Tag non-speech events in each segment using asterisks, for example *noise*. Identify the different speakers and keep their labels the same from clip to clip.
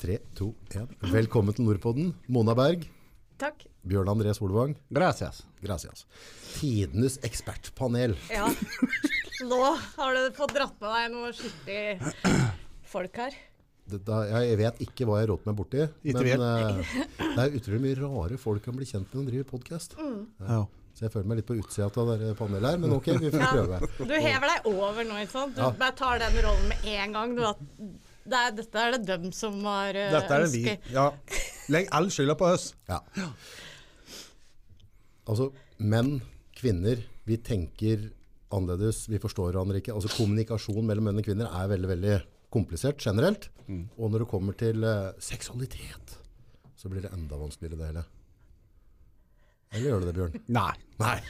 Speaker 1: Tre, to, en. Velkommen til Nordpodden. Mona Berg,
Speaker 2: Takk.
Speaker 1: Bjørn André Solvang,
Speaker 3: Gracias.
Speaker 1: gracias. Tidenes ekspertpanel.
Speaker 2: Ja. Nå har du fått dratt med deg noe skikkelig folk her.
Speaker 1: Dette, jeg vet ikke hva jeg råd meg borti,
Speaker 3: Ikke
Speaker 1: men
Speaker 3: vet.
Speaker 1: eh, det er utrolig mye rare folk kan bli kjent med når de driver podkast.
Speaker 3: Ja.
Speaker 1: Så jeg føler meg litt på utsida av dette panelet her, men ok, vi får prøve.
Speaker 2: Du hever deg over nå, ikke sant? Du
Speaker 1: Ja.
Speaker 2: bare tar den rollen med en gang. Du, at det er, dette er det døm som har eh,
Speaker 3: Dette er det vi.
Speaker 2: ønsket.
Speaker 3: Ja. Legg all skylda på oss.
Speaker 1: Ja. Altså, menn, kvinner, vi tenker annerledes, vi forstår hverandre ikke. Altså, kommunikasjon mellom menn og kvinner er veldig, veldig komplisert generelt. Og når det kommer til eh, seksualitet, så blir det enda vanskeligere det hele. Eller gjør det det, Bjørn?
Speaker 3: Nei. *laughs*
Speaker 1: Nei.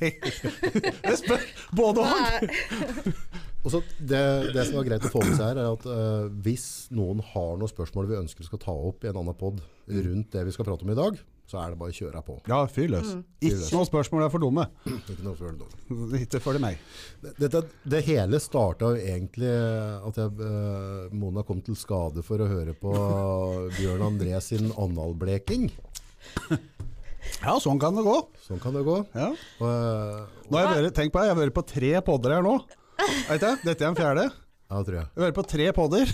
Speaker 3: Jeg spør både og.
Speaker 2: Nei,
Speaker 1: Og så det, det som er greit å få med seg her, er at eh, hvis noen har noen spørsmål vi ønsker skal ta opp i en annen pod rundt det vi skal prate om i dag, så er det bare å kjøre på.
Speaker 3: Ja, fyr løs. Ikke noe spørsmål er for dumme.
Speaker 1: Ikke noe følelse.
Speaker 3: Ikke for det meg.
Speaker 1: Dette, det hele starta jo egentlig at jeg, eh, Mona kom til skade for å høre
Speaker 2: *laughs*
Speaker 1: på Bjørn André sin analbleking.
Speaker 3: Ja, sånn kan det gå.
Speaker 1: Sånn kan det gå.
Speaker 3: Ja.
Speaker 1: Og, eh,
Speaker 3: Nå har jeg vært, tenk på det, jeg har vært på tre podder her nå. Vet du, Dette er den fjerde.
Speaker 1: ja, tror jeg.
Speaker 3: Jeg har vært på tre podder,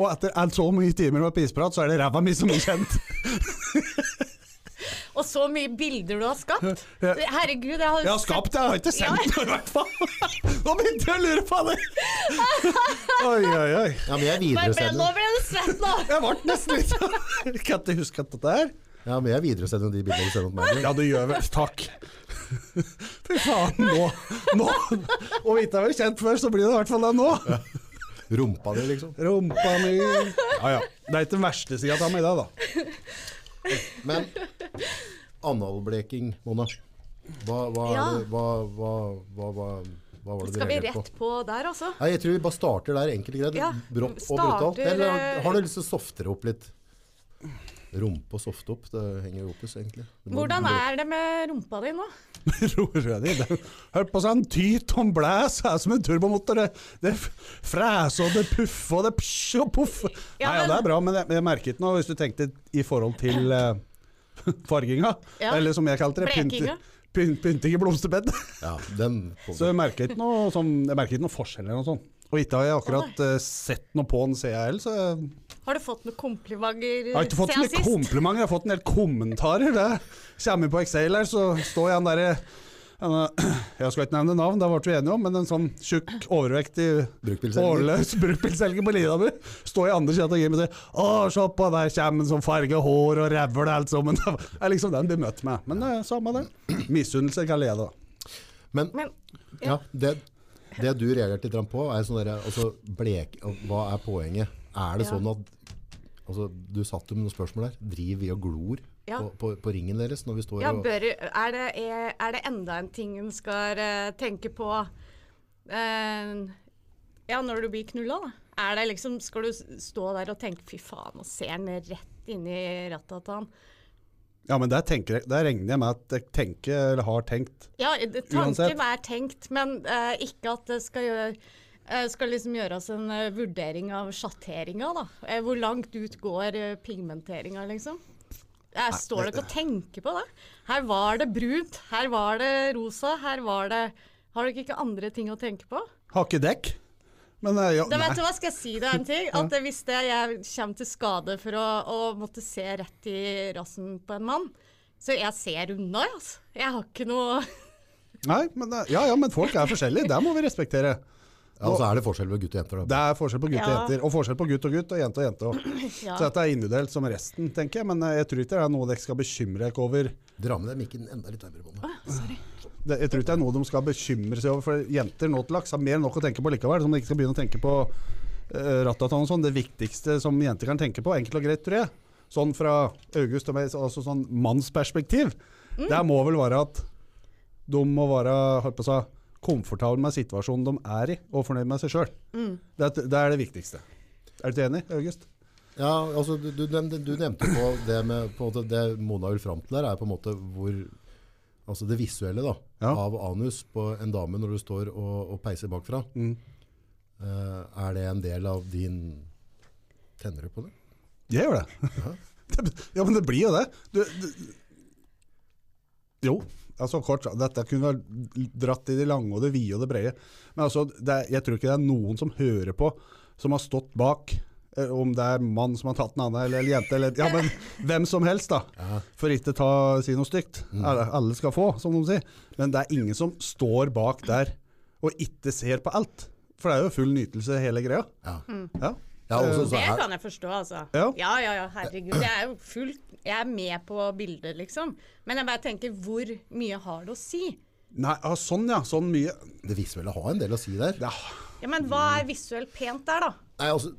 Speaker 3: og etter alt så mange timer med pisprat, så er det ræva mi som er kjent.
Speaker 2: og så mye bilder du har skapt. Herregud, jeg har,
Speaker 3: Jeg har skapt det, jeg har ikke sendt det i hvert fall. *laughs* Nå begynte jeg å lure på det. *laughs* Oi, oi, oi.
Speaker 1: Ja, men jeg
Speaker 2: Nei, men Nå
Speaker 1: videresender,
Speaker 2: ble det svett nå!
Speaker 3: Jeg ble nesten litt sånn. Kan *laughs* ikke huske at dette er.
Speaker 1: ja, men jeg videresender de bildene du sender til meg.
Speaker 3: Ja, du gjør vel Takk. *laughs* Fy faen, nå. nå. Om ikke jeg har vært kjent før, så blir det i hvert fall det nå.
Speaker 1: Rumpa di, liksom.
Speaker 3: Rumpa mi Ja, ja. Det er ikke den verste sida av meg, det, da. *laughs*
Speaker 1: Men analbleking, Mona. Hva, hva, er
Speaker 2: Ja.
Speaker 1: det, hva, hva, hva, hva, hva var det
Speaker 2: Skal vi
Speaker 1: reagerte
Speaker 2: rett på der, altså?
Speaker 1: Nei, jeg tror vi bare starter der, enkelt og greit.
Speaker 2: Ja,
Speaker 1: Brått og
Speaker 2: starter,
Speaker 1: brutalt. Eller har-
Speaker 2: eh,
Speaker 1: har du lyst til å softere opp litt? Rumpe og softe opp, det henger jo opp i seg, egentlig. Du må-
Speaker 2: Hvordan
Speaker 1: du må-
Speaker 2: er det med rumpa di nå?
Speaker 3: Roer deg ned. Hør på sånn tyt og blæs, er som en turbomotor. Det, det freser og det puffer og det psj og poff.
Speaker 2: Ja,
Speaker 3: Nei, ja,
Speaker 2: men-
Speaker 3: det er bra, men jeg, jeg merket noe hvis du tenkte i forhold til eh, *laughs* farginga.
Speaker 2: Ja.
Speaker 3: Eller som jeg kalte det,
Speaker 2: Blekinga.
Speaker 3: pynte, pyn- pynting i blomsterbedet.
Speaker 1: Ja, den kommer.
Speaker 3: Så jeg merker ikke noe, sånn, jeg merker ikke noe forskjell eller noe sånt. Og ikke har jeg akkurat eh, sett noe på den CIL, så jeg,
Speaker 2: Har du fått noen komplimenter
Speaker 3: jeg har ikke fått så mye komplimenter, jeg har fått en del kommentarer. Det kommer på Excel her, så står jeg den derre denne- eh, jeg skal ikke nevne navn, det ble vi enige om, men en sånn tjukk, overvektig
Speaker 1: Brukbilselger.
Speaker 3: hårløs brukbilselger på Lillehammer står i andre sida av gamet og sier 'Å, se på, der kommer en sånn farge hår og rævl alt sammen'. *laughs* Det er liksom den blir møtt med. Men det er samme det. Misunnelse kan lede.
Speaker 1: Men
Speaker 2: Men
Speaker 1: ja, det, det du reagerte litt grann på, er sånn derre altså, blek, Hva er poenget? Er det
Speaker 2: Ja.
Speaker 1: sånn at altså, Du satt jo med noen spørsmål der. Driver vi og glor
Speaker 2: Ja.
Speaker 1: på, på, på ringen deres når vi står
Speaker 2: Ja,
Speaker 1: og
Speaker 2: bør, er, det, er, er det enda en ting hun skal eh, tenke på eh, Ja, når du blir knulla, da? Er det liksom, skal du s- stå der og tenke 'fy faen', og ser han rett inn i rattet til han?
Speaker 3: Ja, men der, tenker jeg, der regner jeg med at jeg tenker, eller har tenkt.
Speaker 2: Ja, det-
Speaker 3: Uansett.
Speaker 2: tanken er tenkt, men eh, ikke at det skal gjøre eh, skal liksom gjøres en eh, vurdering av sjatteringa, da. Eh, hvor langt ut går uh, pigmenteringa, liksom. Jeg står det ikke og tenker på det. Her var det brunt, her var det rosa, her var det Har dere ikke andre ting å tenke på?
Speaker 3: Har ikke dekk. Men eh, ja,
Speaker 2: Da vet du
Speaker 3: nei.
Speaker 2: hva, skal jeg si deg en
Speaker 3: *laughs*
Speaker 2: ting? At eh, hvis det, jeg kommer til skade for å, å måtte se rett i rassen på en mann, så jeg ser unna, jeg, altså. Jeg har ikke noe *laughs*
Speaker 3: nei men, eh, ja, ja, men folk er forskjellige. Det må vi respektere.
Speaker 1: Ja, og så er det forskjell på gutter og jenter.
Speaker 3: Det
Speaker 1: Da.
Speaker 3: er forskjell på gutt og
Speaker 2: Ja.
Speaker 3: jenter, og forskjell på gutt og gutt og jente og jente. også.
Speaker 2: Ja.
Speaker 3: Så dette er individuelt som resten, tenker jeg. Men eh, jeg tror ikke det er noe dere skal bekymre dere over.
Speaker 1: Dra med deg mikken enda litt nærmere. Mona.
Speaker 3: Det, jeg tror ikke det er noe de skal bekymre seg over, for jenter nå til dags har mer enn nok å tenke på likevel. Som de ikke skal begynne å tenke på uh, ratatan og sånn. Det viktigste som jenter kan tenke på, enkelt og greit, tror jeg, sånn fra August og meg, altså sånn mannsperspektiv, det må vel være at de må være holdt på å si, komfortable med situasjonen de er i, og fornøyd med seg sjøl. Det, er- det er det viktigste. Er du ikke enig, August?
Speaker 1: Ja, altså, du, du, nevnte, du nevnte på det med på en måte, Det Mona vil fram til her, er på en måte hvor Altså det visuelle da,
Speaker 3: Ja.
Speaker 1: av anus på en dame når du står og, og peiser bakfra.
Speaker 3: Mm.
Speaker 1: Eh, er det en del av din Tenner du på det?
Speaker 3: Jeg gjør det. *laughs* Det- Ja, men det blir jo det. Du, du, jo, altså kort sagt, dette kunne vært dratt i det lange og det vide og det brede. Men altså, det er, jeg tror ikke det er noen som hører på, som har stått bak, eh, om det er mann som har tatt en annen, eller, eller jente, eller ja, men hvem som helst, da. For ikke ta, si noe stygt. Alle, alle skal få, som de sier. Men det er ingen som står bak der og ikke ser på alt. For det er jo full nytelse, hele greia.
Speaker 1: Ja.
Speaker 3: Ja.
Speaker 1: Ja, og så- så
Speaker 2: Mm. Det
Speaker 1: er-
Speaker 2: kan jeg forstå, altså.
Speaker 3: Ja.
Speaker 2: ja, ja, ja, herregud. Jeg er jo fullt Jeg er med på bildet, liksom. Men jeg bare tenker, hvor mye har det å si?
Speaker 3: Nei, ja, sånn ja. Sånn mye.
Speaker 1: det visuelle har en del å si der.
Speaker 3: Ja.
Speaker 2: Ja, men hva er visuelt pent der, da?
Speaker 1: Nei, altså,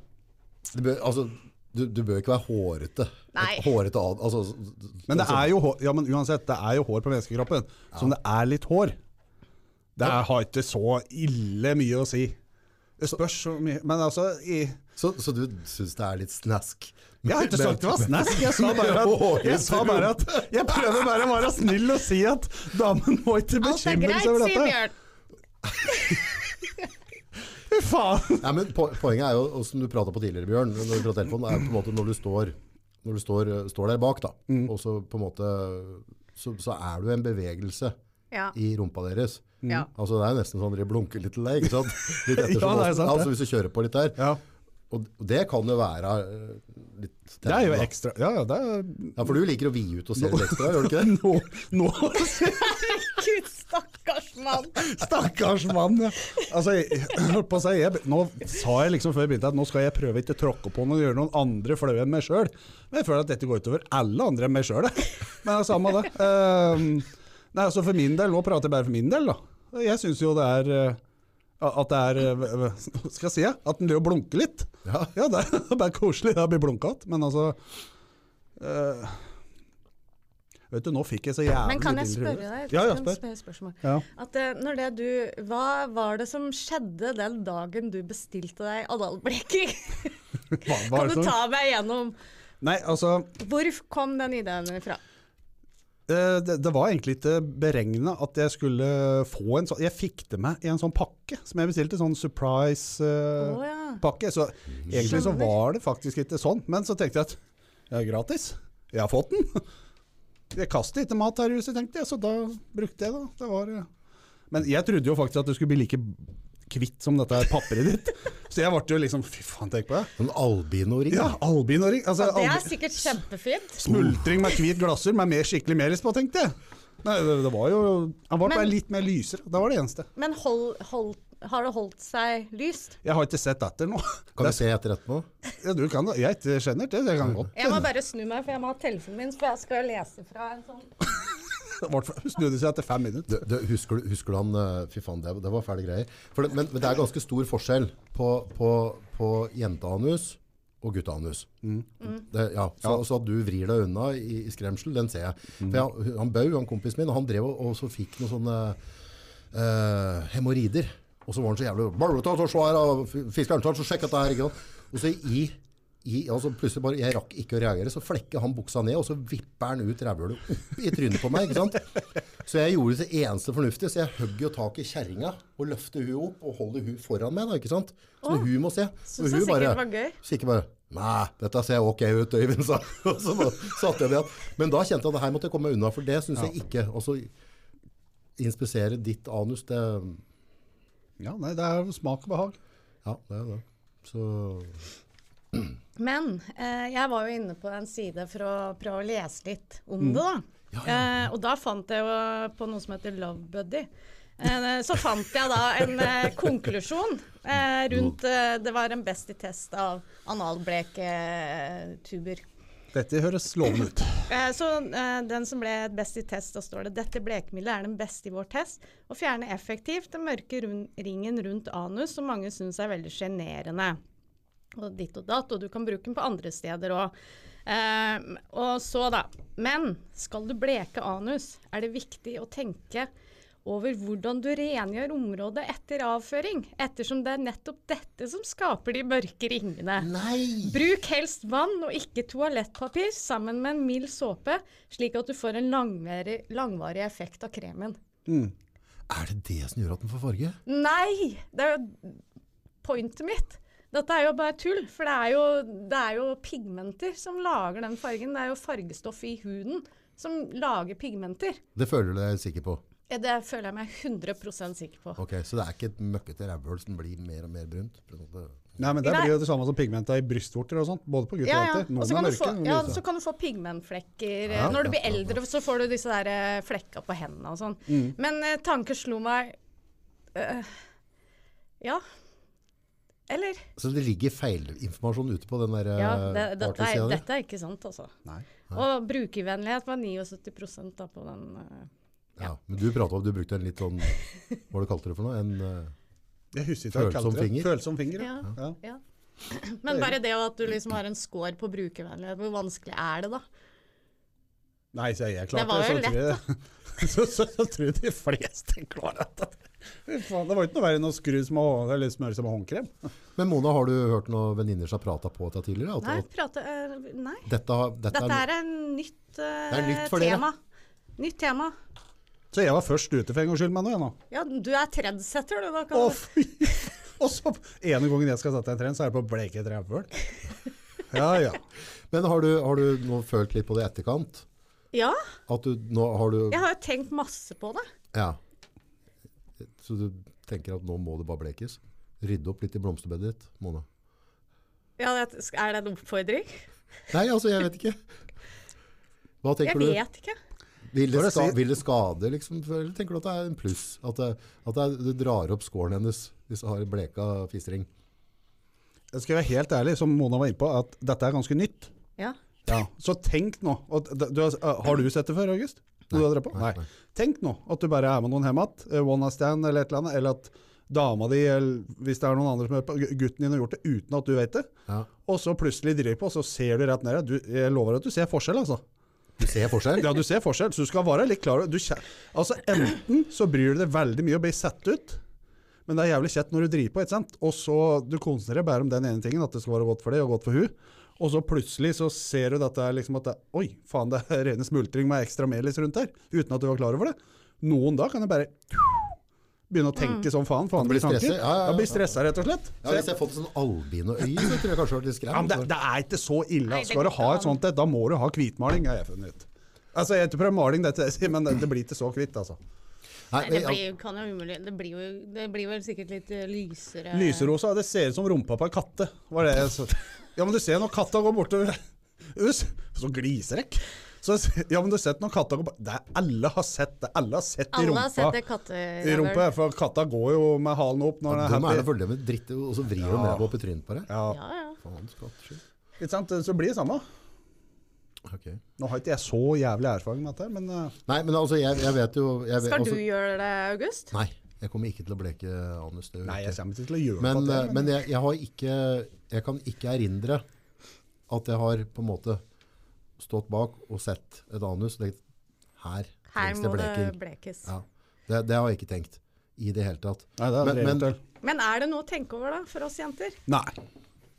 Speaker 1: det bør, altså du, du bør ikke være hårete.
Speaker 2: Nei.
Speaker 1: Hårete ad, altså,
Speaker 3: Men det er jo hår, ja, men uansett, det er jo hår på menneskekroppen. Som det er litt hår. Det er, har ikke så ille mye å si. Det spørs så mye Men altså i,
Speaker 1: så, så du syns det er litt snask?
Speaker 3: Jeg har ikke sagt det *laughs* var snask. Jeg sa bare at Jeg, sa bare at, jeg prøver bare å være snill og si at damen må ikke
Speaker 2: Alt er
Speaker 3: bekymre
Speaker 2: greit,
Speaker 3: seg over
Speaker 2: sier
Speaker 3: dette.
Speaker 2: Bjørn.
Speaker 3: Fy faen.
Speaker 1: Nei, men po poenget er jo, og som du prata på tidligere, Bjørn, når du pratet telefonen, er på en måte når du står, når du står, eh, står der bak, da,
Speaker 3: Mm.
Speaker 1: og så på en måte så, så er du en bevegelse
Speaker 2: Ja. *laughs*
Speaker 1: i rumpa deres.
Speaker 2: Ja.
Speaker 1: Altså Det er jo nesten sånn dere blunker litt til deg, ikke
Speaker 3: *laughs*
Speaker 1: sant? Litt etter
Speaker 3: Mm. Ja,
Speaker 1: som
Speaker 3: det er
Speaker 1: oss-
Speaker 3: sant, det.
Speaker 1: altså, hvis du kjører på litt der.
Speaker 3: Ja,
Speaker 1: Og og det kan jo være eh, litt
Speaker 3: det er jo
Speaker 1: da.
Speaker 3: ekstra Ja, ja, det er *laughs*
Speaker 1: Ja, For du liker å vie ut og se litt ekstra, gjør du ikke det?
Speaker 3: Nå, nå
Speaker 2: Herregud, stakkars mann.
Speaker 3: Stakkars mann. Ja. Altså, jeg, jeg, holdt på å si, jeg, nå sa jeg liksom før jeg begynte at nå skal jeg prøve ikke å tråkke på noen og gjøre noen andre flaue enn meg sjøl. Men jeg føler at dette går utover alle andre enn meg sjøl. Men det er samme det. Ehm, nei, altså for min del, Nå prater jeg bare for min del, da. Jeg syns jo det er eh, at det er eh, hva Skal jeg si ja? At den løper og blunker litt.
Speaker 1: Ja.
Speaker 3: det er *laughs* bare koselig det å bli blunka til, men altså eh, Vet du, nå fikk jeg så jævlig
Speaker 2: Men kan jeg
Speaker 3: bilder i
Speaker 2: spørre
Speaker 3: hodet.
Speaker 2: deg et
Speaker 3: Ja, ja,
Speaker 2: sekund?
Speaker 3: spør.
Speaker 2: Spørre spørsmål?
Speaker 3: Ja.
Speaker 2: At, eh, når det du, hva var det som skjedde den dagen du bestilte deg analbleking?
Speaker 3: Hva, hva er
Speaker 2: Kan
Speaker 3: det
Speaker 2: du
Speaker 3: som-
Speaker 2: ta meg gjennom
Speaker 3: Nei, altså
Speaker 2: Hvor kom den ideen fra?
Speaker 3: Eh, det, det var egentlig ikke beregna at jeg skulle få en sånn Jeg fikk det med i en sånn pakke som jeg bestilte. Sånn
Speaker 2: Å
Speaker 3: surprise-pakke.
Speaker 2: ja.
Speaker 3: Så egentlig så
Speaker 2: Skjønner.
Speaker 3: var det faktisk ikke sånn. Men så tenkte jeg at det er gratis. Jeg har fått den. *laughs* Jeg kaster ikke mat her i huset, tenkte jeg, så da brukte jeg det. det var, eh. men jeg trodde jo faktisk at du skulle bli like kvitt som dette her papiret
Speaker 2: *laughs*
Speaker 3: ditt. Så jeg ble jo liksom Fy faen, tenk på det.
Speaker 1: Sånn albinoring.
Speaker 3: Ja, albinoring. Altså,
Speaker 2: Det er
Speaker 3: albi-
Speaker 2: sikkert kjempefint.
Speaker 3: Smultring med hvit glasur med mer skikkelig melis på, tenkte jeg. Nei, det, det var jo Han ble
Speaker 2: Men-
Speaker 3: bare litt mer lysere. Det var det eneste.
Speaker 2: Men hold, hold, har det holdt seg lyst?
Speaker 3: Jeg har ikke sett etter nå.
Speaker 1: *laughs* Kan vi se etter etterpå?
Speaker 3: Ja, du kan, jeg er ikke sjenert, det. Jeg kan godt.
Speaker 2: Jeg må bare snu meg, for jeg må ha telefonen min, for jeg skal lese fra en sånn
Speaker 3: *laughs* Det ble- Snudde seg etter fem minutter.
Speaker 1: Du, du, husker, du- husker du han eh, Fy faen, det, det var fæle greier. For det, men, men det er ganske stor forskjell på, på, på jenteanus og gutteanus. Det, ja. Så, så at du vrir deg unna i, i skremsel, den ser jeg. For jeg, han Bau, han kompisen min, han drev og, og så fikk noen sånne eh, hemoroider. Og så var han så jævlig bare ta, ta, se her, da, f- Fiskeren, ta, så sjekk dette her. Ikke sant? Og så i, i altså plutselig bare, Jeg rakk ikke å reagere, så flekker han buksa ned, og så vipper han ut rævhølet opp i trynet på meg. ikke sant? Så jeg gjorde det eneste fornuftige, så jeg høgg jo tak i kjerringa og løfter hun opp og holder hun foran meg. da, ikke sant? Så hun må se.
Speaker 2: Synes han
Speaker 1: hun
Speaker 2: sikkert det var gøy.
Speaker 1: Så ikke bare Nei, dette ser ok ut, Øyvind, sa *laughs* Og så bare satte jeg det igjen. Men da kjente jeg at her måtte jeg komme meg unna, for det syns jeg ikke. Og så inspisere ditt anus, det
Speaker 3: Ja, nei, det er jo smak og behag.
Speaker 1: Ja, det er det. Så
Speaker 2: Men eh, jeg var jo inne på en side for å prøve å lese litt om det, da. Eh, og da fant jeg jo på noe som heter Love Buddy. Eh, så fant jeg da en eh, konklusjon eh, rundt eh, Det var en best i test av analbleketuber.
Speaker 3: Dette høres lovende ut.
Speaker 2: Eh, så eh, den som ble best i test, da står det dette blekemiddelet er den beste i vår test og fjerner effektivt den mørke rund, ringen rundt anus som mange syns er veldig sjenerende. Og ditt og datt, og du kan bruke den på andre steder òg. Eh, og så, da. Men skal du bleke anus, er det viktig å tenke over hvordan du rengjør området etter avføring, ettersom det er nettopp dette som skaper de mørke ringene.
Speaker 1: Nei!
Speaker 2: Bruk helst vann og ikke toalettpapir sammen med en mild såpe, slik at du får en langvarig, langvarig effekt av kremen.
Speaker 1: Er det det som gjør at den får farge?
Speaker 2: Nei! Det er jo pointet mitt. Dette er jo bare tull, for det er, jo, det er jo pigmenter som lager den fargen. Det er jo fargestoff i huden som lager pigmenter.
Speaker 1: Det føler du deg sikker på?
Speaker 2: Eh, Det føler jeg meg 100 sikker på.
Speaker 1: Ok, Så det er ikke et møkkete rævhull som blir mer og mer brunt? på en måte?
Speaker 3: Nei, men Det
Speaker 2: Nei.
Speaker 3: blir jo det samme som pigmenta i brystvorter og sånt. Både på gutter
Speaker 2: Ja,
Speaker 3: og
Speaker 2: ja.
Speaker 3: jenter.
Speaker 2: Og så
Speaker 3: Noen
Speaker 2: kan,
Speaker 3: er
Speaker 2: du få,
Speaker 3: mørke. noen
Speaker 2: ja,
Speaker 3: lyse.
Speaker 2: så kan du få pigmentflekker. eh,
Speaker 1: Ja,
Speaker 2: Når du blir
Speaker 1: ja, ja, ja.
Speaker 2: eldre, så får du disse der eh, flekka på hendene og sånn.
Speaker 1: Mm.
Speaker 2: Men eh, tanken slo meg eh, Ja. Eller?
Speaker 1: Så det ligger feilinformasjon ute på den der
Speaker 2: Ja,
Speaker 1: eh,
Speaker 2: det, det, nei,
Speaker 1: partysiden din?
Speaker 2: dette er ikke sant, altså.
Speaker 3: Nei.
Speaker 2: Og brukervennlighet var 79 da på den. eh,
Speaker 1: Ja, men du pratet om du brukte en litt sånn Hva var det du kalte det for noe? En, eh,
Speaker 3: Jeg husker ikke hva jeg
Speaker 1: Følsom
Speaker 3: kalte det.
Speaker 1: finger.
Speaker 3: Følsom finger. Ja.
Speaker 2: Ja.
Speaker 3: Ja.
Speaker 2: Ja. Men bare det at du liksom har en score på brukervennlighet, hvor vanskelig er det da?
Speaker 3: Nei, så jeg
Speaker 2: Det var
Speaker 3: klarte
Speaker 2: jo
Speaker 3: det. Så tror jeg, *laughs* så, så, så tror jeg de fleste klarer dette. Fy faen, Det var jo ikke noe verre enn å skru som å- eller smøre seg med håndkrem.
Speaker 1: Men Mona, har du hørt noen venninner som har prata på dette tidligere?
Speaker 2: Nei,
Speaker 1: At,
Speaker 2: prate, eh, nei.
Speaker 1: at dette, har- dette,
Speaker 2: dette
Speaker 1: er,
Speaker 2: er en nytt, eh,
Speaker 1: Det er nytt for dere.
Speaker 2: tema. Nytt tema.
Speaker 3: Så jeg var først ute for en gangs skyld med noe. jeg, nå.
Speaker 2: Ja, du er trendsetter, du. Da kan
Speaker 3: Å,
Speaker 2: du-
Speaker 3: fy! Og så ene gangen jeg skal sette en trend, så er det på bleke et rævhøl. Ja, ja.
Speaker 1: Men har du, har du nå følt litt på det i etterkant?
Speaker 2: Ja,
Speaker 1: At du nå har du
Speaker 2: jeg har jo tenkt masse på det.
Speaker 1: Ja. Så du tenker at nå må det bare blekes? Rydde opp litt i blomsterbedet ditt, Mona?
Speaker 2: Ja, det, er det en oppfordring?
Speaker 1: Nei, altså, jeg vet ikke. Hva
Speaker 2: Jeg
Speaker 1: tenker du?
Speaker 2: vet ikke.
Speaker 1: Vil
Speaker 3: Hva er
Speaker 1: det,
Speaker 3: det
Speaker 1: ska
Speaker 3: jeg sier?
Speaker 1: vil det skade, liksom? For- Eller tenker du at det er en pluss? At det, at det, det drar opp skåren hennes hvis hun har en bleka fisring?
Speaker 3: Jeg skal være helt ærlig, som Mona var inne på, at dette er ganske nytt.
Speaker 2: Ja.
Speaker 3: Ja, Så tenk nå at d- du, har- eh, Har du sett det før, August? Nei, du har drevet på?
Speaker 1: nei,
Speaker 3: Nei,
Speaker 1: nei.
Speaker 3: Tenk nå at du bare er med noen hjem igjen, one night stand eller et eller annet, eller at dama di, eller hvis det er noen andre som er på, gu- gutten din har gjort det uten at du vet det,
Speaker 1: Ja.
Speaker 3: og så plutselig driver på, og så ser du rett ned her. Du- Jeg lover at du ser forskjell, altså.
Speaker 1: Du ser forskjell?
Speaker 3: Ja, du ser forskjell, så du skal være litt klar. over- Du, kje- altså, enten så bryr du deg veldig mye og blir sett ut, men det er jævlig kjett når du driver på, ikke sant? Og så du konsentrerer deg bare om den ene tingen, at det skal være godt for deg og godt for hun. Og så plutselig så ser du dette er liksom at det, oi, faen, det er rene smultring med ekstra melis rundt her, uten at du var klar over det. Noen da kan jeg bare begynne å tenke som faen, faen
Speaker 1: Mm. blir
Speaker 3: blir tanker.
Speaker 1: stresset, ja, ja, ja.
Speaker 3: Jeg blir stressa, rett og slett.
Speaker 1: Ja, hvis jeg har fått en sånn albinoøye, så tror jeg kanskje jeg har vært litt
Speaker 3: Ja, men
Speaker 1: skremt.
Speaker 3: det, det er ikke så ille. altså.
Speaker 2: Nei, det går
Speaker 3: Skal du ha
Speaker 2: ikke
Speaker 3: et sånt et, da må du ha hvitmaling, har jeg funnet ut. Altså, Jeg har ikke prøvd maling, dette, *laughs* men det, det blir ikke så hvitt, altså.
Speaker 2: Nei, det
Speaker 1: ja,
Speaker 2: blir, jo- kan jo umulig. Det blir, jo, det blir vel sikkert litt eh, lysere
Speaker 3: Lyserosa, det ser ut som rumpa på en katte. Var det jeg så. Ja, men du ser når katta går bortover *laughs* Us, Så gliserekk. Så, ja, men du har sett når katta går bort- Det er Alle har sett det. Alle har sett i
Speaker 2: Alle har
Speaker 3: rumpa.
Speaker 2: sett det
Speaker 3: I rumpa,
Speaker 2: katterævel.
Speaker 3: For katta går jo med halen opp når den
Speaker 1: De
Speaker 3: er
Speaker 1: er det
Speaker 3: happy.
Speaker 1: for det med dritt, og så vrir de ræva opp i trynet på deg.
Speaker 3: Ja,
Speaker 2: Ja, ja.
Speaker 1: Faen, skatteskyld.
Speaker 3: ikke sant? Så blir det samme.
Speaker 1: Ok.
Speaker 3: Nå har ikke jeg så jævlig erfaring med dette, men eh,
Speaker 1: Nei, men altså, jeg, jeg vet jo jeg vet,
Speaker 2: Skal du
Speaker 1: altså,
Speaker 2: gjøre det, August?
Speaker 1: Nei, jeg kommer ikke til å bleke anus. det gjør jeg
Speaker 3: Nei,
Speaker 1: ikke.
Speaker 3: jeg kommer ikke til å gjøre
Speaker 1: Men,
Speaker 3: det.
Speaker 1: eh, men jeg, jeg, har ikke, jeg kan ikke erindre at jeg har på en måte stått bak og sett et anus. og tenkt, her
Speaker 2: Her
Speaker 1: trengs det
Speaker 2: må det
Speaker 1: bleking.
Speaker 2: blekes.
Speaker 1: Ja. Det, det har jeg ikke tenkt i det hele tatt.
Speaker 3: Nei, det er
Speaker 1: men-
Speaker 3: men,
Speaker 1: men-
Speaker 2: Men er det noe å tenke over, da, for oss jenter?
Speaker 3: Nei.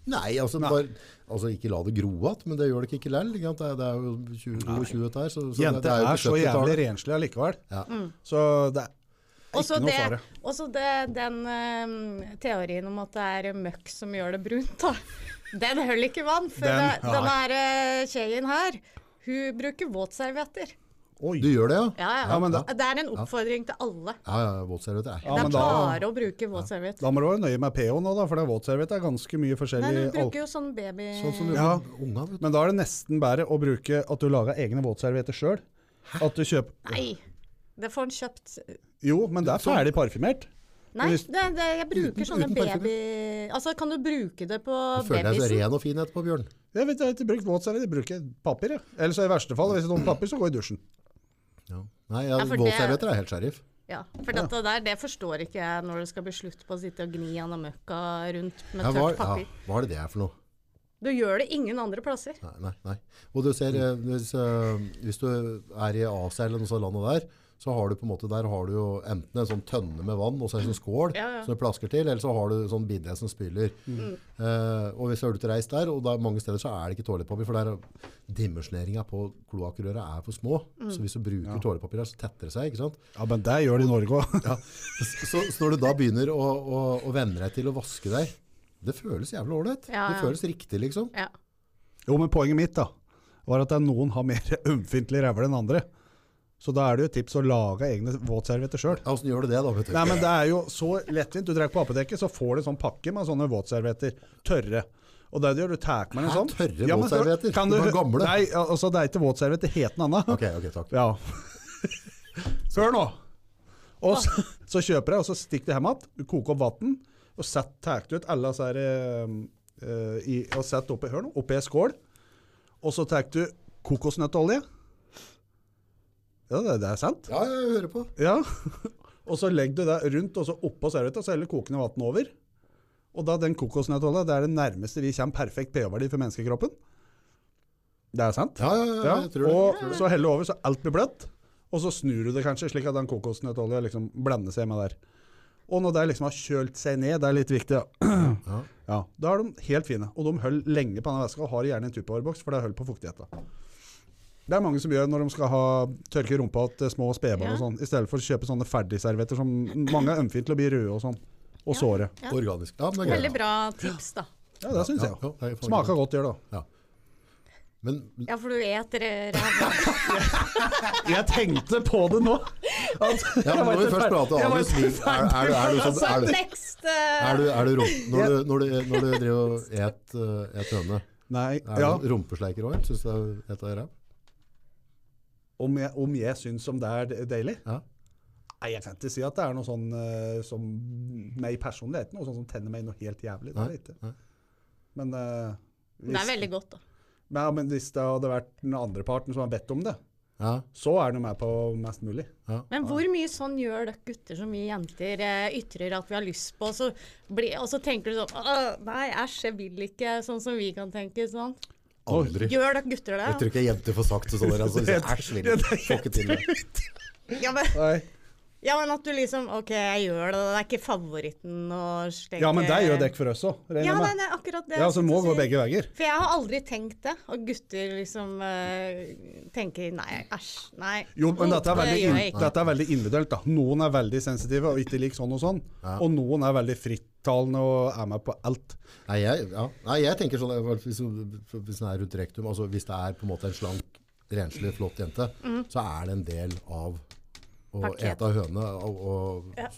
Speaker 1: Nei, altså, Bare, altså ikke la det gro igjen, men det gjør det ikke likevel. ikke sant? Det, er- det er jo 22 dette her. Så, så det,
Speaker 3: Jenter
Speaker 1: det
Speaker 3: er,
Speaker 1: jo ikke
Speaker 3: så jævlig
Speaker 1: 70-tallet.
Speaker 3: renslige allikevel.
Speaker 1: Ja.
Speaker 3: Så det er
Speaker 2: Også
Speaker 3: ikke noe
Speaker 2: Mm. det,
Speaker 3: fare.
Speaker 2: også det, den eh, teorien om at det er møkk som gjør det brunt, da. Den holder ikke vann. For
Speaker 3: Den-
Speaker 2: det- denne her, eh, kjeien her, hun bruker våtservietter.
Speaker 3: Oi.
Speaker 1: Du gjør det, ja?
Speaker 2: Ja, ja.
Speaker 3: Ja, men da-
Speaker 2: det er en oppfordring til alle.
Speaker 1: Ja, ja, våtservietter er
Speaker 3: Ja,
Speaker 2: det
Speaker 3: men
Speaker 2: er
Speaker 3: da-
Speaker 2: bare å bruke våtserviett.
Speaker 3: Da må du være nøye med pH nå, da, for det er våtserviett er ganske mye
Speaker 2: Nei,
Speaker 3: forskjellig
Speaker 2: du
Speaker 3: al-
Speaker 2: bruker jo sånn baby...
Speaker 1: Sånn som du,
Speaker 3: Ja.
Speaker 1: unga, vet du.
Speaker 3: Men da er det nesten bedre å bruke at du lager egne våtservietter sjøl. At du kjøper
Speaker 2: Nei, det får en kjøpt
Speaker 3: Jo, men det er
Speaker 1: Sånn?
Speaker 3: ferdig parfymert.
Speaker 2: Nei,
Speaker 3: Hvis-
Speaker 2: det, det, jeg bruker
Speaker 1: Uten-
Speaker 2: sånne
Speaker 1: uten parfyme?
Speaker 2: baby... Altså, kan du bruke det på
Speaker 1: Du føler deg så
Speaker 2: babysen?
Speaker 1: ren og fin etterpå, Bjørn.
Speaker 3: Jeg vet jeg har ikke brukt våtserviett, jeg bruker papir. jeg. Eller så i verste fall, hvis det er noen papir, så går jeg i dusjen.
Speaker 1: Ja. Nei, ja,
Speaker 2: Ja, for det-
Speaker 1: våtservietter er helt sheriff.
Speaker 2: Ja, for dette der, det forstår ikke jeg når det skal bli slutt på å sitte og gni han og møkka rundt med
Speaker 1: Ja, hva,
Speaker 2: tørt
Speaker 1: ja,
Speaker 2: papir.
Speaker 1: hva er det det er for noe?
Speaker 2: Du gjør det ingen andre plasser.
Speaker 1: Nei, nei, nei. Og du ser, eh, hvis, eh, hvis du er i Asia eller noe sånt landet der, så har du på en måte, der har du jo enten en sånn tønne med vann og så en sånn skål
Speaker 2: Ja, ja. Mm.
Speaker 1: som du plasker til, eller så har du sånn bidde som spyler. Eh, og hvis du har ute reist der, og da, mange steder så er det ikke toalettpapir, for der er- dimensjoneringen på kloakkrøret er for små.
Speaker 2: Mm.
Speaker 1: Så hvis du bruker toalettpapir der, så tetter det seg, ikke sant?
Speaker 3: Ja, men det gjør det i Norge òg.
Speaker 1: Så, så når du da begynner å, å, å venne deg til å vaske deg, Det føles jævlig ålreit.
Speaker 2: Ja,
Speaker 1: Det
Speaker 2: ja.
Speaker 1: føles riktig, liksom.
Speaker 2: Ja.
Speaker 3: Jo, men poenget mitt da, var at det er noen har mer *laughs* ømfintlig rævle enn andre. Så da er det jo et tips å lage egne våtservietter sjøl.
Speaker 1: Ja, Åssen gjør du det, da? vet du?
Speaker 3: Nei, men det er jo så lettvint. Du drar på apoteket, så får du en sånn pakke med sånne våtservietter. Tørre. Og det du gjør, du tar med en
Speaker 1: Hæ,
Speaker 3: sånn.
Speaker 1: tørre
Speaker 3: men hør,
Speaker 1: våtservietter?
Speaker 3: kan
Speaker 1: Det var gamle.
Speaker 3: Nei, al- altså det er ikke våtservietter, det heter noe annet.
Speaker 1: Ok, ok, takk.
Speaker 3: Ja. *laughs* Hør nå. Og så, så kjøper jeg, og så stikker det hjem igjen. Du Koker opp vann, og set- tar ut alle disse her eh, eh, i, og setter oppi, hør nå, oppi en skål. Og så tar du kokosnøttolje. Ja, det, det er sant.
Speaker 1: Ja, jeg hører på.
Speaker 3: Ja. *laughs* Og så legger du det rundt, og så oppå servietta, så heller kokende vann over. Og da den kokosnøttolja, det er det nærmeste vi kommer perfekt pH-verdi for menneskekroppen. Det er sant.
Speaker 1: Ja, ja, ja,
Speaker 3: Ja,
Speaker 1: jeg tror det.
Speaker 3: og så helle over så alt blir bløtt, og så snur du det kanskje, slik at den kokosnøttolja liksom blander seg med der. Og når det liksom har kjølt seg ned, det er litt viktig, ja.
Speaker 1: Ja.
Speaker 3: ja da er de helt fine, og de holder lenge på denne væska, og har gjerne en tupperboks, for det holder på fuktigheten. Det er mange som gjør når de skal ha tørke rumpa til små spebarn og
Speaker 2: Ja.
Speaker 3: sånn, i stedet for å kjøpe sånne ferdigservetter som mange er ømfint til å bli røde og sånn, og
Speaker 2: Ja.
Speaker 3: såre.
Speaker 2: Ja.
Speaker 1: Organisk. Ja, men det er
Speaker 2: Veldig
Speaker 1: greit.
Speaker 2: bra tips, da.
Speaker 3: Ja, det synes
Speaker 1: Ja,
Speaker 3: jeg.
Speaker 1: ja, det er faktisk-
Speaker 3: Smaker godt gjør det.
Speaker 1: Ja. Men
Speaker 2: Ja, for du eter ræva.
Speaker 3: *laughs* Jeg tenkte på det nå. At,
Speaker 1: ja, men når vi først prater om anus, er, er, er, er du sånn
Speaker 2: Så
Speaker 1: *laughs* er du,
Speaker 2: next eh,
Speaker 1: er du, er du rom, når, du, når, du, når du driver og et, eh, et høne,
Speaker 3: Nei,
Speaker 1: er
Speaker 3: ja.
Speaker 1: du sånn rumpesleiker òg? Syns du det er et av ræv?
Speaker 3: Om jeg, om jeg syns om det er de- deilig?
Speaker 1: Ja.
Speaker 3: Nei, jeg kan ikke si at det er noe sånn eh, som meg personlig. Det er ikke noe sånn som tenner meg noe helt jævlig. Det er det ikke.
Speaker 1: nei.
Speaker 3: Men, eh, hvis,
Speaker 2: Det er veldig godt, da.
Speaker 3: men, ja, men hvis det hadde vært den andre parten som har bedt om det,
Speaker 1: Ja,
Speaker 3: så er den jo med på mest mulig.
Speaker 1: ja.
Speaker 2: Men hvor mye sånn gjør dere gutter så mye jenter eh, ytrer at vi har lyst på, og så, blir- og så tenker du sånn «Åh, Nei, æsj, jeg vil ikke. Sånn som vi kan tenke. sånn.
Speaker 1: Aldri.
Speaker 2: Gjør dere gutter
Speaker 1: Jeg
Speaker 2: det?
Speaker 1: tror ikke jenter får sagt det sånn. der, Altså, Æsj, vil ikke. Får ikke til det.
Speaker 2: Ja men,
Speaker 3: Nei.
Speaker 2: ja, men at du liksom OK, jeg gjør det. Det er ikke favoritten å slenge
Speaker 3: Ja, men det gjør dere for oss òg, regner
Speaker 2: Ja, eh, nei,
Speaker 3: jeg med.
Speaker 2: det er akkurat det.
Speaker 3: Ja,
Speaker 2: jeg
Speaker 3: så det
Speaker 2: skulle
Speaker 3: må
Speaker 2: til å
Speaker 3: gå
Speaker 2: si.
Speaker 3: begge veier.
Speaker 2: For jeg har aldri tenkt det, og gutter liksom eh, tenker nei, æsj, nei.
Speaker 3: Jo, men
Speaker 2: Mm,
Speaker 3: dette er, veldig,
Speaker 2: det gjør jeg
Speaker 3: inn-
Speaker 2: ikke.
Speaker 3: dette er veldig individuelt. da. Noen er veldig sensitive og ikke liker sånn og sånn. Og noen er veldig frittalende og er med på alt.
Speaker 1: Nei, jeg, ja. Nei, jeg tenker sånn eh, hvis, hvis den er rundt rektum, altså hvis det er på en måte en slank, renslig, flott jente,
Speaker 2: Mm.
Speaker 1: så er det en del av å
Speaker 2: Pakket.
Speaker 1: ete av høne. Og, og,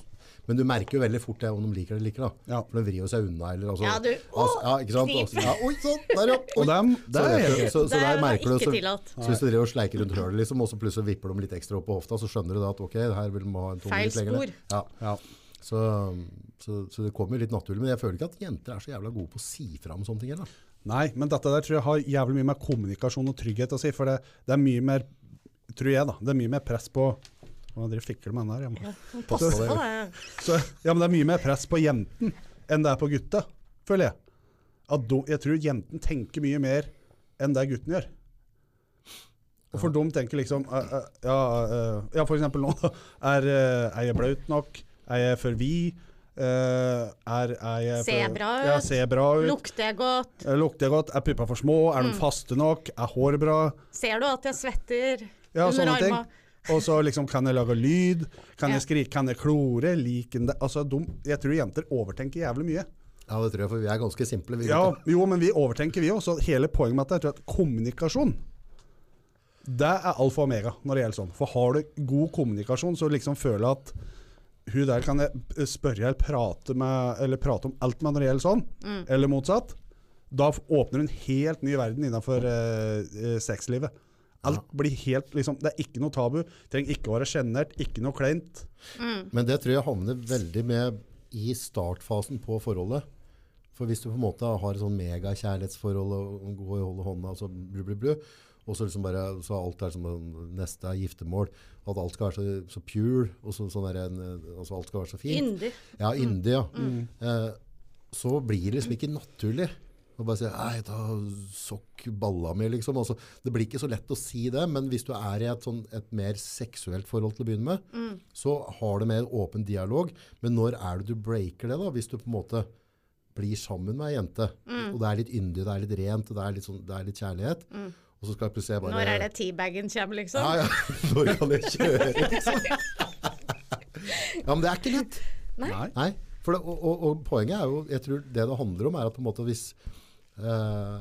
Speaker 1: Men du merker jo veldig fort det om de liker det eller ikke. da.
Speaker 3: Ja.
Speaker 1: For de vrir jo seg unna. Eller, altså,
Speaker 2: Ja, du-
Speaker 1: altså, ja, ikke sant?
Speaker 2: Å,
Speaker 1: Altså, ja, oi, sånn, der, ja.
Speaker 3: Og
Speaker 1: Oi.
Speaker 3: dem, det
Speaker 1: Så,
Speaker 3: er
Speaker 1: vet
Speaker 3: helt
Speaker 1: du, så, så
Speaker 2: Det er
Speaker 1: der merker du
Speaker 2: ikke
Speaker 1: så,
Speaker 2: tillatt.
Speaker 1: så Hvis du driver og sleiker rundt hølet, liksom, og så plutselig vipper de litt ekstra opp på hofta, så skjønner du da at ok, her vil de ha en tunge
Speaker 2: Feil
Speaker 1: litt lenger. ned.
Speaker 2: spor.
Speaker 1: Ja.
Speaker 3: Ja.
Speaker 1: Så, så, så det kommer jo litt naturlig. Men jeg føler ikke at jenter er så jævla gode på å si fra om sånne ting. heller.
Speaker 3: Nei, men dette der tror jeg har jævlig mye med kommunikasjon og trygghet å si, for det, det er mye mer, tror jeg da, det er mye mer press på Å, dere fikler med den der, jeg må-
Speaker 2: Pass
Speaker 1: Så-
Speaker 2: på det.
Speaker 3: Så, ja, men det er mye mer press på jenten enn det er på gutta, føler jeg. At do, jeg tror jenten tenker mye mer enn det gutten gjør. Og for dem tenker liksom eh, eh, ja, eh, ja, for eksempel nå. da, Er, eh, er jeg blaut nok? Er jeg for vid? Eh, er, er jeg
Speaker 2: Ser
Speaker 3: for-
Speaker 2: bra
Speaker 3: Ja,
Speaker 2: ut?
Speaker 3: ser bra ut.
Speaker 2: Lukter jeg godt?
Speaker 3: Eh, Lukter jeg godt? Er puppa for små? Er
Speaker 2: Mm.
Speaker 3: de faste nok? Er håret bra?
Speaker 2: Ser du at jeg svetter
Speaker 3: Ja,
Speaker 2: under
Speaker 3: sånne ting.
Speaker 2: armene?
Speaker 3: Og så liksom, kan jeg lage lyd? Kan
Speaker 2: Ja.
Speaker 3: jeg skrike? Kan jeg klore? Liker det? Altså, de, jeg tror jenter overtenker jævlig mye.
Speaker 1: Ja, det tror jeg, for vi er ganske simple. Vi
Speaker 3: Ja,
Speaker 1: gutter.
Speaker 3: jo, men vi overtenker vi òg, så hele poenget med dette er at kommunikasjon det er alfa og omega når det gjelder sånn. For har du god kommunikasjon, så liksom føler jeg at hun der kan jeg spørre eller prate, med, eller prate om alt med når det gjelder sånn,
Speaker 2: Mm.
Speaker 3: eller motsatt. Da f- åpner hun en helt ny verden innenfor eh, eh, sexlivet. Alt blir helt liksom, Det er ikke noe tabu. Trenger ikke å være sjenert, ikke noe kleint.
Speaker 1: Men det tror jeg havner veldig med i startfasen på forholdet. For hvis du på en måte har et sånn megakjærlighetsforhold og går og holder hånda, og så blu, blu, blu, og så liksom bare, så alt er som en- neste er giftermål, at alt skal være så, så pure, og så, sånn der en, altså alt skal være så fint.
Speaker 2: Yndig.
Speaker 1: Ja, yndig, ja. Eh, så blir det liksom ikke naturlig. Å bare si «Nei, ta sokk balla mi', liksom. Altså, det blir ikke så lett å si det, men hvis du er i et, sånn, et mer seksuelt forhold til å begynne med, så har det mer åpen dialog. Men når er det du breaker det, da? Hvis du på en måte blir sammen med ei jente, og det er litt yndig, det er litt rent, og det er litt, sånn, det er litt kjærlighet, og så skal jeg plutselig bare
Speaker 2: Når er det teabagen kommer, liksom?
Speaker 1: Ja, *laughs* ja. Når kan jeg kjøre, liksom? *laughs* ja, men det er ikke lett.
Speaker 2: Nei.
Speaker 1: Nei. For det, og, og, og poenget er jo Jeg tror det det handler om, er at på en måte hvis eh,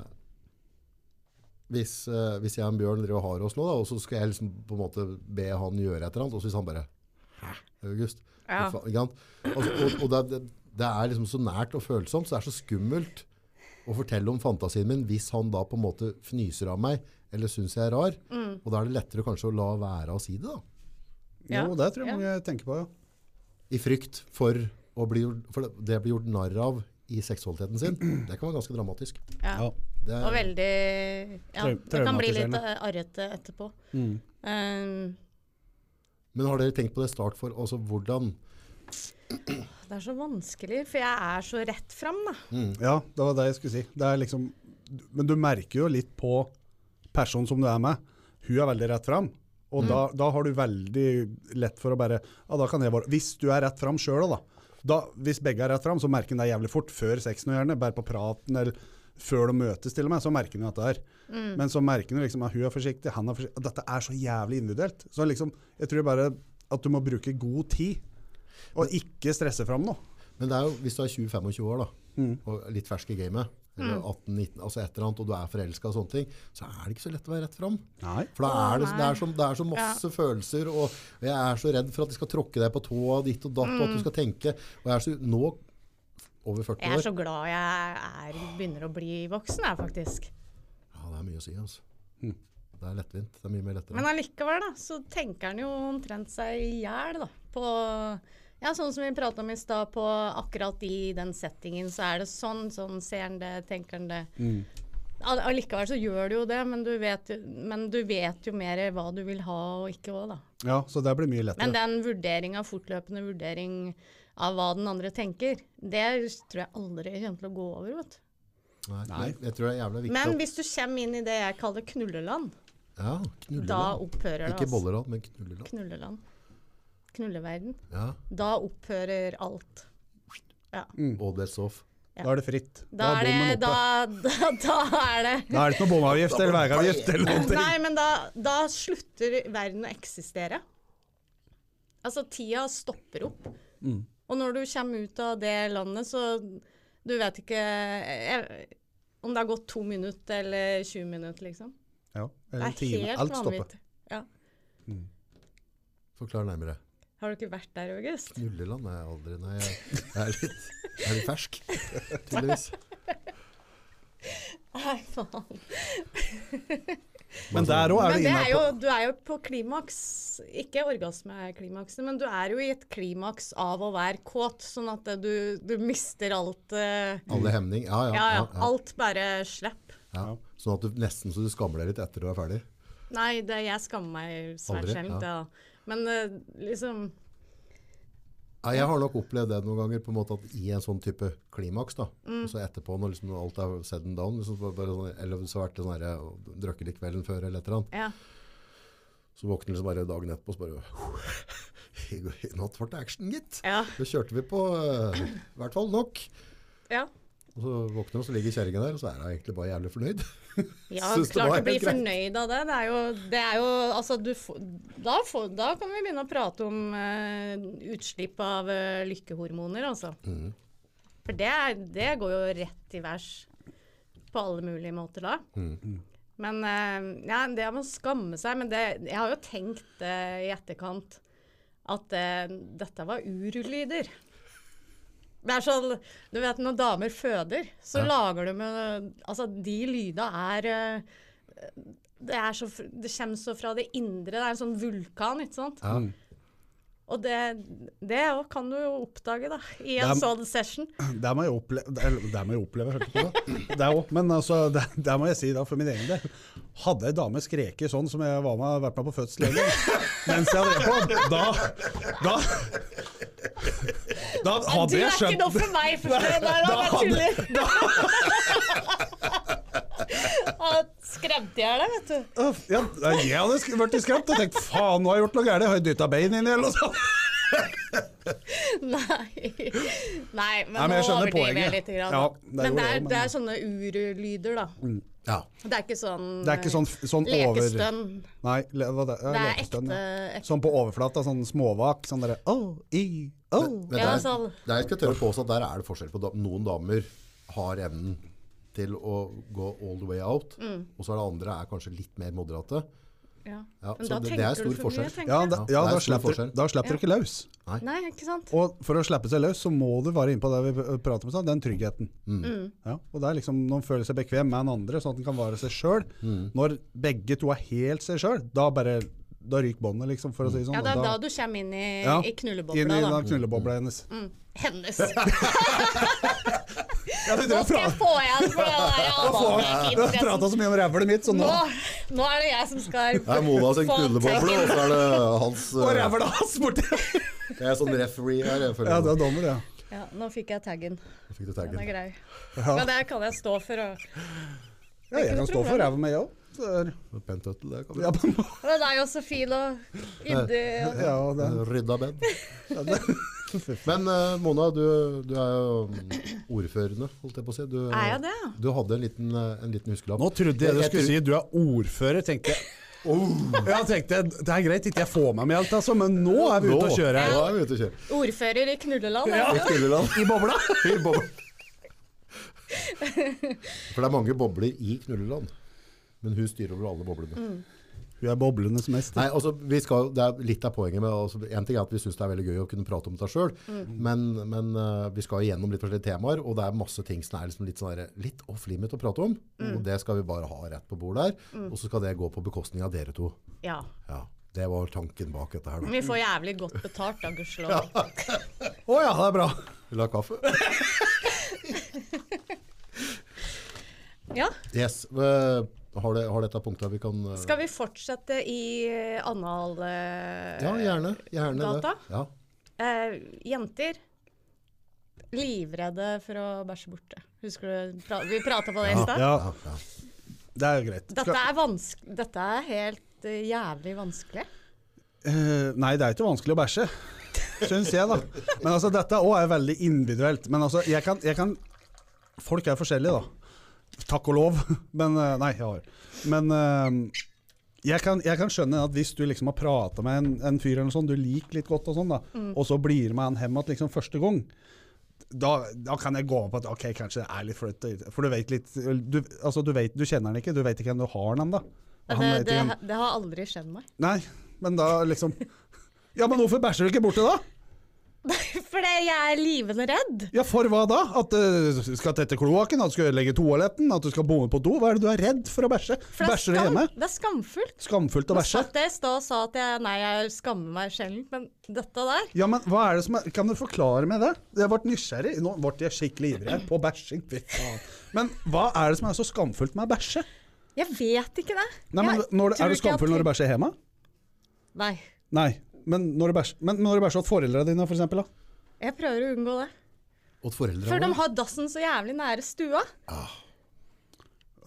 Speaker 1: hvis, eh, hvis jeg og en Bjørn driver og har oss nå, da, og så skal jeg liksom på en måte be han gjøre et eller annet, og så hvis han bare Hæ? August?
Speaker 2: Ja.
Speaker 1: hva faen?" Ikke sant? Altså, og, og det, er- det, det er liksom så nært og følsomt, så det er så skummelt å fortelle om fantasien min hvis han da på en måte fnyser av meg eller syns jeg er rar.
Speaker 2: Mm.
Speaker 1: Og da er det lettere kanskje å la være å si det, da.
Speaker 2: Ja.
Speaker 3: Jo, det tror jeg
Speaker 2: Ja.
Speaker 3: mange tenker på, ja.
Speaker 1: I frykt for, å bli, gjort- for det- det å bli gjort narr av i seksualiteten sin. Det kan være ganske dramatisk.
Speaker 2: Ja.
Speaker 3: ja.
Speaker 1: Det
Speaker 2: Og
Speaker 1: er,
Speaker 2: veldig Ja,
Speaker 3: Trau-
Speaker 2: det kan bli litt
Speaker 3: traumatiserende.
Speaker 2: eh, arrete etterpå. Um,
Speaker 1: men har dere tenkt på det start for altså hvordan
Speaker 2: det er så vanskelig, for jeg er så rett fram, da.
Speaker 3: Ja, det var det jeg skulle si. Det er liksom, men du merker jo litt på personen som du er med. Hun er veldig rett fram. Og da, da har du veldig lett for å bare ja, da kan jeg bare, Hvis du er rett fram sjøl òg, da. da. Hvis begge er rett fram, så merker en det jævlig fort. Før sexen og gjerne, bare på praten eller før de møtes, til og med, så merker en jo dette her. Men så merker en liksom at hun er forsiktig, han er forsiktig. Dette er så jævlig individuelt. Så liksom, jeg tror bare at du må bruke god tid, og ikke stresse fram noe.
Speaker 1: Men det er jo, hvis du er 20-25 år da, og litt fersk i gamet, eller
Speaker 2: Mm.
Speaker 1: 18-19, altså et eller annet, og du er forelska og sånne ting, så er det ikke så lett å være rett fram.
Speaker 3: Nei.
Speaker 1: For da er det, det, er så, det er så masse følelser, og jeg er så redd for at de skal tråkke deg på tåa ditt og datt, og at du skal tenke. Og jeg er så, nå, over 40 år
Speaker 2: Mm. Jeg er så glad jeg er, begynner å bli voksen, jeg, faktisk.
Speaker 1: Ja, det er mye å si, altså. Det er lettvint. Det er mye mer lettere.
Speaker 2: Men allikevel, da, så tenker han jo omtrent seg i hjel, da. På Ja, sånn som vi prata om i stad, på akkurat i den settingen, så er det sånn. Sånn ser han det, tenker han det.
Speaker 1: Mm.
Speaker 2: All- Allikevel så gjør du jo det, men du vet jo, men du vet jo mer hva du vil ha og ikke òg, da.
Speaker 3: Ja, så det blir mye lettere.
Speaker 2: Men den vurderinga, fortløpende vurdering av hva den andre tenker, det tror jeg aldri kommer til å gå over, vet du.
Speaker 1: Nei, jeg- Jeg tror det er jævlig viktig.
Speaker 2: Men
Speaker 1: at-
Speaker 2: hvis du kommer inn i det jeg kaller knulleland,
Speaker 1: ja,
Speaker 2: da
Speaker 1: knulleland.
Speaker 2: opphører det.
Speaker 1: Ikke
Speaker 2: altså.
Speaker 1: bolleland, men knulleland.
Speaker 2: Knulleland. Knulleverden.
Speaker 1: Ja.
Speaker 2: Da opphører alt. Ja.
Speaker 1: Og det er soff.
Speaker 3: Da er det fritt.
Speaker 2: Da er
Speaker 3: bommen
Speaker 2: det
Speaker 3: oppe.
Speaker 2: da, da, da *laughs* er det
Speaker 3: Da er det ikke noe bomavgift eller veiavgift eller noe.
Speaker 2: Nei, men da, da slutter verden å eksistere. Altså, tida stopper opp.
Speaker 3: Mm.
Speaker 2: Og når du kommer ut av det landet, så Du vet ikke jeg, om det har gått to minutter eller 20 minutter, liksom.
Speaker 3: Ja,
Speaker 2: Det
Speaker 3: eller en
Speaker 2: er
Speaker 3: time.
Speaker 2: helt
Speaker 3: Alt stopper.
Speaker 2: vanvittig. Ja.
Speaker 1: Forklar nærmere.
Speaker 2: Har du ikke vært der, August?
Speaker 1: Knulleland er jeg aldri Nei, jeg, jeg, er, litt, jeg er litt fersk, tydeligvis.
Speaker 2: Nei, faen.
Speaker 3: Men der òg
Speaker 2: Men
Speaker 3: er det
Speaker 2: det
Speaker 3: inne
Speaker 2: er jo,
Speaker 3: på
Speaker 2: du er jo på klimaks Ikke orgasmeklimaksen, men du er jo i et klimaks av å være kåt, sånn at det- du, du mister alt eh,
Speaker 1: Alle hemning. Ja, ja.
Speaker 2: Ja, ja. Alt bare slipp.
Speaker 1: ja. Sånn at du nesten så du skammer deg litt etter du er ferdig.
Speaker 2: Nei, det, jeg skammer meg svært
Speaker 1: Aldri,
Speaker 2: sjelden.
Speaker 1: ja.
Speaker 2: Ja. Men eh, liksom
Speaker 1: Ja, jeg har nok opplevd det noen ganger på en måte at i en sånn type klimaks, da,
Speaker 2: Mm.
Speaker 1: og så etterpå når liksom alt er said and done, liksom, bare- bare sånn, eller så har det vært sånn her, og drukket litt kvelden før eller et eller annet,
Speaker 2: Ja.
Speaker 1: så våkner liksom bare dagen etterpå og så bare I går- i natt ble det action, gitt.
Speaker 2: Ja.
Speaker 1: Da kjørte vi på eh, i hvert fall nok.
Speaker 2: ja.
Speaker 1: Og så våkner hun, så ligger kjerringa der, og så er hun egentlig bare jævlig fornøyd.
Speaker 2: Ja,
Speaker 1: Syns det var
Speaker 2: klart å bli
Speaker 1: helt greit.
Speaker 2: fornøyd av det. Det er jo, det er jo Altså, du får da, får da kan vi begynne å prate om eh, utslipp av eh, lykkehormoner, altså.
Speaker 1: Mhm.
Speaker 2: For det, er, det går jo rett i værs på alle mulige måter da.
Speaker 1: Mhm.
Speaker 2: Men eh, ja, det med å skamme seg Men det, jeg har jo tenkt eh, i etterkant at eh, dette var urulyder. Det er sånn, du vet når damer føder, så lager du med Altså, de lyda er eh, Det er så fr- Det kommer så fra det indre. Det er en sånn vulkan, ikke sant?
Speaker 1: Ja.
Speaker 2: Og det, det jo kan du jo oppdage, da, i
Speaker 3: Det
Speaker 2: en
Speaker 3: er-
Speaker 2: sånn session.
Speaker 3: Det må jeg oppleve, det, eller, det må jeg oppleve hørte jeg på da. Det òg. Men altså, det, det må jeg si da, for min egen del. Hadde ei dame skreket sånn som jeg var med, vært med på fødsel eller, mens jeg drev på, da Da, da
Speaker 2: Du
Speaker 3: hadde
Speaker 2: er
Speaker 3: jeg
Speaker 2: ikke
Speaker 3: skjønt
Speaker 2: noe for meg,
Speaker 3: *laughs*
Speaker 2: for det der, da,
Speaker 3: Da
Speaker 2: jeg
Speaker 3: hadde-
Speaker 2: tuller. Da skremte jeg deg, vet
Speaker 3: *laughs*
Speaker 2: du.
Speaker 3: Uff, Ja, jeg hadde sk- vært i skremt og tenkt faen, nå har jeg gjort noe gærent. Har jeg dytta bein inn i eller noe sånt?
Speaker 2: Nei, Nei men,
Speaker 3: Nei, men jeg
Speaker 2: nå
Speaker 3: skjønner
Speaker 2: overdriver jeg
Speaker 3: poenget.
Speaker 2: litt. Grann, da.
Speaker 3: Ja, det
Speaker 2: men
Speaker 3: gjorde
Speaker 2: det
Speaker 3: jeg
Speaker 2: er,
Speaker 3: også, men-
Speaker 2: det er sånne urlyder, da.
Speaker 1: Ja.
Speaker 2: Det er ikke sånn,
Speaker 3: Det er ikke sånn, sånn over...
Speaker 2: lekestønn.
Speaker 3: Nei, le, hva det, ja,
Speaker 2: Det er ekte,
Speaker 3: lekestønn, ja.
Speaker 2: ekte.
Speaker 3: Sånn på overflata, sånn småvak. Sånn derre oh, i, oh.
Speaker 1: Men
Speaker 2: Ja,
Speaker 1: der,
Speaker 2: sånn.
Speaker 1: der skal jeg tørre å påstå at der er det forskjell på da, Noen damer har evnen til å gå all the way out,
Speaker 2: Mm.
Speaker 1: og så er det andre er kanskje litt mer moderate.
Speaker 2: Ja.
Speaker 1: Ja,
Speaker 2: Men
Speaker 1: så
Speaker 2: da
Speaker 1: det- det er
Speaker 2: tenker
Speaker 1: stor
Speaker 2: du for mye,
Speaker 1: forskjell.
Speaker 2: tenker
Speaker 3: Ja,
Speaker 2: jeg.
Speaker 3: da,
Speaker 1: Ja,
Speaker 3: ja,
Speaker 1: det er
Speaker 3: da
Speaker 1: stor
Speaker 3: slipper,
Speaker 1: forskjell.
Speaker 3: da slipper du ikke løs.
Speaker 2: Nei, ikke sant?
Speaker 3: Og for å slippe seg løs, så må du være inne på det vi p- prater om, sånn, den tryggheten.
Speaker 1: Mm.
Speaker 2: Mm.
Speaker 3: Ja, og det er liksom Når en føler seg bekvem med den andre, sånn at en kan være seg sjøl.
Speaker 1: Mm.
Speaker 3: Når begge to er helt seg sjøl, da bare Da ryker båndet, liksom,
Speaker 1: Mm.
Speaker 3: for å si det sånn.
Speaker 2: Ja, det er
Speaker 3: Og
Speaker 2: da du kommer inn i,
Speaker 3: Ja,
Speaker 2: i
Speaker 3: inn i
Speaker 2: knullebobla, da. Mm.
Speaker 3: den knullebobla hennes.
Speaker 2: Hennes.
Speaker 3: Ja, vi
Speaker 2: Nå skal
Speaker 3: drar fra-
Speaker 2: jeg få igjen for det der
Speaker 3: Du har
Speaker 2: avholdningsinteressen.
Speaker 3: prata så mye om rævlet mitt, så sånn nå
Speaker 2: Nå, nå er det jeg som skal
Speaker 1: Det er Mona sin
Speaker 2: få
Speaker 1: kuldeboble, og
Speaker 2: taken.
Speaker 1: så er det
Speaker 2: *laughs*
Speaker 1: hans
Speaker 3: Og
Speaker 1: eh,
Speaker 3: rævla hans borti
Speaker 1: Jeg er sånn referee her. Jeg føler
Speaker 3: Ja, det er dommer, ja.
Speaker 2: Ja, nå fikk jeg taggen.
Speaker 1: Jeg fikk det
Speaker 2: Den er
Speaker 1: taggen.
Speaker 2: grei. Men det kan jeg stå for. Og...
Speaker 3: ja jeg kan stå for ræva mi òg.
Speaker 1: Pentøttel, det kan
Speaker 3: Ja,
Speaker 1: vi.
Speaker 3: på en måte.
Speaker 2: Men det er jo så fil og yndig. og-
Speaker 3: ja, det
Speaker 1: Rydda bed. Men eh, Mona, du, du er jo mm, ordførende, holdt jeg på å si. Du,
Speaker 2: Er jeg det?
Speaker 1: Du hadde en liten, eh, en liten huskelapp.
Speaker 3: *laughs* Nå trodde jeg du
Speaker 1: Jeg
Speaker 3: skulle
Speaker 1: tror-
Speaker 3: si du er ordfører, tenkte jeg. Jeg tenkte, Det er greit ikke jeg får med meg alt, altså, men nå er vi ute og kjører.
Speaker 1: Nå er vi ute og kjører.
Speaker 2: Ordfører i knulleland.
Speaker 1: I
Speaker 2: Ja.
Speaker 1: Knulleland.
Speaker 3: I bobla.
Speaker 1: I boble- For det er mange bobler i Knulleland. Men hun styrer over alle boblene.
Speaker 3: Mm. Hun er boblenes mester.
Speaker 1: Nei, altså, vi skal, det er litt av poenget med altså, En ting er at vi syns det er veldig gøy å kunne prate om det sjøl,
Speaker 3: Mm.
Speaker 1: men, men eh, vi skal igjennom litt forskjellige temaer, og det er masse ting som er liksom litt, sånn der, litt off-limit å prate om.
Speaker 3: Mm.
Speaker 1: Og det skal vi bare ha rett på bordet her. Og så skal det gå på bekostning av dere to.
Speaker 2: ja.
Speaker 1: Ja, Det var tanken bak dette
Speaker 3: Mm.
Speaker 1: her. da.
Speaker 2: Vi får jævlig godt betalt, da, gudskjelov.
Speaker 3: Å ja, det er bra.
Speaker 1: Vil du ha kaffe?
Speaker 2: Ja.
Speaker 1: Yes. eh, har, det, har dette punktet vi kan eh,
Speaker 2: Skal vi fortsette i eh, anal... eh,
Speaker 1: Ja, gjerne. gjerne
Speaker 2: Data?
Speaker 1: Det. Ja.
Speaker 2: eh, jenter. Livredde for å bæsje borte. Husker du pra Vi prata på det i stad.
Speaker 3: Ja,
Speaker 1: Ja, ja.
Speaker 3: det er jo greit.
Speaker 2: Dette er vanskelig Dette er helt eh, jævlig vanskelig.
Speaker 3: Eh, nei, det er ikke vanskelig å bæsje. Syns jeg, da. Men altså, dette òg er veldig individuelt. Men altså, jeg kan, jeg kan Folk er forskjellige, da. Takk og lov. *laughs* Men eh, Nei, jeg har Men eh, jeg, kan, jeg kan skjønne at hvis du liksom har prata med en, en fyr eller noe sånt, du liker litt godt, og sånn da
Speaker 2: Mm.
Speaker 3: og så blir du med han hjem igjen liksom, første gang, da, da kan jeg gå med på at ok, kanskje det er litt flaut. For du vet litt du, altså, du, vet, du kjenner han ikke, du vet ikke hvem du har han ennå.
Speaker 2: Det, det, det har aldri skjedd meg. *laughs*
Speaker 3: Nei, men da liksom *laughs* Ja, men hvorfor bæsjer du ikke borte da?
Speaker 2: Fordi jeg er livende redd.
Speaker 3: Ja, for hva da? At eh, du skal tette kloakken, at du skal ødelegge toaletten, at du skal bomme på do? Hva er det du er redd for å bæsje?
Speaker 2: For det er,
Speaker 3: Bæsjer du
Speaker 2: skam,
Speaker 3: hjemme?
Speaker 2: det er skamfullt.
Speaker 3: Skamfullt å
Speaker 2: Jeg
Speaker 3: bæsje?
Speaker 2: satt der i stad og sa at jeg, nei, jeg skammer meg sjelden, men dette der
Speaker 3: Ja, men hva er det som er Kan du forklare meg det? Jeg ble nysgjerrig. Nå ble jeg skikkelig ivrig her på bæsjing. Fy faen. Men hva er det som er så skamfullt med å bæsje?
Speaker 2: Jeg vet ikke det.
Speaker 3: Nei, men
Speaker 2: Jeg
Speaker 3: når,
Speaker 2: tror
Speaker 3: Er
Speaker 2: ikke
Speaker 3: du
Speaker 2: at-
Speaker 3: skamfull når du bæsjer hjemme?
Speaker 2: Nei.
Speaker 3: Nei. Men når du bæsjer, men når du bæsjer hos foreldrene dine, for eksempel, da?
Speaker 2: Jeg prøver å unngå det.
Speaker 1: Åt foreldrene
Speaker 2: For de
Speaker 1: våre?
Speaker 2: har dassen så jævlig nære stua.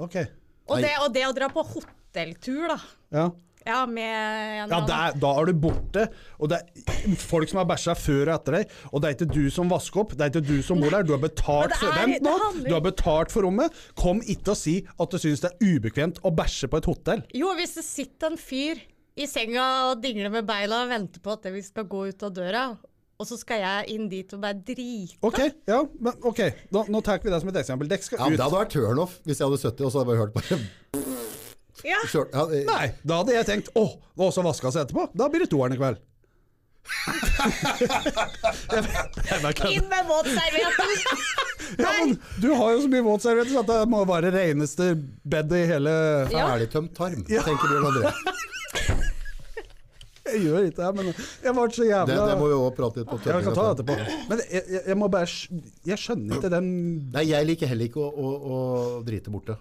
Speaker 3: Ok.
Speaker 2: Og
Speaker 1: Nei.
Speaker 2: det, og det å dra på hotelltur, da.
Speaker 3: Ja.
Speaker 2: Ja, med en
Speaker 3: Ja,
Speaker 2: eller annen.
Speaker 3: der, da er du borte. Og det er folk som har bæsja før og etter deg. Og det er ikke du som vasker opp, det er ikke du som bor der. Du har
Speaker 2: Men
Speaker 3: betalt
Speaker 2: det
Speaker 3: for
Speaker 2: er-
Speaker 3: Vent nå!
Speaker 2: det handler-
Speaker 3: Du har betalt for rommet. Kom ikke og si at du syns det er ubekvemt å bæsje på et hotell.
Speaker 2: Jo, hvis det sitter en fyr i senga og dingler med beina og venter på at vi skal gå ut av døra, og så skal jeg inn dit og bare drite.
Speaker 3: OK, ja, men ok, da, nå tar vi det som et eksempel. Dere skal
Speaker 1: Ja, men
Speaker 3: ut.
Speaker 1: det hadde vært turnoff hvis jeg hadde sittet og så hadde jeg bare hørt bare
Speaker 2: Ja.
Speaker 1: kjørt. Ja, eh,
Speaker 3: Nei, da hadde jeg tenkt åh, det har også vaska seg etterpå. Da blir det toeren i kveld. *laughs* Jeg vet- jeg bare kødder.
Speaker 2: Inn med våtservietten!
Speaker 3: ja, men du har jo så mye våtservietter så at det må være det reneste bedet i hele
Speaker 1: ja.
Speaker 2: Ja.
Speaker 1: Elgtømt tarm, tenker Bjørn André.
Speaker 3: *laughs* Jeg gjør ikke det, men jeg ble så jævla
Speaker 1: Det, det må vi òg prate litt på.
Speaker 3: Ja, vi kan ta det
Speaker 1: tømminga.
Speaker 3: etterpå. Men jeg, jeg, jeg må bare skj- Jeg skjønner ikke den
Speaker 1: Nei, jeg liker heller ikke å, å, å drite borte.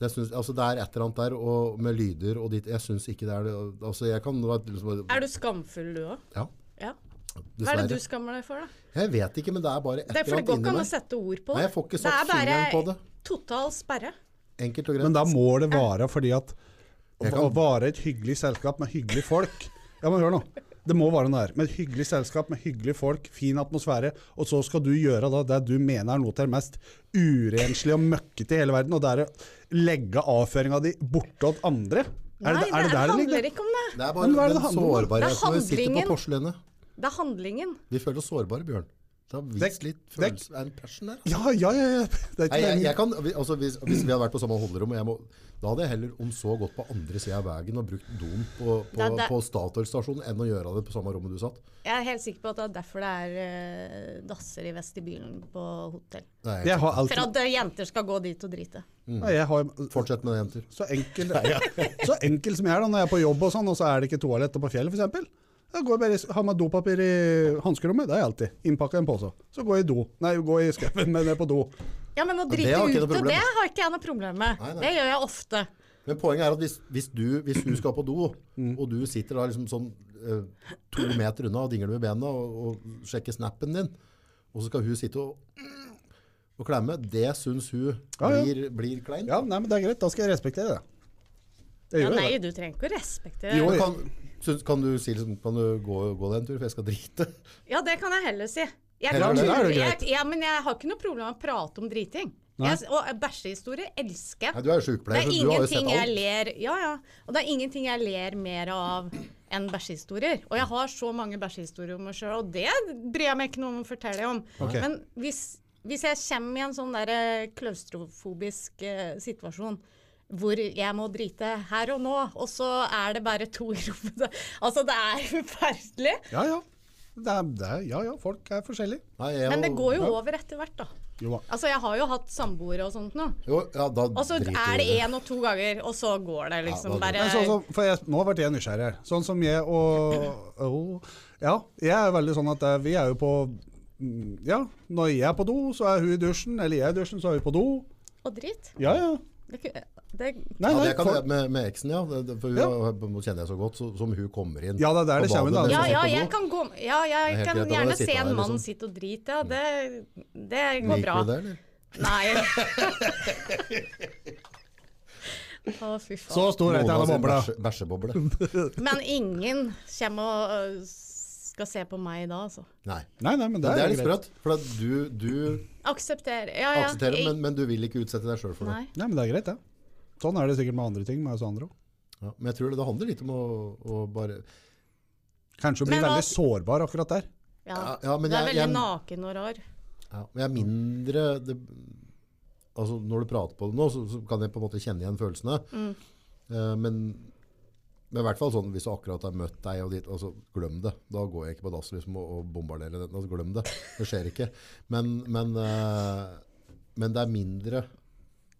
Speaker 1: Det, synes, altså, det er et eller annet der og med lyder og ditt Jeg syns ikke det er det. Altså, jeg kan liksom,
Speaker 2: *laughs* Er du skamfull, du òg?
Speaker 1: Ja,
Speaker 2: Ja. Hva er det
Speaker 1: dessverre.
Speaker 2: du skammer deg for, da?
Speaker 1: Jeg vet ikke, men det er bare et
Speaker 2: Det er
Speaker 1: eller
Speaker 2: for det
Speaker 1: annet
Speaker 2: går ikke
Speaker 1: inni
Speaker 2: an å
Speaker 1: meg.
Speaker 2: sette ord på det.
Speaker 1: Nei, jeg får ikke
Speaker 2: det
Speaker 1: satt
Speaker 2: er bare
Speaker 1: fingeren på det.
Speaker 2: total sperre.
Speaker 1: Enkelt og greit.
Speaker 3: Men da må det være fordi at
Speaker 1: Jeg
Speaker 3: å
Speaker 1: kan-
Speaker 3: være et hyggelig selskap med hyggelige folk Ja, men hør nå. Det må være noe der. Med et hyggelig selskap, med hyggelige folk, fin atmosfære. Og så skal du gjøre da det du mener er noe av det mest urenslige og møkkete i hele verden, og det er å legge avføringa di bortåt andre.
Speaker 2: Nei, det, handler
Speaker 3: ligger?
Speaker 2: ikke om det.
Speaker 1: Det er
Speaker 3: Men
Speaker 1: bare
Speaker 3: hva er det det
Speaker 1: den
Speaker 3: handler om?
Speaker 1: sårbarheten
Speaker 2: Det er
Speaker 1: vi sitter
Speaker 2: handlingen.
Speaker 1: på porselenet.
Speaker 2: Det er handlingen.
Speaker 1: Vi føler oss sårbare, Bjørn. Det har
Speaker 3: Dekk-
Speaker 1: vist litt
Speaker 3: dekk.
Speaker 1: følelse and passion der. altså.
Speaker 3: Ja, ja, ja. ja. Det
Speaker 1: Nei,
Speaker 3: er ikke
Speaker 1: jeg,
Speaker 3: meningen.
Speaker 1: jeg kan, vi- altså, hvis, hvis vi hadde vært på samme holderom, jeg må, da hadde jeg heller om så gått på andre sida av veien og brukt doen på, på,
Speaker 2: Det er der-
Speaker 1: på Statoil-stasjonen enn å gjøre det på samme rommet du satt.
Speaker 2: Jeg er helt sikker på at det er derfor det er eh, dasser i vestibylen på hotell.
Speaker 1: Nei,
Speaker 3: Jeg har
Speaker 2: For
Speaker 3: alltid
Speaker 2: at eh, jenter skal gå dit og drite.
Speaker 3: Nei, jeg har,
Speaker 1: Fortsett med det, jenter.
Speaker 3: så, enkel, så enkel som jeg er da, når jeg er på jobb og sånn, og så er det ikke toalett på fjellet f.eks. Jeg går bare, i- har med dopapir i hanskerommet, det har jeg alltid. Innpakka i en pose. Så går jeg i do. Nei, går i skauen, men ned på do.
Speaker 2: Ja, men å
Speaker 1: det
Speaker 2: drite
Speaker 1: har ikke noe
Speaker 2: ute,
Speaker 1: problem.
Speaker 2: det har ikke jeg noe problem med.
Speaker 1: Nei, nei.
Speaker 2: Det gjør jeg ofte.
Speaker 1: Men poenget er at hvis, hvis, du, hvis du skal på do, og du sitter da liksom sånn eh, to meter unna og dingler med bena og, og sjekker snappen din, og så skal hun sitte og, og klemme, det syns hun
Speaker 3: Ja, ja.
Speaker 1: blir, blir kleint.
Speaker 3: Ja, nei, men det er greit. Da skal jeg respektere det.
Speaker 2: Ja,
Speaker 3: Jeg gjør jo
Speaker 2: nei,
Speaker 3: det.
Speaker 2: du trenger ikke å respektere
Speaker 3: Jo,
Speaker 1: Men
Speaker 2: det.
Speaker 1: Eh, Kan, syns- kan du si liksom, kan du gå, gå deg en tur, for jeg skal drite? *laughs*
Speaker 2: Ja, det kan jeg heller si. Jeg,
Speaker 1: Heller
Speaker 2: kan
Speaker 1: det,
Speaker 3: da er det
Speaker 2: tulle-
Speaker 3: greit.
Speaker 2: jeg, ja, men jeg har ikke noe problem med å prate om driting.
Speaker 3: Nei.
Speaker 2: Jeg, og bæsjehistorier elsker jeg.
Speaker 1: Nei, du er jo
Speaker 2: Det
Speaker 1: sykepleier,
Speaker 2: er
Speaker 1: så du har jo sett
Speaker 2: ingenting jeg
Speaker 1: alt.
Speaker 2: ler Ja, ja. Og det er ingenting jeg ler mer av enn bæsjehistorier. Og jeg har så mange bæsjehistorier om meg sjøl, og det bryr jeg meg ikke noe om å fortelle om.
Speaker 3: Ok.
Speaker 2: Men hvis, hvis jeg kommer i en sånn der eh, klaustrofobisk eh, situasjon hvor jeg må drite her og nå, og så er det bare to i rommet *laughs* da- Altså, det er forferdelig.
Speaker 3: Ja, ja. Det er, det er, ja, ja, folk er forskjellige.
Speaker 1: Nei, jeg,
Speaker 2: Men det
Speaker 1: jo-
Speaker 2: går jo over etter hvert, da.
Speaker 3: Jo da.
Speaker 2: Altså, jeg har jo hatt samboere og sånt nå.
Speaker 1: jo, ja, da
Speaker 2: Og så
Speaker 1: driter
Speaker 2: er det
Speaker 1: jeg i
Speaker 2: én og to ganger, og så går det
Speaker 1: Ja,
Speaker 2: liksom
Speaker 1: da-
Speaker 2: bare
Speaker 3: Men sånn som- for jeg, nå ble jeg nysgjerrig her. Sånn som jeg og og- Ja, jeg er veldig sånn at eh, vi er jo på mm, Ja, når jeg er på do, så er hun i dusjen. Eller jeg er i dusjen, så er hun på do.
Speaker 2: Og drit.
Speaker 3: Ja, ja.
Speaker 2: Det, ku- det
Speaker 3: Nei,
Speaker 1: Ja,
Speaker 3: nei,
Speaker 1: det kan
Speaker 3: folk-
Speaker 1: jeg med, med eksen, ja. Det, det- for hun
Speaker 3: Ja.
Speaker 1: har- kjenner jeg så godt, så, som hun kommer inn.
Speaker 3: Ja, det er der
Speaker 1: på
Speaker 3: det kommer inn,
Speaker 1: badet
Speaker 2: Ja,
Speaker 3: da.
Speaker 1: mens
Speaker 2: ja,
Speaker 1: hun
Speaker 2: jeg
Speaker 1: sitter på do.
Speaker 2: kan gå Ja,
Speaker 1: sånn Det
Speaker 2: jeg
Speaker 1: er helt
Speaker 2: kan
Speaker 1: greit, da må
Speaker 2: gjerne
Speaker 1: jeg sitte
Speaker 2: se en
Speaker 1: der,
Speaker 2: mann
Speaker 1: liksom.
Speaker 2: sitte og drite, ja. Det, det går
Speaker 1: Liker
Speaker 2: bra.
Speaker 1: du det, eller?
Speaker 2: Nei.
Speaker 1: *laughs*
Speaker 2: Å, fy faen.
Speaker 3: Så stor er ikke
Speaker 1: Mona
Speaker 3: denne
Speaker 1: sin
Speaker 3: bobla.
Speaker 1: bæsje-
Speaker 3: *laughs*
Speaker 1: Bæsjeboble.
Speaker 2: Men ingen kommer og øh, skal se på meg da, altså.
Speaker 1: Nei.
Speaker 3: Nei, nei,
Speaker 1: Men
Speaker 3: men det
Speaker 1: det
Speaker 3: er
Speaker 1: er litt
Speaker 3: greit.
Speaker 1: sprøtt, for at du, du
Speaker 2: Aksepter. Ja, ja.
Speaker 1: aksepterer,
Speaker 2: Jeg-
Speaker 1: men, men du vil ikke utsette deg sjøl for det.
Speaker 2: Nei.
Speaker 3: Nei, men det er greit, det. Sånn er det sikkert med andre ting med oss andre òg.
Speaker 1: Ja, men jeg tror det, det handler litt om å, å bare
Speaker 3: Kanskje hun blir
Speaker 2: Men
Speaker 3: veldig
Speaker 2: at-
Speaker 3: sårbar akkurat der.
Speaker 2: Ja.
Speaker 1: Ja, ja, men
Speaker 2: Du er
Speaker 1: jeg-
Speaker 2: veldig
Speaker 1: jeg-
Speaker 2: naken og rar.
Speaker 1: ja, men jeg er mindre det, Altså, når du prater på det nå, så, så kan jeg på en måte kjenne igjen følelsene.
Speaker 2: Mm.
Speaker 1: Eh, men men i hvert fall sånn, hvis du akkurat har møtt deg og ditt, altså, glem det. Da går jeg ikke på dass liksom, og, og bombarderer den. Altså, glem det. Det skjer ikke. Men, men, eh, men det er mindre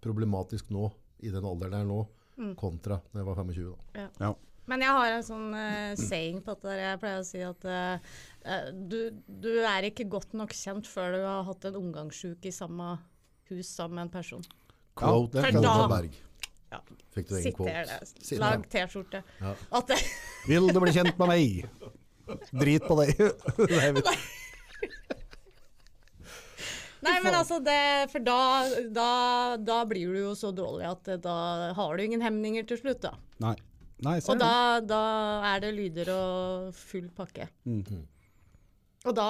Speaker 1: problematisk nå, i den alderen jeg er nå,
Speaker 2: Mm.
Speaker 1: kontra da jeg var 25. Da.
Speaker 3: Ja.
Speaker 2: Men jeg har en sånn eh, saying på dette. der. Jeg pleier å si at eh, eh, du, du er ikke godt nok kjent før du har hatt en omgangssjuk i samme hus sammen med en person.
Speaker 1: Quote
Speaker 2: for
Speaker 1: Mona
Speaker 2: da-
Speaker 1: Berg.
Speaker 2: Ja.
Speaker 1: Fikk du egen
Speaker 2: Sitter
Speaker 1: quote?
Speaker 2: der.
Speaker 1: Sitter
Speaker 2: Lag
Speaker 1: der.
Speaker 2: T-skjorte.
Speaker 1: Ja.
Speaker 2: At det, *laughs*
Speaker 3: Vil du bli kjent med meg? Drit på deg. *laughs* Nei, vi-
Speaker 2: nei, men altså det For da, da, da blir du jo så dårlig at eh, da har du ingen hemninger til slutt, da.
Speaker 3: Nei. Nei, ser
Speaker 2: Og
Speaker 3: du.
Speaker 2: da, da er det lyder og full pakke. Og da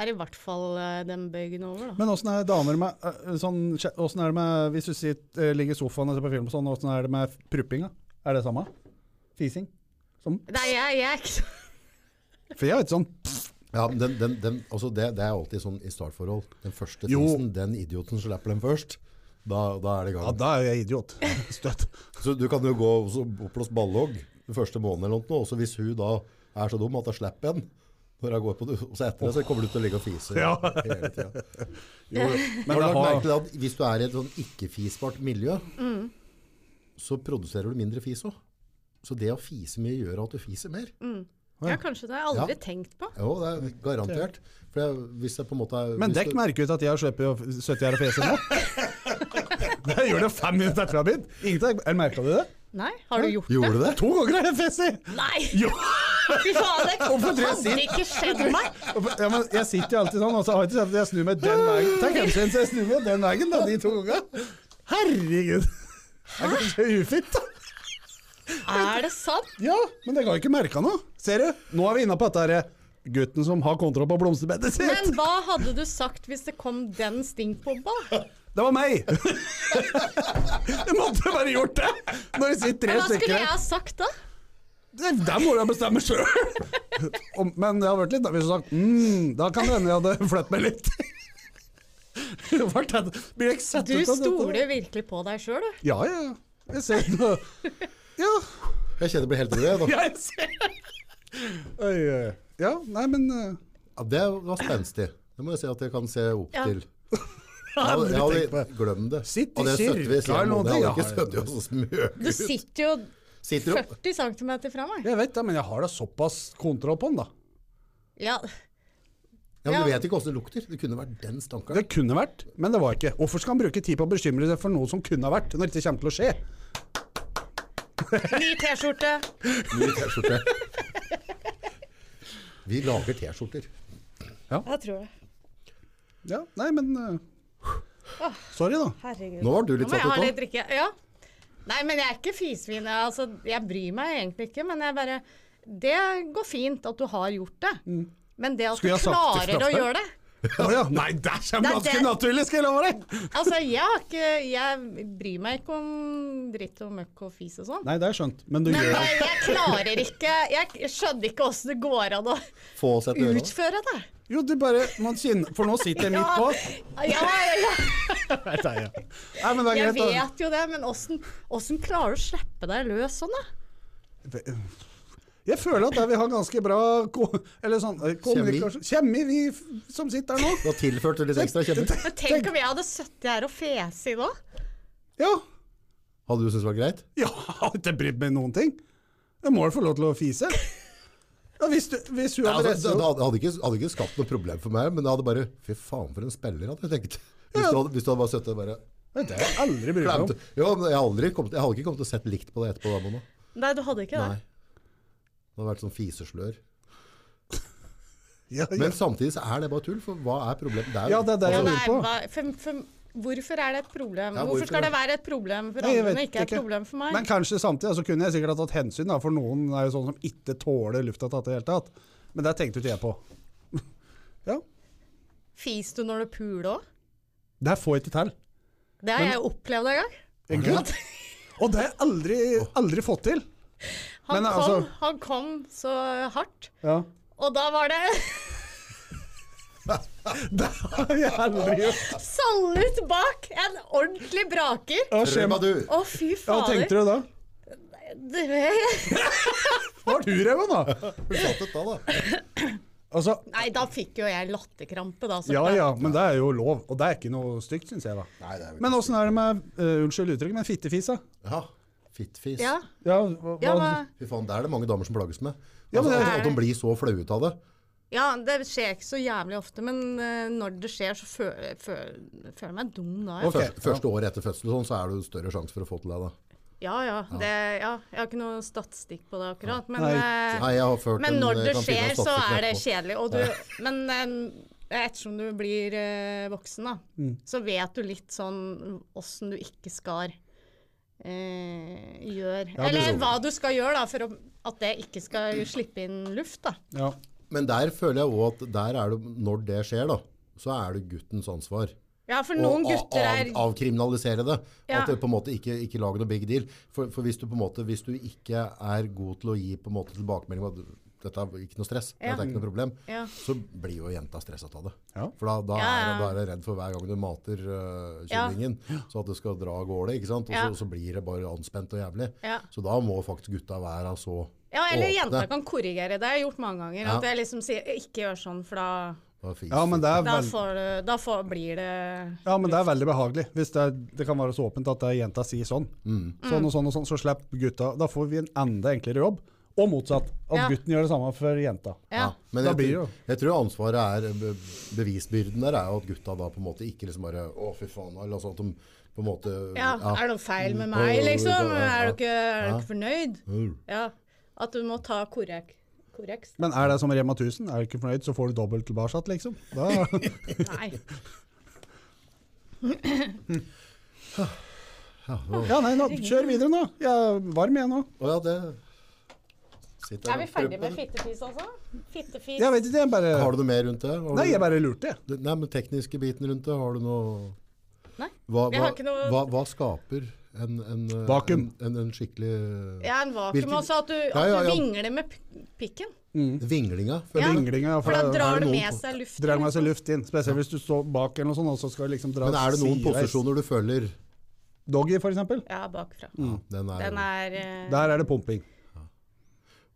Speaker 2: er i hvert fall eh, den bøygen over, da.
Speaker 3: Men åssen er damer med øh, sånn, kje- Åssen er det med Hvis du sitter, øh, ligger i sofaen og ser på film og sånn, åssen er det med pruppinga? Er det samme? Fising? Som,
Speaker 2: Nei, jeg, jeg er ikke så
Speaker 3: for jeg er ikke sånn
Speaker 1: Ja, men den, den, den, altså det, det er alltid sånn i startforhold. Den første
Speaker 3: Jo.
Speaker 1: tisen, den idioten slipper den først. Da, da er det i
Speaker 3: Ja,
Speaker 1: gang.
Speaker 3: da er jo jeg idiot. Støtt.
Speaker 1: Så du kan jo gå også opp hos Ballog den første måneden eller noe, også hvis hun da er så dum at hun slipper en. Når jeg går på det, og så etter det, så kommer du til å ligge og fise hele
Speaker 3: *laughs*
Speaker 1: tida.
Speaker 3: Men
Speaker 1: Men
Speaker 3: det har,
Speaker 1: merkelig at hvis du er i et sånn ikke-fisbart miljø, så produserer du mindre fis òg. Så det å fise mye gjør at du fiser mer.
Speaker 2: Ja, kanskje det. Jeg har aldri
Speaker 1: Ja.
Speaker 2: tenkt på.
Speaker 1: Jo, det er garantert. For jeg, hvis jeg på en måte er,
Speaker 3: men
Speaker 1: hvis
Speaker 3: dekk
Speaker 1: du-
Speaker 3: merker ut at jeg slipper jo 70 her og fjeset *laughs* nå. Det gjør det fem minutter etter jeg har begynt. Ingenting. Eller merka du det?
Speaker 2: Nei, har du gjort
Speaker 1: Gjorde du det?
Speaker 3: To ganger har jeg fjeset!
Speaker 2: Nei!
Speaker 3: Jo.
Speaker 2: *laughs* Fy faen, det
Speaker 3: tror jeg
Speaker 2: hadde
Speaker 3: sier-
Speaker 2: ikke skjedd meg!
Speaker 3: Ja, men jeg sitter jo alltid sånn, og så har jeg ikke sett at jeg snur meg den veien. Takk hensyn, så jeg snur meg den veien da, de to gangene. Herregud. Det er kanskje ufint. da.
Speaker 2: Er det sant?
Speaker 3: Ja, men jeg har ikke merka noe. Ser du? Nå er vi inne på dette her. Gutten som har kontroll på blomsterbedet sitt.
Speaker 2: Men hva hadde du sagt hvis det kom den stinkbobba?
Speaker 3: Det var meg! *laughs* jeg måtte bare gjort det! Når vi sitter tre
Speaker 2: Hva skulle
Speaker 3: stykker
Speaker 2: jeg
Speaker 3: her.
Speaker 2: ha sagt da?
Speaker 3: Det der må du jo bestemme *laughs* sjøl! Men det har vært litt da, hvis du sagt mm, da kan det hende jeg hadde flyttet meg litt. *laughs* Det var tett- Blir jeg ikke sett
Speaker 2: Du
Speaker 3: ut av dette?
Speaker 2: stoler virkelig på deg sjøl, du.
Speaker 3: Ja, ja. ja. Jeg ser ikke noe Ja.
Speaker 1: Jeg kjenner det blir helt rolig. jeg, nå.
Speaker 3: *laughs* Jeg ser Oi, oi. Ja, nei, men eh,
Speaker 1: Ja, det var spenstig. Det må jeg si at jeg kan se opp
Speaker 2: *laughs* Ja.
Speaker 1: til.
Speaker 3: jeg har aldri
Speaker 1: Jeg
Speaker 3: tenkt på
Speaker 1: hadde
Speaker 3: det.
Speaker 1: glemt det.
Speaker 3: Sitt i
Speaker 1: Og det
Speaker 3: kirka
Speaker 1: støtter vi sier
Speaker 3: eller
Speaker 1: nå,
Speaker 3: noe,
Speaker 1: det hadde
Speaker 3: ja.
Speaker 1: ikke støttet oss og smørt.
Speaker 2: Du sitter jo
Speaker 1: Sitter
Speaker 2: *laughs*
Speaker 1: opp.
Speaker 2: 40 cm fra meg.
Speaker 3: Jeg vet det, men jeg har da såpass kontroll på den, da.
Speaker 2: Ja,
Speaker 1: Ja, men du
Speaker 2: Ja.
Speaker 1: vet ikke hvordan det lukter. Det kunne vært den stankeren.
Speaker 3: Det kunne vært, men det var ikke. Hvorfor skal han bruke tid på å bekymre seg for noe som kunne ha vært, når det ikke kommer til å skje?
Speaker 2: Ny T-skjorte.
Speaker 1: Ny T-skjorte. Vi lager T-skjorter.
Speaker 2: Jeg tror det.
Speaker 3: Ja, nei, men eh, Sorry, da.
Speaker 2: Herregud.
Speaker 1: Nå var du litt
Speaker 2: Nå må
Speaker 1: satt
Speaker 2: jeg ha
Speaker 1: ut
Speaker 2: litt
Speaker 1: òg.
Speaker 2: drikke. Ja. Nei, men jeg er ikke fisvin. Jeg, altså, jeg bryr meg egentlig ikke, men jeg bare Det går fint at du har gjort det. Men det at
Speaker 3: Mm. Skulle jeg
Speaker 2: du
Speaker 3: ha sagt det
Speaker 2: klarer
Speaker 3: fra
Speaker 2: å
Speaker 3: før?
Speaker 2: gjøre det
Speaker 3: Å *laughs* ja. Nei, det kommer
Speaker 2: Nei,
Speaker 3: ganske
Speaker 2: det-
Speaker 3: naturlig, skal jeg love deg!
Speaker 2: Altså, jeg har ikke Jeg bryr meg ikke om dritt og møkk og fis og sånn.
Speaker 3: Nei, det er skjønt, men du
Speaker 2: Men eh,
Speaker 3: gjør
Speaker 2: jeg, jeg klarer ikke Jeg skjønner ikke åssen det går an å
Speaker 1: Få oss et øre. da.
Speaker 2: utføre det.
Speaker 3: Jo, du bare må kjenne For nå sitter jeg midt på.
Speaker 2: *laughs* Ja, ja, ja.
Speaker 3: Nei, det er jeg. Nei, men det er
Speaker 2: Jeg
Speaker 3: greit, da.
Speaker 2: vet jo det, men åssen åssen klarer du å slippe deg løs sånn, da?
Speaker 3: Jeg føler at der vi har ganske bra ko eller sånn, eh, kommunikasjon Kjemi, vi f- som sitter her nå.
Speaker 1: Da tilførte du litt ekstra kjemmer.
Speaker 2: Men tenk om jeg hadde sittet her og fese i nå.
Speaker 3: Ja.
Speaker 1: Hadde du syntes det var greit?
Speaker 3: Ja, jeg har ikke brydd meg noen ting. Jeg må jo få lov til å fise. Ja, hvis, du, hvis hun
Speaker 1: Ja, altså,
Speaker 3: hadde reist
Speaker 1: det
Speaker 3: opp
Speaker 1: hadde, hadde, ikke, hadde ikke skapt noe problem for meg, men det hadde bare Fy faen, for en spiller, hadde jeg tenkt. Hvis du hadde, hvis du hadde bare sittet og bare
Speaker 3: Nei, Det har jeg aldri brydd meg
Speaker 1: Glemt.
Speaker 3: om.
Speaker 1: Jo, men jeg, har aldri kommet, jeg hadde ikke kommet til å sett likt på det etterpå. Da, Mona.
Speaker 2: Nei, du hadde ikke
Speaker 1: Nei.
Speaker 2: det.
Speaker 1: Det hadde vært sånn fiseslør.
Speaker 3: Ja, ja.
Speaker 1: Men samtidig så er det bare tull, for hva er problemet? Det er, Altså,
Speaker 3: Ja, det er det
Speaker 2: Ja,
Speaker 3: jeg Altså, lurer
Speaker 2: nei,
Speaker 3: på.
Speaker 2: hva- for, for, hvorfor er det et
Speaker 1: Ja,
Speaker 2: problem?
Speaker 1: hvorfor
Speaker 2: hvorfor skal
Speaker 1: det?
Speaker 2: det være et problem for
Speaker 3: Nei, jeg
Speaker 2: andre, men
Speaker 3: vet
Speaker 2: ikke et
Speaker 3: ikke.
Speaker 2: problem for meg?
Speaker 3: Men kanskje samtidig så kunne jeg sikkert ha tatt hensyn, da, for noen er jo sånn som ikke tåler lufta tatt i det hele tatt. Men det tenkte jo ikke jeg på. *laughs* Ja,
Speaker 2: Fis du når du puler òg?
Speaker 3: det her får jeg ikke til.
Speaker 2: Det har jeg opplevd en gang.
Speaker 3: Egentlig. *laughs* Og det har jeg aldri, aldri fått til.
Speaker 2: Han,
Speaker 3: Men,
Speaker 2: kom,
Speaker 3: altså-
Speaker 2: han kom så hardt,
Speaker 3: Ja.
Speaker 2: og da var det *laughs*
Speaker 3: Det har *laughs* jeg aldri gjort.
Speaker 2: salut bak! En ordentlig braker.
Speaker 3: Ja, skjer meg-
Speaker 1: Remadur.
Speaker 2: Å, fy
Speaker 3: Ja, Hva tenkte
Speaker 2: fader.
Speaker 3: du da?
Speaker 2: Det-
Speaker 3: Hva har du revet, da?
Speaker 1: Du satt et da, da.
Speaker 3: *laughs* Altså,
Speaker 2: Nei, da fikk jo jeg latterkrampe, da. så
Speaker 3: ja
Speaker 2: klart.
Speaker 3: ja, men det er jo lov. Og det er ikke noe stygt, syns jeg, da.
Speaker 1: Nei, det er jo
Speaker 3: Men åssen er det med eh, Unnskyld uttrykket, men fittefis, da?
Speaker 1: Ja, fittfis.
Speaker 2: Ja,
Speaker 3: Ja, hva,
Speaker 2: ja,
Speaker 3: hva-
Speaker 2: men,
Speaker 1: Fy faen, det er det mange damer som plages med.
Speaker 3: Ja, men
Speaker 1: altså,
Speaker 3: det-
Speaker 1: at, at de blir så flaue ut av det.
Speaker 2: ja, det skjer ikke så jævlig ofte, men eh, når det skjer, så føler jeg føler- føler jeg meg dum da. Ja.
Speaker 3: Ok,
Speaker 1: Første, første året etter fødsel sånn, så er det jo større sjanse for å få til det. Da.
Speaker 2: Ja, ja, det, ja. Jeg har ikke noe statistikk på det akkurat, men,
Speaker 3: Nei.
Speaker 2: eh,
Speaker 1: Nei, jeg har ført
Speaker 2: men
Speaker 1: en,
Speaker 2: når
Speaker 1: jeg
Speaker 2: det
Speaker 1: kan finne
Speaker 2: skjer,
Speaker 1: en
Speaker 2: så
Speaker 1: statistikk
Speaker 2: er det
Speaker 1: etterpå.
Speaker 2: kjedelig. Og du, men eh, ettersom du blir eh, voksen, da,
Speaker 1: Mm.
Speaker 2: så vet du litt sånn åssen du ikke skal eh, gjøre.
Speaker 3: Ja, det er
Speaker 1: sånn.
Speaker 2: Eller
Speaker 3: sant.
Speaker 2: hva du skal gjøre da, for å, at det ikke skal slippe inn luft, da.
Speaker 3: ja.
Speaker 1: Men der føler jeg òg at der er det, når det skjer, da, så er det guttens ansvar.
Speaker 2: Ja, for
Speaker 1: å
Speaker 2: noen
Speaker 1: a-
Speaker 2: gutter er
Speaker 1: av, avkriminalisere det.
Speaker 2: Ja.
Speaker 1: At det på en måte ikke, ikke lager noe big deal. For, for hvis, du på en måte, hvis du ikke er god til å gi på en måte tilbakemelding om at dette er ikke noe stress,
Speaker 2: Ja. Mm.
Speaker 1: dette er ikke noe problem,
Speaker 2: Ja.
Speaker 1: så blir jo jenta stresset av det.
Speaker 3: Ja.
Speaker 1: For da, da,
Speaker 2: Ja,
Speaker 1: Er,
Speaker 2: ja.
Speaker 1: da er jeg redd for hver gang du mater øh,
Speaker 2: Ja.
Speaker 1: kyllingen, så at det skal dra av gårde. ikke sant? Og
Speaker 2: Ja.
Speaker 1: så, så blir det bare anspent og jævlig.
Speaker 2: Ja.
Speaker 1: Så da må faktisk gutta være så
Speaker 2: Ja, eller
Speaker 1: åpne.
Speaker 2: jenta kan korrigere. Det har jeg gjort mange ganger.
Speaker 1: Ja.
Speaker 2: At jeg liksom sier 'ikke gjør sånn', for da,
Speaker 1: Da fiser.
Speaker 3: ja, men det er
Speaker 2: da,
Speaker 3: veldig
Speaker 2: får, du- da får, blir det
Speaker 3: Ja, men det er veldig behagelig. Hvis det, er, det kan være så åpent at det er jenta sier sånn. Sånn og sånn og sånn, så slipper gutta Da får vi en enda enklere jobb. Og motsatt. At
Speaker 2: Ja.
Speaker 3: gutten gjør det samme for jenta.
Speaker 1: Ja,
Speaker 2: Ja.
Speaker 1: men
Speaker 3: Da
Speaker 1: jeg,
Speaker 3: blir det
Speaker 1: tror- jeg tror ansvaret er eh, be- Bevisbyrden der er jo at gutta da på en måte ikke liksom bare Å, fy faen. Eller altså at de på en måte
Speaker 2: Ja, er det noe feil med meg,
Speaker 1: Ja, ja, ja,
Speaker 2: liksom?
Speaker 1: ja, ja.
Speaker 2: Er du ikke, er du
Speaker 1: Ja.
Speaker 2: ikke fornøyd?
Speaker 1: Mm.
Speaker 2: Ja. At du må ta korrek. Korreks?
Speaker 3: Men er det som Rema 1000? Er du ikke fornøyd, så får du dobbelt tilbake, liksom.
Speaker 1: *laughs*
Speaker 3: Da,
Speaker 2: Nei.
Speaker 3: *laughs* ja, nei, nå, kjør videre nå. Jeg er varm igjen nå.
Speaker 1: Å ja, det Sitter
Speaker 2: Er vi
Speaker 1: og
Speaker 2: ferdig
Speaker 1: prøver.
Speaker 2: med fittefis, altså? Fittefis.
Speaker 3: Jeg vet ikke, jeg bare
Speaker 1: Har du noe mer rundt det? Har
Speaker 3: Nei,
Speaker 1: du-
Speaker 3: jeg bare lurte, jeg.
Speaker 1: Det- Nei, men tekniske biten rundt det, har du noe
Speaker 2: Nei,
Speaker 1: Hva, hva,
Speaker 2: jeg har ikke noe-
Speaker 1: hva, hva skaper en, en, eh,
Speaker 3: Vakuum.
Speaker 1: En, en, en skikkelig
Speaker 2: Ja, en vakuum
Speaker 1: Hvilken-
Speaker 2: også. At du, at
Speaker 1: Ja, ja,
Speaker 2: du
Speaker 1: ja.
Speaker 2: vingler med p- pikken.
Speaker 1: Vinglinga. føler
Speaker 2: Ja.
Speaker 1: jeg.
Speaker 3: Vinglinga.
Speaker 2: For da
Speaker 3: det-
Speaker 2: drar
Speaker 3: er
Speaker 2: du
Speaker 3: det noen
Speaker 2: med
Speaker 3: på-
Speaker 2: seg liksom. luft.
Speaker 3: Drar med seg luft inn. Spesielt hvis du står bak eller noe sånt, og så skal du liksom dra
Speaker 1: Men er det noen
Speaker 3: sideveis.
Speaker 1: posisjoner du føler
Speaker 3: Doggy, for eksempel.
Speaker 2: Ja, bakfra.
Speaker 1: den Mm. er,
Speaker 2: Den er eh,
Speaker 3: Der er det pumping.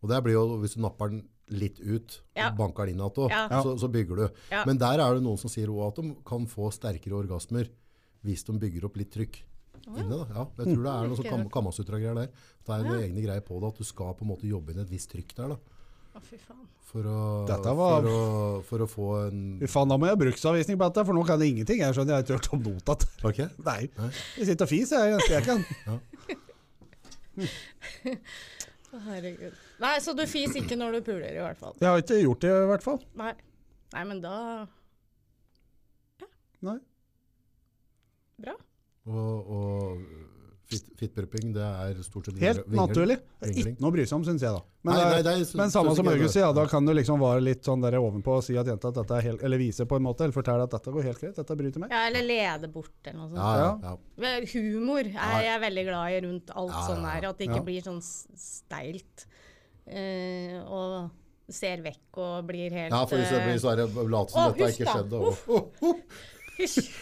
Speaker 1: Og det blir jo, hvis du napper den litt ut,
Speaker 2: Ja.
Speaker 1: og banker den inn igjen,
Speaker 2: Ja.
Speaker 1: så, så bygger du.
Speaker 2: Ja.
Speaker 1: Men der er det noen som sier også at de kan få sterkere orgasmer hvis de bygger opp litt trykk. Inne, da. Ja, jeg tror det er noe sånn kam Kamasutra-greier der. Det er noen egne greier på det, at du skal på en måte jobbe inn et visst trykk der. da.
Speaker 2: Å, fy faen.
Speaker 1: For å,
Speaker 3: Dette var-
Speaker 1: for å, for å få en
Speaker 3: Fy faen, da må jeg ha bruksanvisning på dette, for nå kan jeg ingenting. Jeg skjønner, jeg har ikke hørt om notat.
Speaker 1: Ok?
Speaker 3: *laughs* Nei. Jeg sitter og fiser, jeg. jeg. Jeg kan.
Speaker 2: Å, herregud. Nei, så du fis ikke når du puler, i hvert fall.
Speaker 3: Jeg har ikke gjort det, i hvert fall.
Speaker 2: Nei. Nei, men da
Speaker 3: Nei.
Speaker 2: Bra.
Speaker 1: Og, og fit- fittpumping, det er stort sett
Speaker 3: Helt
Speaker 1: vingling.
Speaker 3: naturlig.
Speaker 1: Vingling.
Speaker 3: Ikke noe å bry seg om, syns jeg, da. Men,
Speaker 1: Nei,
Speaker 3: det er-
Speaker 1: nei, det er-
Speaker 3: men samme
Speaker 1: synes
Speaker 3: som
Speaker 1: ikke jeg
Speaker 3: August
Speaker 1: det.
Speaker 3: sier, ja, da kan du liksom være litt sånn der ovenpå og si at jenta at dette er helt Eller vise på en måte, eller fortelle at dette går helt greit, dette bryter meg.
Speaker 2: Ja, eller lede bort eller noe sånt.
Speaker 1: Ja, ja, ja.
Speaker 2: Men Humor er jeg veldig glad i rundt alt
Speaker 1: Ja, ja,
Speaker 2: sånn her. At det ikke
Speaker 3: Ja.
Speaker 2: blir sånn s- steilt. eh, og ser vekk og blir helt
Speaker 1: ja, for hvis det
Speaker 2: eh,
Speaker 1: blir sånn- så er det late som
Speaker 2: Å,
Speaker 1: dette
Speaker 2: husk
Speaker 1: ikke
Speaker 2: da.
Speaker 1: skjedde.
Speaker 2: Uff.
Speaker 1: og- Å, å,
Speaker 2: eh,
Speaker 1: *laughs*
Speaker 2: Hysj!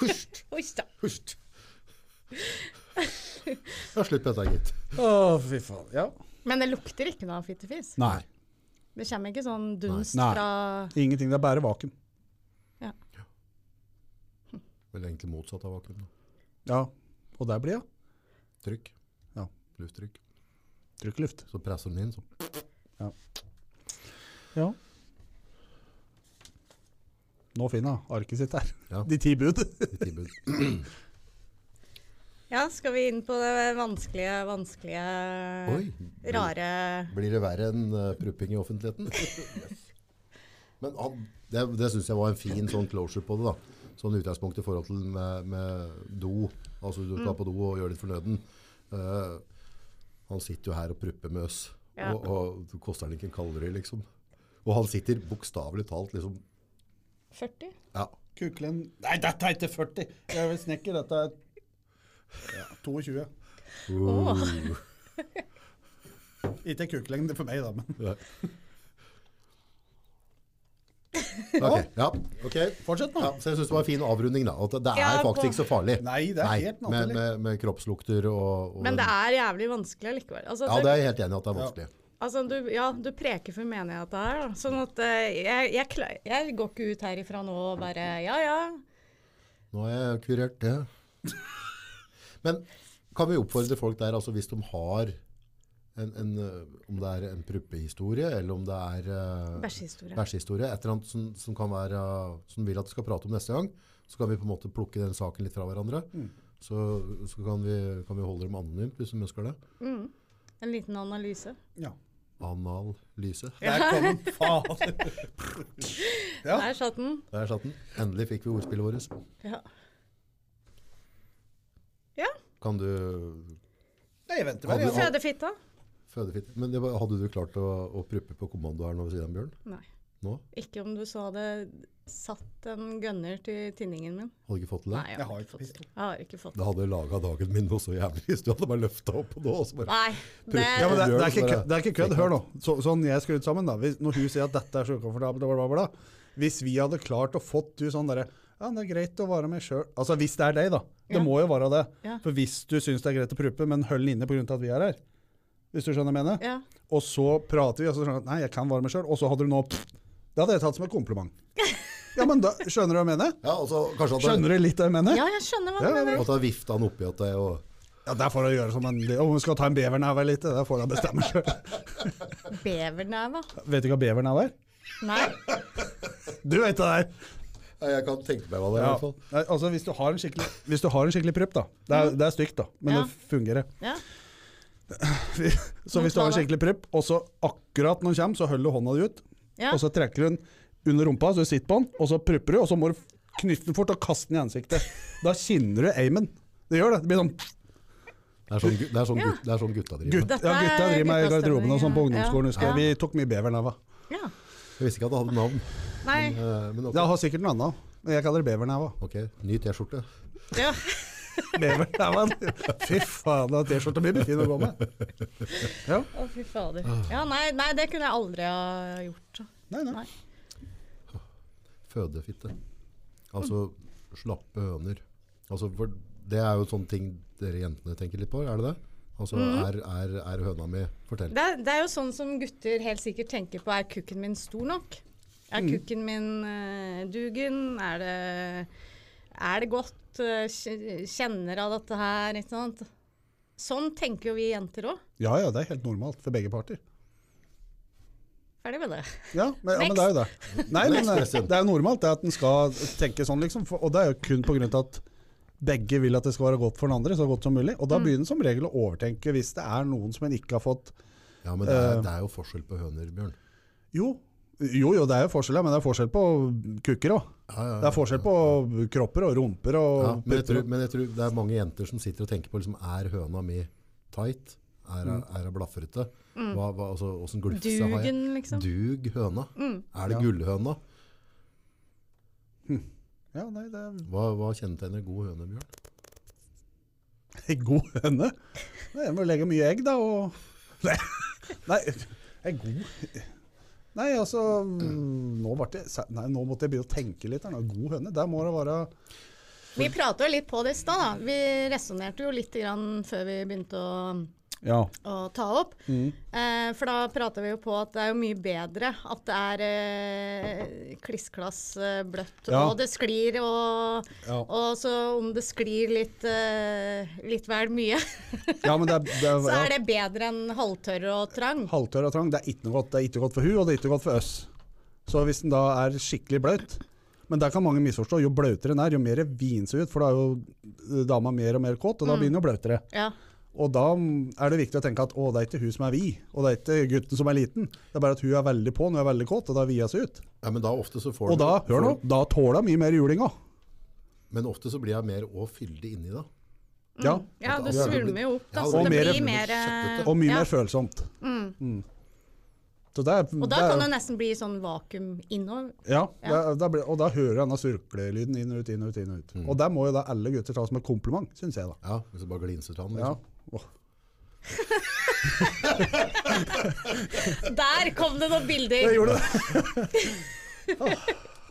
Speaker 1: Husht,
Speaker 2: *laughs* Hysj da.
Speaker 1: husht. Ja, slutt på dette, gitt.
Speaker 3: Å, fy faen. Ja.
Speaker 2: Men det lukter ikke noe av fittefis.
Speaker 3: Nei.
Speaker 2: Det kommer ikke sånn dunst
Speaker 3: Nei.
Speaker 2: fra
Speaker 3: Ingenting. Det er bare vakuum.
Speaker 1: Vel egentlig motsatt av vakuum. da.
Speaker 3: Ja. Og der blir jeg.
Speaker 1: Trykk.
Speaker 3: Ja.
Speaker 1: Lufttrykk.
Speaker 3: Trykk luft.
Speaker 1: Så presser den inn, så.
Speaker 3: Ja. Nå finner jeg arket sitt her.
Speaker 1: Ja.
Speaker 3: De ti bud.
Speaker 1: i tilbud.
Speaker 2: Ja, skal vi inn på det vanskelige, vanskelige
Speaker 1: Oi,
Speaker 2: Rare
Speaker 1: Blir det verre enn eh, prupping i offentligheten? Men han, det, det syns jeg var en fin sånn closure på det. da. Sånn utgangspunkt i forhold til med, med do. Altså du skal på do og gjør ditt fornøden. Eh, han sitter jo her og prupper med oss.
Speaker 2: Ja.
Speaker 1: Og, og det koster han ikke en kalori, liksom. Og han sitter bokstavelig talt liksom
Speaker 2: 40?
Speaker 1: Ja.
Speaker 3: *laughs* Kuklen Nei, dette er ikke 40. Jeg er vel snekker. Dette er 22.
Speaker 2: Åh.
Speaker 3: Ikke kuklengde for meg, da, men
Speaker 1: Ok. Ja, ok.
Speaker 3: fortsett
Speaker 1: Ja, så jeg syns det var en fin avrunding. da. At det er
Speaker 2: Ja, på-
Speaker 1: faktisk ikke så farlig.
Speaker 3: Nei, det er helt
Speaker 1: med,
Speaker 3: naturlig.
Speaker 1: med, med kroppslukter og, og
Speaker 2: Men det er jævlig vanskelig allikevel. Altså,
Speaker 1: Ja,
Speaker 2: det-
Speaker 1: det er jeg helt enig i at det er vanskelig.
Speaker 2: Altså, du, ja, du preker for menigheten her, da. Sånn at eh, jeg, jeg, kla- jeg går ikke ut herifra nå og bare Ja, ja.
Speaker 1: Nå har jeg kurert det. *laughs* Men kan vi oppfordre folk der, altså hvis de har en, en, øh, om det er en pruppehistorie, eller om det er øh,
Speaker 2: Bæsjehistorie.
Speaker 1: bæsjehistorie, et eller annet som, som, kan være, øh, som vi vil at vi skal prate om neste gang, så kan vi på en måte plukke den saken litt fra hverandre.
Speaker 2: Mm.
Speaker 1: Så, så kan, vi, kan vi holde dem anonymt, hvis de ønsker det.
Speaker 2: En liten analyse.
Speaker 3: Ja.
Speaker 1: Analyse.
Speaker 3: Der kom den. Faen. Ja.
Speaker 2: Der satt den.
Speaker 1: Der satt den. Endelig fikk vi ordspillet vårt.
Speaker 2: Ja. ja.
Speaker 1: Kan du
Speaker 3: Nei, jeg venter bare.
Speaker 1: Hadde-
Speaker 3: jeg.
Speaker 2: Fødefitta?
Speaker 1: føde fitt? Men det, var- hadde du klart å, å pruppe på kommando her nå ved siden av Bjørn?
Speaker 2: Nei.
Speaker 1: Nå?
Speaker 2: Ikke om du så hadde satt en gunner til tinningen min.
Speaker 1: Hadde du ikke fått til det?
Speaker 2: Nei,
Speaker 3: Jeg har
Speaker 2: ikke
Speaker 3: ikke
Speaker 2: fått
Speaker 3: pistol.
Speaker 2: det. Jeg har ikke fått
Speaker 1: Det hadde laga dagen min noe så jævlig hvis du hadde bare løfta opp og nå og så bare
Speaker 2: Nei. Det,
Speaker 1: Ja,
Speaker 3: Ja, men det, det, er ikke
Speaker 1: Gjør det
Speaker 3: kødd, det er ikke kødd. Hør nå. Så, sånn jeg skal ut sammen, da. Hvis, når hun sier at dette er så ukomfortabelt, bla, bla, bla. Hvis vi hadde klart å fått du sånn derre Ja, det er greit å være meg sjøl. Altså hvis det er deg, da. Det
Speaker 2: Ja.
Speaker 3: må jo være det.
Speaker 2: Ja.
Speaker 3: For hvis du syns det er greit å pruppe, men hold den inne pga. at vi er her. Hvis du skjønner hva jeg mener?
Speaker 2: ja.
Speaker 3: Og så prater vi, og så skjønner du at nei, jeg kan være meg sjøl. Og så hadde du nå Det hadde jeg tatt som et kompliment. Ja, men da skjønner du hva jeg mener?
Speaker 1: Ja, og så kanskje at jeg,
Speaker 3: Skjønner du litt hva jeg mener?
Speaker 2: ja, jeg skjønner hva
Speaker 3: Ja,
Speaker 2: du
Speaker 3: ja,
Speaker 2: mener.
Speaker 1: at jeg vifta han oppi at jeg og
Speaker 3: Ja, der får du gjøre som en Om du skal ta en beverneve eller ikke, det får du bestemme sjøl.
Speaker 2: Beverneve?
Speaker 3: Vet du hva beverneve er?
Speaker 2: Nei.
Speaker 3: Du vet det der.
Speaker 1: ja, Jeg kan tenke meg hva det er, i hvert fall.
Speaker 3: Nei, altså hvis du har en skikkelig, hvis du har en skikkelig prupp, da. Det er, det er stygt, da, men
Speaker 2: Mm. Ja.
Speaker 3: det fungerer. *laughs*
Speaker 2: Ja.
Speaker 3: Så hvis du har en skikkelig prupp, og så akkurat når den kommer, så holder du hånda di ut,
Speaker 2: ja.
Speaker 3: og så trekker du den under rumpa, så du sitter på den, og så prupper du, og så må du knytte den fort og kaste den i ansiktet. Da kjenner du aimen. Det gjør det. Det blir sånn
Speaker 1: Det er sånn, gu- det er sånn,
Speaker 2: Ja.
Speaker 1: gut, det er sånn gutta driver. med.
Speaker 3: Gutt,
Speaker 2: Dette
Speaker 3: ja, gutta
Speaker 2: er
Speaker 3: driver med i
Speaker 2: guttastemning,
Speaker 3: garderoben og sånn på
Speaker 2: ja.
Speaker 3: ungdomsskolen. husker jeg.
Speaker 2: Ja.
Speaker 3: Vi tok mye beverneva.
Speaker 2: Ja.
Speaker 1: Jeg visste ikke at det hadde navn.
Speaker 2: Nei.
Speaker 1: Men, eh, men ok.
Speaker 3: Det har sikkert noe annet. men Jeg kaller det beverneva.
Speaker 1: ok, ny T-skjorte.
Speaker 2: Ja.
Speaker 3: Bevernevan. Fy faen, den T-skjorta blir fin å gå med.
Speaker 2: Å, fy fader.
Speaker 3: Ah.
Speaker 2: Ja, nei, nei, det kunne jeg aldri ha gjort.
Speaker 3: Nei, nei.
Speaker 2: Nei.
Speaker 1: Fødefitte. Altså slappe høner. Altså, for det er jo en sånn ting dere jentene tenker litt på, er det det? Altså, er, er, er høna mi Fortell.
Speaker 2: Det, er- det er jo sånn som gutter helt sikkert tenker på er kukken min stor nok? Er
Speaker 1: Mm.
Speaker 2: kukken min eh, dugen? Er det, er det godt? Eh, kj- Kjenner av dette her? Ikke sant? Sånn tenker jo vi jenter òg.
Speaker 3: Ja ja, det er helt normalt for begge parter.
Speaker 2: Ferdig med det.
Speaker 3: Ja, men, ja, men det er jo det. Nei, men eh, det er jo normalt det at en skal tenke sånn, liksom. For, og det er jo kun pga. at begge vil at det skal være godt for den andre, så godt som mulig. Og da
Speaker 1: Mm.
Speaker 3: begynner en som regel å overtenke hvis det er noen som en ikke har fått
Speaker 1: Ja, men det er, det er jo forskjell på høner, Bjørn.
Speaker 3: Jo, jo, jo det er jo forskjell, ja, men det er forskjell på kukker òg.
Speaker 1: Ja, ja,
Speaker 3: Det er forskjell på kropper og rumper og
Speaker 1: Ja, men, jeg
Speaker 3: pupper
Speaker 1: tror,
Speaker 3: og-
Speaker 1: men jeg tror det er mange jenter som sitter og tenker på liksom, Er høna mi tight? Er hun er hun blafrete? Hva, hva, altså, hvordan glufse har jeg?
Speaker 2: Dugen, liksom.
Speaker 1: Dug høna? Er det gullhøna?
Speaker 3: Ja, nei, det er
Speaker 1: Hva, hva kjennetegner god høne, Bjørn?
Speaker 3: *laughs* Ei god høne? Nei, jeg må legge mye egg, da, og Nei, *laughs* nei ei god Nei, altså nå, ble det, sa- nei, nå måtte jeg begynne å tenke litt. her nå. God høne, der må det være
Speaker 2: Vi prata jo litt på det i stad. da. Vi resonnerte jo litt grann før vi begynte å
Speaker 3: Ja.
Speaker 2: å ta opp.
Speaker 3: Mm.
Speaker 2: Eh, for da prater vi jo på at det er jo mye bedre at det er eh, klissklass eh, bløtt,
Speaker 3: Ja.
Speaker 2: og det sklir, og,
Speaker 3: Ja.
Speaker 2: og så om det sklir litt, eh, litt vel mye, *laughs*
Speaker 3: men det er, det er,
Speaker 2: så
Speaker 3: ja.
Speaker 2: er det bedre enn halvtørr og trang.
Speaker 3: halvtørr og trang. Det er ikke noe godt. Det er ikke godt for hun, og det er ikke godt for oss. Så hvis den da er skikkelig bløt Men der kan mange misforstå. Jo bløtere den er, jo mer vin seg ut, for da er jo eh, dama mer og mer kåt, og
Speaker 2: Mm.
Speaker 3: da blir den jo bløtere.
Speaker 2: Ja.
Speaker 3: Og da mm, er det viktig å tenke at å, det er ikke hun som er vid, og det er ikke gutten som er liten. Det er bare at hun er veldig på, hun er veldig kåt, og da vier hun seg ut.
Speaker 1: Ja, men da ofte så får
Speaker 3: Og da,
Speaker 1: du-
Speaker 3: hør nå, da tåler hun mye mer juling òg.
Speaker 1: Men ofte så blir jeg mer å fyldig inni da.
Speaker 2: Mm.
Speaker 3: Ja.
Speaker 2: ja, du
Speaker 1: Ja, det blir-
Speaker 2: svulmer jo opp, da,
Speaker 1: Ja,
Speaker 2: så
Speaker 3: det
Speaker 2: det
Speaker 3: blir
Speaker 2: blir mer
Speaker 1: kjøttete.
Speaker 2: eh,
Speaker 3: Og mye
Speaker 2: ja.
Speaker 3: mer følsomt. Mm. Så det er,
Speaker 2: Og da
Speaker 3: det er-
Speaker 2: kan det nesten bli sånn vakuum innover. *laughs*
Speaker 3: Ja, det er- da blir- og da hører jeg denne surklelyden inn og ut, inn og ut. inn Og ut. Og det må jo da alle gutter ta som et kompliment, syns jeg da.
Speaker 1: Ja, hvis du bare glinser til han.
Speaker 3: Ja.
Speaker 1: Liksom.
Speaker 3: Åh.
Speaker 2: Der kom det noen
Speaker 3: Jeg
Speaker 2: bilder!
Speaker 3: gjorde det!
Speaker 2: *laughs*
Speaker 3: Åh,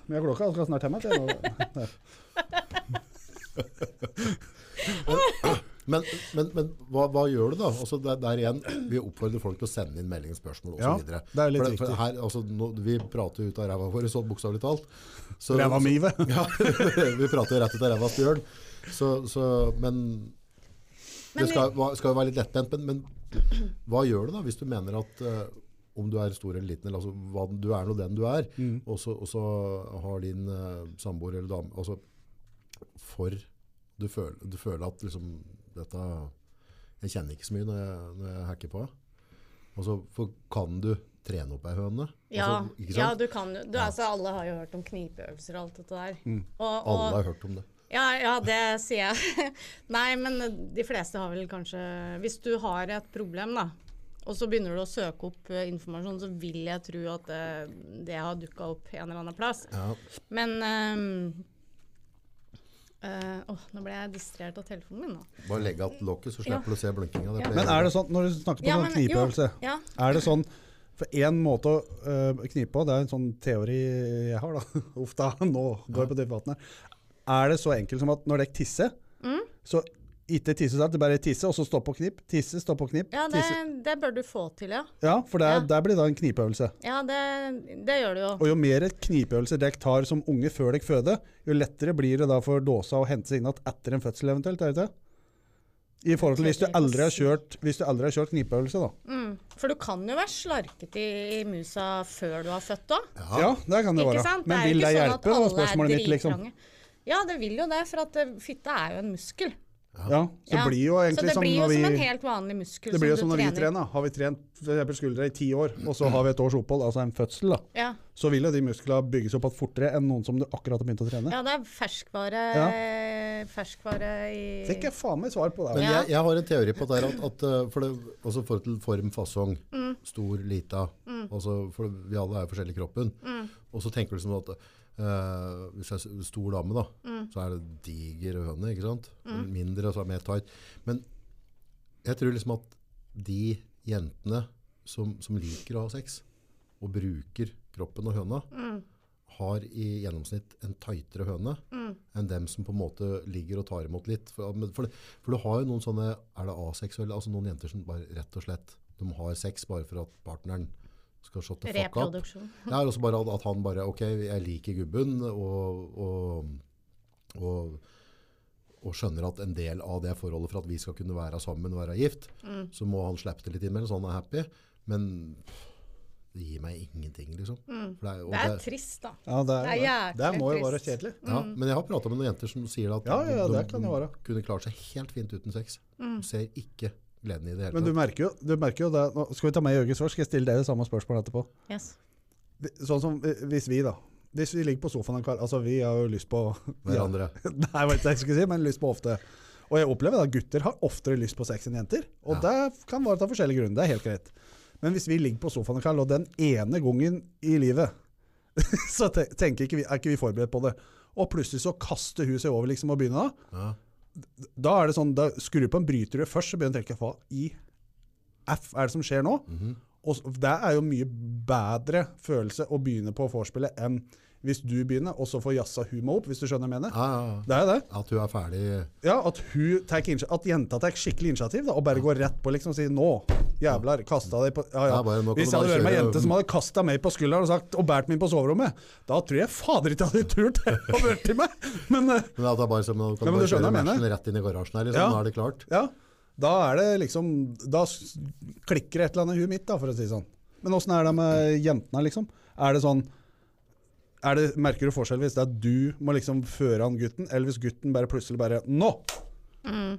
Speaker 3: Men jeg klokka skal snart hjem igjen. jeg *laughs* nå.
Speaker 1: Men, men, men hva, hva gjør du da? Altså, der, der igjen, vi oppfordrer folk til å sende inn melding, spørsmål
Speaker 3: Ja,
Speaker 1: osv.
Speaker 3: det er litt viktig.
Speaker 1: her, altså, nå- vi prater ut av ræva vår, så bokstavelig talt. Så-
Speaker 3: Ræva mi, vet du.
Speaker 1: Ja, *laughs* vi prater rett ut av ræva til Bjørn. Så, så, men
Speaker 2: Men
Speaker 1: det skal, hva- skal jo være litt lettbent, men, men hva gjør du da hvis du mener at eh, om du er stor eller liten, eller altså, hva, du er nå den du er, og, så, og så har din eh, samboer eller dame altså, for du føler, du føler at liksom, dette Jeg kjenner ikke så mye når jeg, når jeg hacker på. Altså, for kan du trene opp ei høne?
Speaker 2: Ja,
Speaker 1: Altså, ikke
Speaker 2: ja,
Speaker 1: sant?
Speaker 2: du kan jo du, altså, Alle har jo hørt om knipeøvelser og alt dette der.
Speaker 3: Mm.
Speaker 2: Og, og,
Speaker 1: Alle har hørt om det.
Speaker 2: Ja, ja, det sier jeg. *laughs* Nei, men de fleste har vel kanskje Hvis du har et problem, da, og så begynner du å søke opp eh, informasjon, så vil jeg tro at det, det har dukka opp en eller annen plass.
Speaker 1: Ja.
Speaker 2: Men ehm, eh, Åh, nå ble jeg distrahert av telefonen min, da.
Speaker 1: Bare legge igjen lokket, så slipper du å se blinkinga. Det pleier
Speaker 3: Men er det sånn, når du snakker på
Speaker 2: Ja,
Speaker 3: sånn
Speaker 2: men- jo,
Speaker 3: knipeøvelse,
Speaker 2: ja.
Speaker 3: er det sånn For én måte å øh, knipe på, det er en sånn teori jeg har, da. *laughs* Uff da, nå går jeg på dypt vann her. Er det så enkelt som at når dere tisser,
Speaker 2: Mm.
Speaker 3: så ikke tisse seg, det er bare tisse, og så stå på knip, tisse, stå på knip,
Speaker 2: Ja, det,
Speaker 3: tisse.
Speaker 2: det bør du få til, ja.
Speaker 3: Ja, for der,
Speaker 2: Ja.
Speaker 3: der blir det da en knipeøvelse.
Speaker 2: Ja, det, det gjør du jo.
Speaker 3: Og jo mer knipeøvelser dere tar som unge før dere føder, jo lettere blir det da for dåsa å hente seg inn igjen etter en fødsel eventuelt, er det ikke? det? I forhold til hvis du aldri har kjørt, hvis du aldri har kjørt knipeøvelse, da.
Speaker 2: Mm. For du kan jo være slarket i, i musa før du har født òg.
Speaker 3: Ja, det kan det
Speaker 2: Ikke
Speaker 3: være.
Speaker 2: sant?
Speaker 3: Men
Speaker 2: er jo
Speaker 3: vil
Speaker 2: ikke
Speaker 3: det
Speaker 2: sånn at
Speaker 3: hjelpe, var
Speaker 2: alle er
Speaker 3: spørsmålet mitt, liksom.
Speaker 2: dritkrange. Ja, det vil jo det, for at eh, fitte er jo en muskel.
Speaker 3: Ja, så det
Speaker 2: Ja.
Speaker 3: blir jo
Speaker 2: Så
Speaker 3: egentlig
Speaker 2: det
Speaker 3: som
Speaker 2: blir jo
Speaker 3: når
Speaker 2: som en
Speaker 3: vi
Speaker 2: helt vanlig muskel
Speaker 3: det blir jo som
Speaker 2: som du
Speaker 3: når vi
Speaker 2: trener.
Speaker 3: trener. Har vi trent for eksempel skuldre i ti år, og så har vi et års opphold, altså en fødsel, da,
Speaker 2: Ja.
Speaker 3: så vil jo de musklene bygges opp igjen fortere enn noen som du akkurat har begynt å trene.
Speaker 2: ja, det er ferskvare, ferskvare i
Speaker 3: Fikk jeg faen meg svar på det.
Speaker 1: Men
Speaker 3: altså.
Speaker 2: Ja.
Speaker 1: jeg, jeg har en teori på det her, at, at eh, for det, altså forhold til form, fasong, stor, lita, altså for vi alle er forskjellige i kroppen, og så tenker du som at eh, hvis jeg er s- stor dame da, så er det diger høne, ikke sant? Mindre, så er det mer tight. Men jeg tror liksom at de jentene som, som liker å ha sex, og bruker kroppen og høna, har i gjennomsnitt en tightere høne enn dem som på en måte ligger og tar imot litt. For, men for, det- for du har jo noen sånne, er det aseksuelle, altså noen jenter som bare rett og slett, de har sex bare for at partneren skal shot the fuck up.
Speaker 2: reproduksjon.
Speaker 1: Ja, og så bare at- at han bare, ok, jeg liker gubben, og, og, og, og skjønner at en del av det forholdet for at vi skal kunne være sammen og være gift,
Speaker 2: Mm.
Speaker 1: så må han slippe det litt innmellom, så han er happy. Men pff, det gir meg ingenting, liksom. For det er, og
Speaker 2: Mm. Det er
Speaker 1: det-
Speaker 2: trist, da.
Speaker 3: Ja, det,
Speaker 2: Det er
Speaker 3: er, det
Speaker 2: jæklig
Speaker 3: må jo være
Speaker 2: trist.
Speaker 3: kjedelig.
Speaker 1: ja,
Speaker 2: Mm.
Speaker 1: men jeg har prata med noen jenter som sier at
Speaker 3: Ja, ja, ja,
Speaker 1: de,
Speaker 3: det kan det være.
Speaker 1: kunne klart seg helt fint uten sex.
Speaker 2: Mm.
Speaker 1: De ser ikke gleden i det hele
Speaker 3: Men du
Speaker 1: tatt.
Speaker 3: merker jo, du merker jo det nå Skal vi ta meg i øyet først? Skal jeg stille dere samme spørsmål etterpå?
Speaker 2: Yes.
Speaker 3: Vi- Sånn som eh, hvis vi, da. Hvis vi ligger på sofaen en kveld Altså, vi har jo lyst på Ja.
Speaker 1: Hverandre.
Speaker 3: *laughs* Nei, jeg vet ikke hva jeg skulle si, men lyst på ofte. Og jeg opplever at gutter har oftere lyst på sex enn jenter. Og det kan være av forskjellige grunner. Det er helt greit. Men hvis vi ligger på sofaen og Karl, og den ene gangen i livet, *laughs* så te- tenker ikke vi, er ikke vi forberedt på det. Og plutselig så kaster hun seg over liksom og begynner da.
Speaker 1: Ja.
Speaker 3: Da er det sånn, da skrur du på en bryter du først, så begynner du å tenke, hva i F er det som skjer nå?
Speaker 1: Mhm.
Speaker 3: Og s- det er jo mye bedre følelse å begynne på vorspielet enn hvis du begynner, og så får jassa hun meg opp, hvis du skjønner hva jeg mener.
Speaker 1: Ja, ja, ja.
Speaker 3: Det er jo det.
Speaker 1: At hun er ferdig
Speaker 3: Ja, at, hun tar initi- at jenta tar skikkelig initiativ da, og bare går rett på liksom og sier 'nå, jævlar, kasta deg på ja, ja.
Speaker 1: Ja, bare, nå kan
Speaker 3: Hvis
Speaker 1: du
Speaker 3: jeg hadde
Speaker 1: bare
Speaker 3: vært med ei
Speaker 1: kjøre-
Speaker 3: jente som hadde kasta meg på skulderen og sagt og båret meg inn på soverommet, da tror jeg fader ikke jeg hadde turt *laughs* å vært til meg. Men eh,
Speaker 1: Men at det er bare som du kan
Speaker 3: Ja, men
Speaker 1: bare
Speaker 3: du skjønner
Speaker 1: kjøre
Speaker 3: hva jeg mener.
Speaker 1: matchen rett inn i garasjen her, liksom.
Speaker 3: Ja.
Speaker 1: Nå er det klart.
Speaker 3: ja, da er det liksom Da s- klikker det et eller annet i huet mitt, da, for å si det sånn. Men åssen er det med jentene, liksom? Er det sånn er det, Merker du forskjell hvis det er du må liksom føre an gutten, eller hvis gutten bare plutselig bare 'nå'?
Speaker 2: Ja,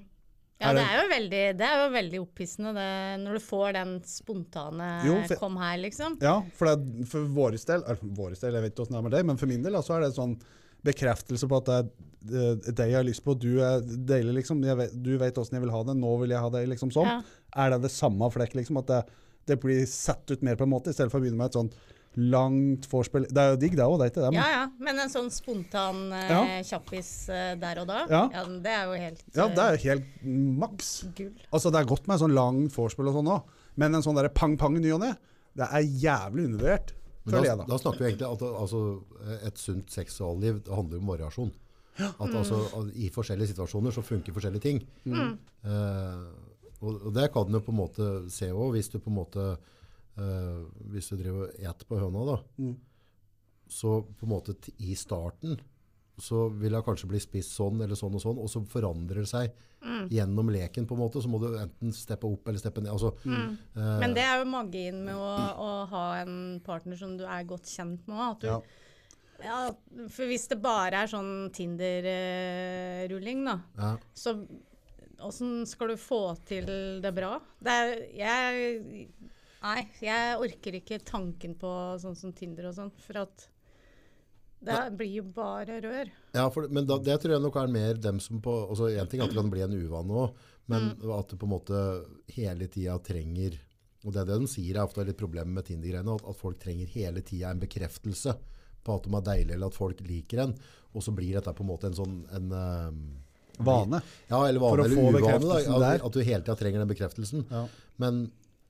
Speaker 3: Er
Speaker 2: det
Speaker 3: det-
Speaker 2: er jo veldig, det er jo veldig opphissende det, når du får den spontane
Speaker 3: Jo, for-
Speaker 2: 'kom her', liksom.
Speaker 3: Ja, for, det, er- for våres del, eller for våres del, jeg vet ikke hvordan det er med deg, men for min del da, så er det en sånn bekreftelse på at det er eh, deg jeg har lyst på, du er deilig liksom, jeg vet, du vet hvordan jeg vil ha det, nå vil jeg ha det liksom sånn.
Speaker 2: Ja.
Speaker 3: Er det det samme flekk liksom, at det, det blir satt ut mer på en måte, i stedet for å begynne med et sånn langt forspill. Det er jo digg det også, det er ikke det, men
Speaker 2: Ja ja, men en sånn spontan eh,
Speaker 3: Ja.
Speaker 2: kjappis eh, der og da,
Speaker 3: Ja.
Speaker 2: det er jo helt
Speaker 3: ja, det
Speaker 2: eh,
Speaker 3: er jo helt maks.
Speaker 2: gull.
Speaker 3: Altså, det er godt med en sånn lang forspill og sånn også, men en sånn der pang-pang i ny og ne, det er jævlig undervurdert,
Speaker 1: Men
Speaker 3: føler
Speaker 1: da,
Speaker 3: jeg da.
Speaker 1: da snakker vi egentlig at altså, et sunt seksualliv det handler om variasjon. At altså, at I forskjellige situasjoner så funker forskjellige ting.
Speaker 3: Mm.
Speaker 1: Eh, og, og det kan du på en måte se òg, hvis du på en måte eh, Hvis du driver og eter på høna, da.
Speaker 3: Mm.
Speaker 1: Så på en måte t- i starten så vil hun kanskje bli spist sånn eller sånn og sånn, og så forandrer det seg gjennom leken, på en måte. Så må du enten steppe opp eller steppe ned. Altså, eh,
Speaker 2: Men det er jo magien med å, å ha en partner som du er godt kjent med. At du,
Speaker 3: Ja.
Speaker 2: ja. for hvis det bare er sånn Tinder-rulling, da,
Speaker 1: ja.
Speaker 2: så åssen skal du få til det bra? Det er, jeg Nei, jeg orker ikke tanken på sånn som Tinder og sånn, for at det blir jo bare rør.
Speaker 1: Ja, for, men da, det tror jeg nok er mer dem som på altså En ting er at det kan bli en uvane òg, men at du på en måte hele tida trenger Og det er det de sier er ofte er litt problemet med Tinder-greiene, at, at folk trenger hele tida en bekreftelse på at de er deilige, eller at folk liker en. Og så blir dette på en måte en sånn en, eh,
Speaker 3: Vane.
Speaker 1: ja, eller
Speaker 3: For å
Speaker 1: vane
Speaker 3: få
Speaker 1: eller uvane. Da,
Speaker 3: bekreftelsen
Speaker 1: at,
Speaker 3: der.
Speaker 1: at du hele tida trenger den bekreftelsen.
Speaker 3: Ja.
Speaker 1: Men,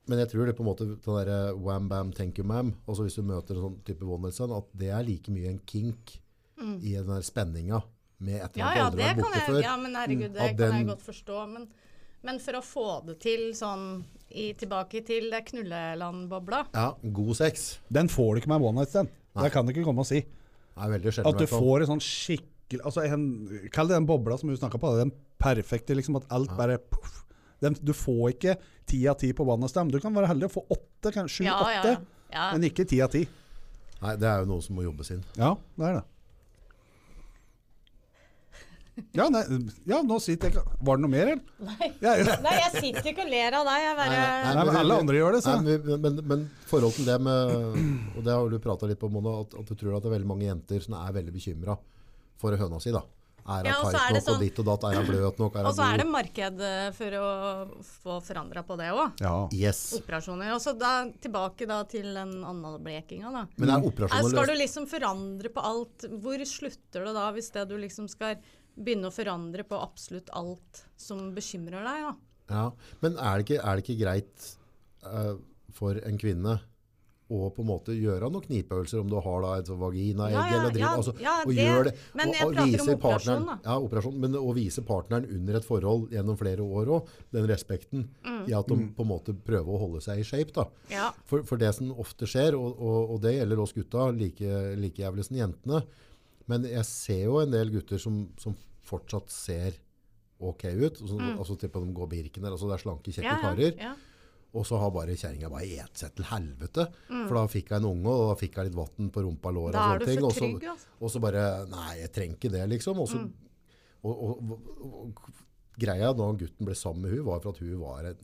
Speaker 1: men jeg tror det på en måte den derre wam bam thank you ma'am altså Hvis du møter en sånn type one night stand, at det er like mye en kink i den der spenninga med et eller
Speaker 2: Mm.
Speaker 1: annet du
Speaker 2: Ja, ja,
Speaker 1: aldri
Speaker 2: det
Speaker 1: har vært
Speaker 2: kan
Speaker 1: borte
Speaker 2: jeg,
Speaker 1: før. Mm,
Speaker 2: ja, men herregud, det
Speaker 1: At
Speaker 2: kan jeg
Speaker 1: den-
Speaker 2: godt forstå. Men, men for å få det til sånn i, tilbake til det knulleland-bobla
Speaker 1: Ja, god sex
Speaker 3: Den får du ikke med en one night stand. Det kan du ikke komme og si.
Speaker 1: er veldig sjelden.
Speaker 3: At du
Speaker 1: i hvert fall.
Speaker 3: får en sånn skikkelig altså en, Kall det den bobla som du snakka på. Den perfekte, liksom at alt bare puff. Den, du får ikke ti av ti på One Stem. Du kan være heldig og få åtte, kanskje
Speaker 2: Ja, ja,
Speaker 3: sju-åtte,
Speaker 2: ja.
Speaker 3: men ikke ti av ti.
Speaker 2: *laughs*
Speaker 1: Nei, det er jo noe som må jobbes inn.
Speaker 3: Ja, det er det. Ja, nei, ja, nå sitter jeg ikke Var det noe mer, eller?
Speaker 2: Nei.
Speaker 3: Ja, ja.
Speaker 2: Nei, jeg sitter ikke og ler av deg. Jeg
Speaker 1: Nei,
Speaker 2: bare
Speaker 3: Nei, men alle andre gjør det, så.
Speaker 1: Nei, men, men, men forhold til det med Og det har du prata litt på, Mona, at, at du tror at det er veldig mange jenter som er veldig bekymra for høna si. da. Er hun
Speaker 2: Ja, og så
Speaker 1: tight
Speaker 2: er
Speaker 1: nok,
Speaker 2: det sånn-
Speaker 1: og ditt og datt, er hun bløt nok, er
Speaker 2: Og
Speaker 1: hun
Speaker 2: så er det
Speaker 1: god?
Speaker 2: marked eh, for å få forandra på det òg.
Speaker 3: Ja.
Speaker 1: Yes.
Speaker 2: Operasjoner. Og så da tilbake da til den analblekinga, da.
Speaker 1: Men er
Speaker 2: Mm. Her
Speaker 1: operasjonen
Speaker 2: skal du
Speaker 1: løst?
Speaker 2: liksom forandre på alt. Hvor slutter det da, hvis det du liksom skal begynne å forandre på absolutt alt som bekymrer deg? da?
Speaker 1: Ja. Men er det ikke, er det ikke greit eh, for en kvinne å på en måte gjøre noen knipeøvelser, om du har da et sånt vaginaegg
Speaker 2: Ja, ja,
Speaker 1: eller driver,
Speaker 2: ja,
Speaker 1: altså,
Speaker 2: ja,
Speaker 1: og
Speaker 2: det-
Speaker 1: gjør det.
Speaker 2: men
Speaker 1: og,
Speaker 2: jeg
Speaker 1: og
Speaker 2: prater om
Speaker 1: viser
Speaker 2: operasjon,
Speaker 1: partneren-
Speaker 2: da.
Speaker 1: Ja, operasjon, men å vise partneren under et forhold gjennom flere år òg, den respekten
Speaker 2: Mm.
Speaker 1: i at de på en måte prøver å holde seg i shape. da.
Speaker 2: Ja.
Speaker 1: For, for det som ofte skjer, og, og, og det gjelder oss gutta like, like jævlig som jentene, men jeg ser jo en del gutter som, som fortsatt ser ok ut, og så, altså typ at de går birken der, altså det er slanke, kjekke
Speaker 2: Mm. Ja, ja,
Speaker 1: karer,
Speaker 2: ja.
Speaker 1: og så har bare kjerringa bare et seg til helvete, for da fikk jeg en unge, og da fikk jeg litt vatten på rumpa og låret,
Speaker 2: Mm.
Speaker 1: og
Speaker 2: Da
Speaker 1: sånne
Speaker 2: er du
Speaker 1: ting,
Speaker 2: for
Speaker 1: og så-
Speaker 2: trygg, altså.
Speaker 1: og så bare, nei, jeg trenger ikke det, liksom, og så, og, og, og, og, greia da gutten ble sammen med hun, var for at hun var en,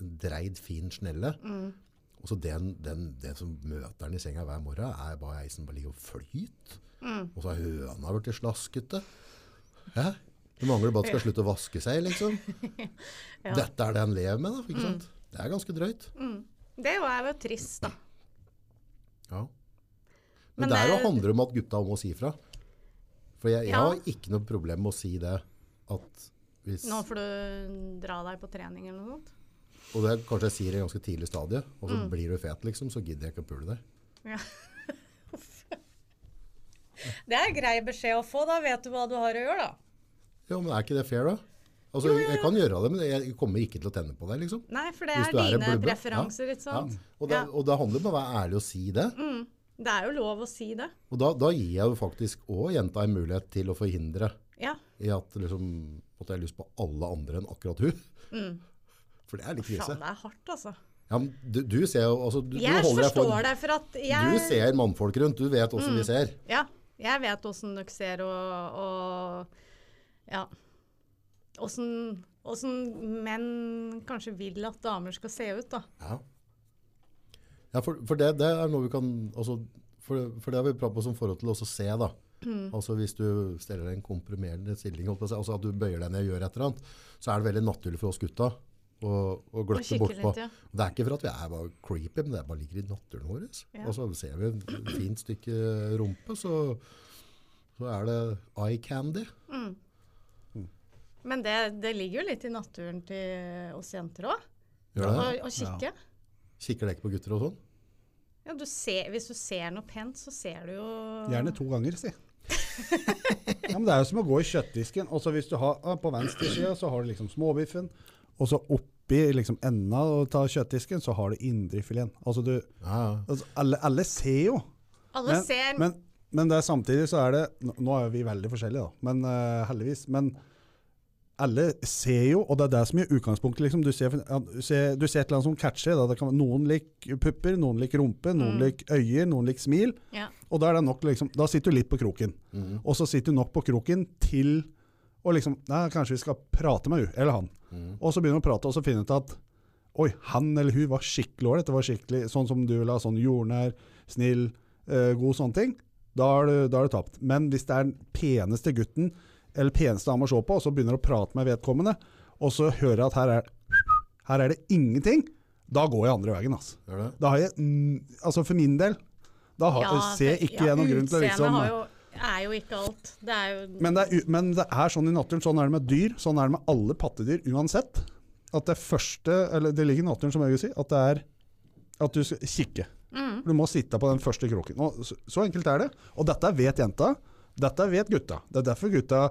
Speaker 1: en dreid, fin snelle, og så den, den, det som møter den i senga hver morgen, er bare ei som bare ligger og flyter. Og så har høna blitt slaskete. Hæ? Det mangler bare at den skal slutte å vaske seg, liksom. Dette er det han lever med, da. ikke sant? Det er ganske drøyt.
Speaker 2: Det var jo trist, da.
Speaker 1: Ja.
Speaker 2: Men
Speaker 1: Men, det er jo
Speaker 2: det-
Speaker 1: handler om at gutta må si fra. For jeg, jeg
Speaker 2: Ja.
Speaker 1: har ikke noe problem med å si det. At hvis,
Speaker 2: Nå får du dra deg på trening eller noe sånt.
Speaker 1: og det er kanskje jeg sier i et ganske tidlig stadie, og
Speaker 2: Mm.
Speaker 1: så blir du fet, liksom, så gidder jeg ikke å pule deg.
Speaker 2: Ja. *laughs* Det er grei beskjed å få, da vet du hva du har å gjøre, da.
Speaker 1: Jo, men er ikke det fair, da? Altså, Jeg kan gjøre det, men jeg kommer ikke til å tenne på deg, liksom.
Speaker 2: Nei, for det
Speaker 1: Hvis
Speaker 2: er
Speaker 1: du er en
Speaker 2: dine
Speaker 1: blubbe.
Speaker 2: preferanser, ikke sant.
Speaker 1: Ja. Og, det,
Speaker 2: Ja. Mm.
Speaker 1: og det handler om å være ærlig og si det.
Speaker 2: Det er jo lov å si det.
Speaker 1: Og da, da gir jeg jo faktisk òg jenta en mulighet til å forhindre
Speaker 2: Ja.
Speaker 1: i at, liksom, at jeg har lyst på alle andre enn akkurat hun. For det er litt krise.
Speaker 2: Mm. Faen, det er hardt, altså.
Speaker 1: Ja, men du, du ser jo altså, du,
Speaker 2: Jeg
Speaker 1: du holder deg for,
Speaker 2: forstår det, for at jeg Mm.
Speaker 1: Du ser mannfolk rundt, du vet hvordan vi ser.
Speaker 2: Ja, jeg vet åssen dere ser og, og ja. Åssen åssen menn kanskje vil at damer skal se ut, da.
Speaker 1: Ja, ja for, for det, det er noe vi kan altså, for, for det har vi pratet på som forhold til også å se, da.
Speaker 2: Mm.
Speaker 1: Altså Hvis du steller deg i en komprimerende stilling, holdt på å si, altså at du bøyer deg ned og gjør et eller annet, så er det veldig naturlig for oss gutta å, å gløtte
Speaker 2: kikke
Speaker 1: bortpå.
Speaker 2: litt, ja.
Speaker 1: Det er ikke for at vi er bare creepy, men det er bare ligger i naturen vår.
Speaker 2: Ja.
Speaker 1: Altså, ser vi et fint stykke rumpe, så, så er det eye candy.
Speaker 2: Men det, det ligger jo litt i naturen til oss jenter òg,
Speaker 1: Gjør det?
Speaker 2: å kikke. Ja.
Speaker 1: Kikker dere ikke på gutter og sånn?
Speaker 2: du ser, hvis du ser noe pent, så ser du jo
Speaker 3: Gjerne to ganger, si. Ja, men det er jo som å gå i kjøttdisken. Og så hvis du har, ah, På venstre side så har du liksom småbiffen, og så oppi liksom enden av å ta kjøttdisken, så har du indrefileten. Altså du
Speaker 1: Ja, ja.
Speaker 3: altså, alle, alle ser jo.
Speaker 2: Alle
Speaker 3: Men,
Speaker 2: ser
Speaker 3: men, men det er samtidig så er det nå- Nå er vi veldig forskjellige, da, men eh, heldigvis. Men alle ser jo, og det er det som er utgangspunktet. Liksom. Du, ser, ja, du, ser, du ser et eller annet som catcher. Da. Det kan, være- noen liker pupper, noen liker rumpe, noen liker øyer, noen liker smil.
Speaker 2: ja.
Speaker 3: Og da, er det nok, liksom, da sitter du litt på kroken. Og så sitter du nok på kroken til å liksom Nei, kanskje vi skal prate med hun eller han. Og så begynner du å prate, og så finner du ut at Oi, han eller hun var skikkelig ålreit. Det var skikkelig sånn som du vil ha. Sånn jordnær, snill, eh, god sånne ting. Da er, du, da er du tapt. Men hvis det er den peneste gutten eller peneste dama å se på, og så begynner du å prate med vedkommende, og så hører jeg at her er, her er det ingenting, da går jeg andre veien, altså.
Speaker 1: Gjør det?
Speaker 3: Da har jeg, mm, altså for min del, da har, ser jeg ikke
Speaker 2: ja,
Speaker 3: gjennom grunn til å liksom
Speaker 2: Utseendet har jo- er jo ikke alt. Det er jo
Speaker 3: men det, er, u- men det er sånn i naturen, sånn er det med dyr, sånn er det med alle pattedyr uansett. At det første, eller det ligger i naturen som jeg vil si, at det er at du skal kikke. Du må sitte på den første kroken. Og så, så enkelt er det. Og dette vet jenta, dette vet gutta. Det er derfor gutta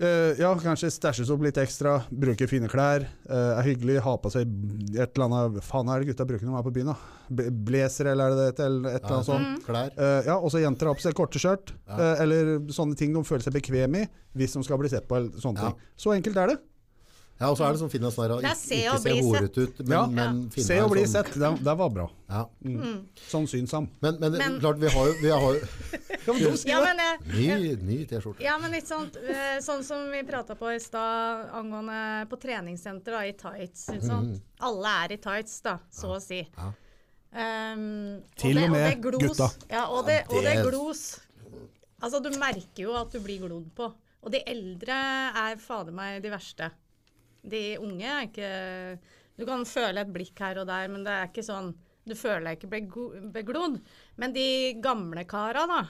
Speaker 3: eh, ja, kanskje stæsjes opp litt ekstra, bruker fine klær, eh, er hyggelig, har på seg et eller annet Faen, hva er det gutta bruker når de er på byen? da? B- Blazer, eller er det det, eller et eller annet
Speaker 2: Mm.
Speaker 3: sånt?
Speaker 1: sånn Klær.
Speaker 3: Eh, ja, også jenter har på seg korte skjørt, eh, eller sånne ting de føler seg bekvem i hvis de skal bli sett på. eller sånne
Speaker 1: Ja.
Speaker 3: ting. Så enkelt er det.
Speaker 1: Ja, Ja, og så er det sånn finnes der,
Speaker 2: Det er
Speaker 1: ikke,
Speaker 2: se
Speaker 1: ikke
Speaker 2: og
Speaker 1: se
Speaker 2: bli
Speaker 1: horet ut, men,
Speaker 3: Ja.
Speaker 1: men finne
Speaker 3: Se
Speaker 1: en
Speaker 3: og bli
Speaker 1: sånn-
Speaker 3: sett. Det, det var bra.
Speaker 1: Ja.
Speaker 2: Mm.
Speaker 3: Sånn syns han.
Speaker 1: Men, men,
Speaker 2: Men-
Speaker 1: klart, vi har jo, vi har jo
Speaker 3: *laughs* Ja, men de sier
Speaker 2: Ja,
Speaker 3: det.
Speaker 2: men, eh,
Speaker 1: ny, ny T-skjorte.
Speaker 2: ja, men litt sånn, eh, sånn som vi prata på i stad angående på treningssenter da, i tights. Ikke sant?
Speaker 3: Mm.
Speaker 2: Alle er i tights, da, så å si.
Speaker 1: Ja.
Speaker 2: Ehm,
Speaker 3: Til og
Speaker 2: det
Speaker 3: med
Speaker 2: glos.
Speaker 3: gutta.
Speaker 2: Ja, og det, og det
Speaker 1: det-
Speaker 2: glos. Altså, du merker jo at du blir glodd på. Og de eldre er fader meg de verste. De unge er ikke Du kan føle et blikk her og der, men det er ikke sånn Du føler deg ikke bego- beglodd. Men de gamle kara, da.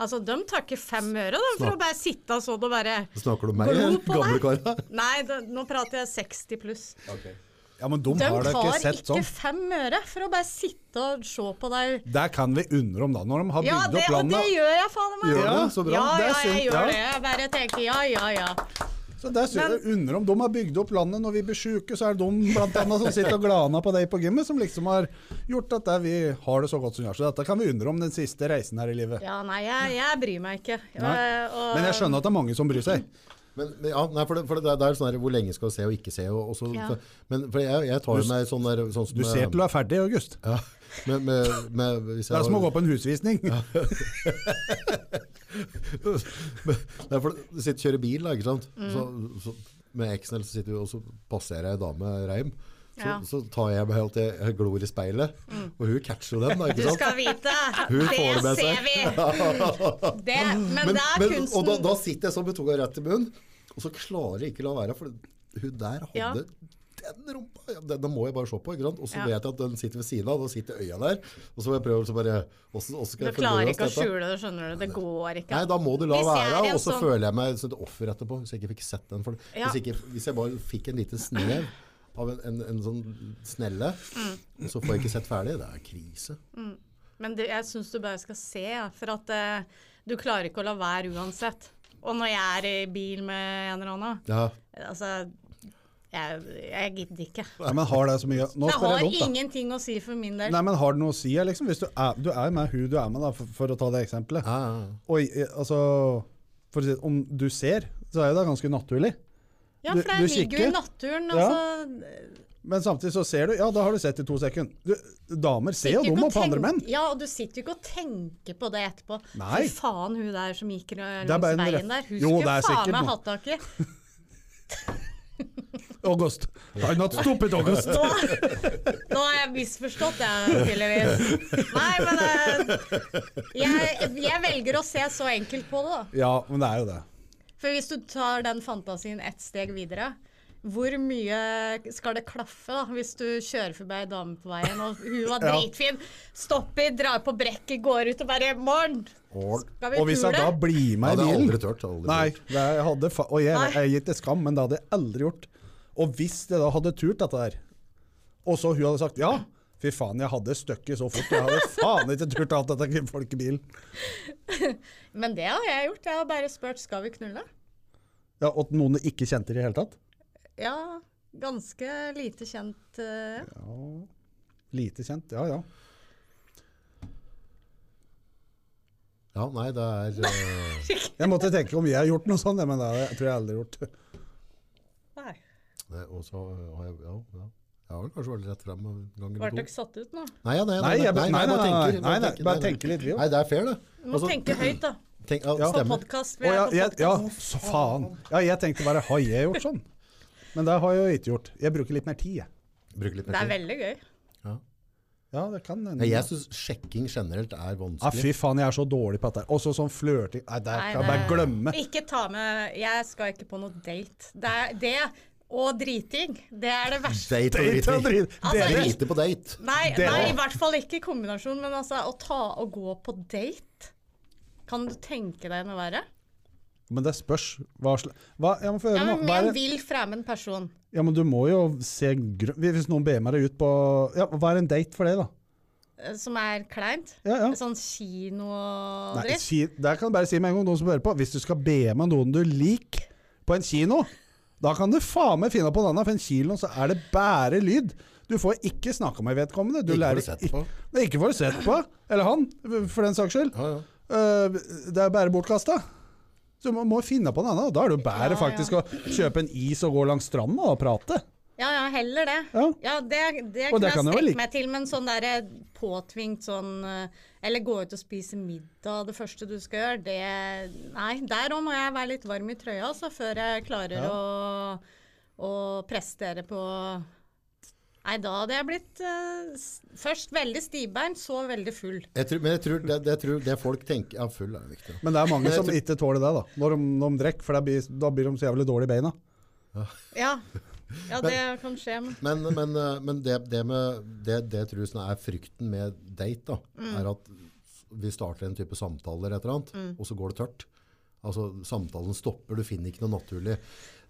Speaker 2: Altså, de tar ikke fem øre da, for
Speaker 1: Snakk.
Speaker 2: å bare sitte sånn og bare
Speaker 1: Snakker du om meg,
Speaker 2: Glo på
Speaker 1: gamle
Speaker 2: deg.
Speaker 1: kara?
Speaker 2: Nei, da, nå prater jeg 60 pluss.
Speaker 3: Ja, men de
Speaker 2: De
Speaker 3: har da ikke
Speaker 2: tar
Speaker 3: sett
Speaker 2: ikke
Speaker 3: sånn.
Speaker 2: fem øre for å bare sitte og se på deg.
Speaker 3: Der kan vi undre om, da. Når de har
Speaker 2: Ja,
Speaker 3: bygd
Speaker 2: det, og
Speaker 3: opp
Speaker 2: det
Speaker 3: landet.
Speaker 2: gjør jeg fader meg.
Speaker 1: Gjør
Speaker 3: Ja,
Speaker 1: det, så bra.
Speaker 2: Ja,
Speaker 3: Det er
Speaker 2: ja, jeg
Speaker 3: sunt, ja.
Speaker 2: gjør det. Jeg bare tenker ja, ja, ja.
Speaker 3: Så der synes jeg undrer om de har bygd opp landet. Når vi blir syke, så er det de blant annet som sitter og glana på deg på gymmet, som liksom har gjort at det- vi har det så godt som vi har. Så dette kan vi undre om den siste reisen her i livet.
Speaker 2: Ja, nei, jeg, jeg bryr meg ikke.
Speaker 3: Nei.
Speaker 2: Eh, og-
Speaker 3: Men jeg skjønner at det er mange som bryr seg.
Speaker 1: Men, men ja, nei, for det, for det, det er sånn der, hvor lenge skal du se og ikke se? Og, og så,
Speaker 2: Ja.
Speaker 1: for, men for jeg, jeg tar jo meg sånn der sånn som,
Speaker 3: Du ser til du er ferdig i august.
Speaker 1: ja, med, med, med, hvis
Speaker 3: Det er
Speaker 1: jeg,
Speaker 3: som å gå på en husvisning.
Speaker 1: Nei, for du sitter og kjører bil, da, ikke sant?
Speaker 2: Mm.
Speaker 1: Så, så, med eksen eller så sitter vi og så passerer jeg ei dame reim. Så,
Speaker 2: Ja. Mm.
Speaker 1: så tar jeg meg alltid jeg glor i speilet, og hun catcher jo den, da,
Speaker 2: Du
Speaker 1: ikke sant?
Speaker 2: skal vite,
Speaker 1: *laughs* Hun får det
Speaker 2: det
Speaker 1: med seg.
Speaker 2: ser vi!
Speaker 1: *laughs*
Speaker 2: Det, men, det er
Speaker 1: men,
Speaker 2: kunsten.
Speaker 1: og da, da sitter jeg sånn med tunga rett i munnen, og så klarer jeg ikke la være, for hun der hadde
Speaker 2: Ja.
Speaker 1: den rumpa. Ja, den, den må jeg bare se på, ikke sant? Og så
Speaker 2: Ja.
Speaker 1: vet jeg at den sitter ved siden av, og da sitter øya der. Og så må jeg prøve å bare hvordan, hvordan skal
Speaker 2: du
Speaker 1: jeg
Speaker 2: klarer
Speaker 1: forløse
Speaker 2: ikke å
Speaker 1: dette?
Speaker 2: skjule det, skjønner du. Det går ikke.
Speaker 1: Nei, da må du la
Speaker 2: Hvis jeg er
Speaker 1: være,
Speaker 2: en
Speaker 1: og så
Speaker 2: sånn-
Speaker 1: føler jeg meg som et offer etterpå. Hvis jeg ikke fikk sett den for det.
Speaker 2: Ja.
Speaker 1: Hvis, ikke, hvis jeg bare fikk en liten snev av en, en, en sånn snelle,
Speaker 2: Mm.
Speaker 1: og så får jeg ikke sett ferdig. Det er krise.
Speaker 2: Men det, jeg syns du bare skal se, ja, for at eh, du klarer ikke å la være uansett. Og når jeg er i bil med en eller annen,
Speaker 1: Ja.
Speaker 2: altså Jeg, jeg gidder ikke.
Speaker 3: *laughs* Nei, men har det så mye Nå
Speaker 2: Det
Speaker 3: spør
Speaker 2: har
Speaker 3: jeg dumt, da.
Speaker 2: ingenting å si for min del.
Speaker 3: Nei, men har det noe å si, her, liksom? Hvis du er, du er med hun du er med, da, for, for å ta det eksempelet.
Speaker 1: Ja, ja, ja.
Speaker 3: Og i- altså for å si, det, Om du ser, så er jo det ganske naturlig.
Speaker 2: Ja,
Speaker 3: Du-
Speaker 2: for det
Speaker 3: du
Speaker 2: ligger jo
Speaker 3: kikker.
Speaker 2: i naturen.
Speaker 3: Ja.
Speaker 2: Altså,
Speaker 3: Men samtidig så ser du Ja, da har du sett i to sekunder. Du, damer ser jo
Speaker 2: sitter
Speaker 3: dem
Speaker 2: ikke
Speaker 3: opp på
Speaker 2: og
Speaker 3: andre
Speaker 2: tenk-
Speaker 3: menn.
Speaker 2: Ja, og du sitter jo ikke og tenker på det etterpå.
Speaker 3: Nei.
Speaker 2: Fy faen, hun der som gikk langs
Speaker 3: Det er bare en ref-
Speaker 2: veien der. Hun
Speaker 3: Jo, det
Speaker 2: skulle
Speaker 3: er sikkert
Speaker 2: faen meg
Speaker 3: noe.
Speaker 2: hatt tak i.
Speaker 3: August. I'm not stupid, August.
Speaker 2: Nå, nå *laughs* har jeg misforstått det, tydeligvis.
Speaker 3: *laughs*
Speaker 2: Nei, men eh, jeg, jeg velger å se så enkelt på det, da.
Speaker 3: Ja, men det er jo det.
Speaker 2: For hvis du tar den fantasien ett steg videre hvor mye skal det klaffe da, hvis du kjører forbi ei dame på veien, og hun var
Speaker 3: *laughs* Ja.
Speaker 2: dritfin, stopper, drar på brekket, går ut og bare 'Morn,
Speaker 1: Og,
Speaker 2: skal vi
Speaker 3: Og hvis jeg da
Speaker 2: pule?'
Speaker 3: blir
Speaker 1: ja,
Speaker 3: med
Speaker 1: det har
Speaker 3: i
Speaker 1: jeg
Speaker 3: bilen
Speaker 1: aldri tørt. Aldri
Speaker 3: Nei,
Speaker 1: tørt.
Speaker 3: det er- jeg hadde fa og jeg,
Speaker 2: Nei.
Speaker 3: jeg gikk til skam, men det hadde jeg aldri gjort. Og hvis jeg da hadde turt dette her, og så hun hadde sagt ja, fy faen, jeg hadde støkket så fort. Jeg
Speaker 2: *laughs*
Speaker 3: hadde faen ikke turt alt dette kvinnfolk i bilen.
Speaker 2: Men det har jeg gjort. Jeg har bare spurt skal vi knulle.
Speaker 3: Ja, og at noen ikke kjente i det hele tatt.
Speaker 2: Ja, ganske lite kjent. eh,
Speaker 3: Ja, lite kjent, ja ja.
Speaker 1: Ja, nei, det er eh,
Speaker 3: Jeg måtte tenke om jeg har gjort noe sånt, men det har jeg- tror jeg aldri gjort.
Speaker 2: Nei.
Speaker 1: det- Og så eh, har jeg Ja, ja. Jeg har vel kanskje vært rett frem en gang
Speaker 2: Ble
Speaker 1: eller to.
Speaker 2: dere satt ut nå?
Speaker 1: Nei, ja, nei, nei,
Speaker 3: Nei,
Speaker 1: nei,
Speaker 3: jeg-
Speaker 1: nei, nei, bare
Speaker 3: nei, nei, nei,
Speaker 1: tenker.
Speaker 3: nei, nei,
Speaker 1: tenker-
Speaker 3: bare tenker litt, vi også.
Speaker 1: Nei, det er fair, det.
Speaker 2: Du må
Speaker 1: Altså,
Speaker 2: tenke høyt,
Speaker 3: *clears throat*
Speaker 2: da.
Speaker 1: tenk, ja,
Speaker 3: Ja.
Speaker 2: På
Speaker 1: stemmer.
Speaker 2: podkast.
Speaker 3: Å, ja, jeg, ja, så faen. Ja, jeg tenkte bare har jeg gjort sånn? Men det har jeg jo ikke gjort. Jeg bruker litt mer tid, jeg.
Speaker 1: Bruker litt
Speaker 2: Det
Speaker 1: mer
Speaker 2: er
Speaker 1: tid.
Speaker 2: veldig gøy.
Speaker 3: Ja, det kan hende.
Speaker 1: Nei, Jeg syns sjekking generelt er vanskelig.
Speaker 3: Ja, fy faen, jeg er så dårlig på dette. her. Også sånn flørting Nei, det
Speaker 2: Nei,
Speaker 3: kan jeg
Speaker 2: det-
Speaker 3: bare glemme.
Speaker 2: Ikke ta med Jeg skal ikke på noe date. Det, er, det og driting, det er det verste.
Speaker 1: Date og
Speaker 3: Drit
Speaker 1: driting.
Speaker 3: og drit.
Speaker 2: Altså,
Speaker 3: Dere-
Speaker 1: Drite på date.
Speaker 2: Nei,
Speaker 3: Det-
Speaker 2: nei, i hvert fall ikke i kombinasjon, men altså å ta og gå på date Kan du tenke deg noe verre?
Speaker 3: Men det spørs hva slags hva, Jeg må få
Speaker 2: Ja,
Speaker 3: høre
Speaker 2: men
Speaker 3: nå.
Speaker 2: med
Speaker 3: Hva
Speaker 2: en
Speaker 3: er det?
Speaker 2: vill fremmed person.
Speaker 3: Ja, men du må jo se grø... Hvis noen ber meg ut på ja, Hva er en date for det, da?
Speaker 2: eh, Som er kleint.
Speaker 3: Ja, ja.
Speaker 2: Sånn kino og
Speaker 3: Nei,
Speaker 2: dritt.
Speaker 3: ki, der kan du bare si med en gang, noen som hører på. Hvis du skal be med noen du liker på en kino, da kan du faen meg finne på en annen, for en kino så er det bare lyd. Du får ikke snakka med vedkommende. Du
Speaker 1: Ikke får
Speaker 3: lærer,
Speaker 1: du sett på.
Speaker 3: Nei, ikke får du sett på. Eller han, for den saks skyld.
Speaker 1: Ja, ja.
Speaker 3: Eh, det er bare bortkasta. Så man må finne på noe annet. og Da er det jo bedre
Speaker 2: Ja,
Speaker 3: faktisk
Speaker 2: ja.
Speaker 3: å kjøpe en is og gå langs stranda og prate.
Speaker 2: Ja, ja, heller det.
Speaker 3: Ja.
Speaker 2: det, det kunne
Speaker 3: Og det
Speaker 2: jeg
Speaker 3: kan jeg vel
Speaker 2: strekke
Speaker 3: like.
Speaker 2: meg til, men sånn der eh, påtvingt sånn eh, Eller gå ut og spise middag det første du skal gjøre, det Nei, der òg må jeg være litt varm i trøya altså, før jeg klarer å, å prestere på Nei, da hadde jeg blitt eh, s- først veldig stivbeint, så veldig full.
Speaker 1: Jeg tror, men jeg tror det, det, jeg tror det folk tenker Ja, full er jo viktig. da.
Speaker 3: Men det er mange som ikke tåler det, da. Når de, når de drikker, for da blir, da blir de så jævlig dårlige i beina.
Speaker 2: Ja. ja, det kan skje. men-
Speaker 1: Men, men, eh, men det, det, med, det, det jeg tror sånn er frykten med date, da, er at vi starter en type samtale eller et eller annet, og så går det tørt. Altså, samtalen stopper, du finner ikke noe naturlig.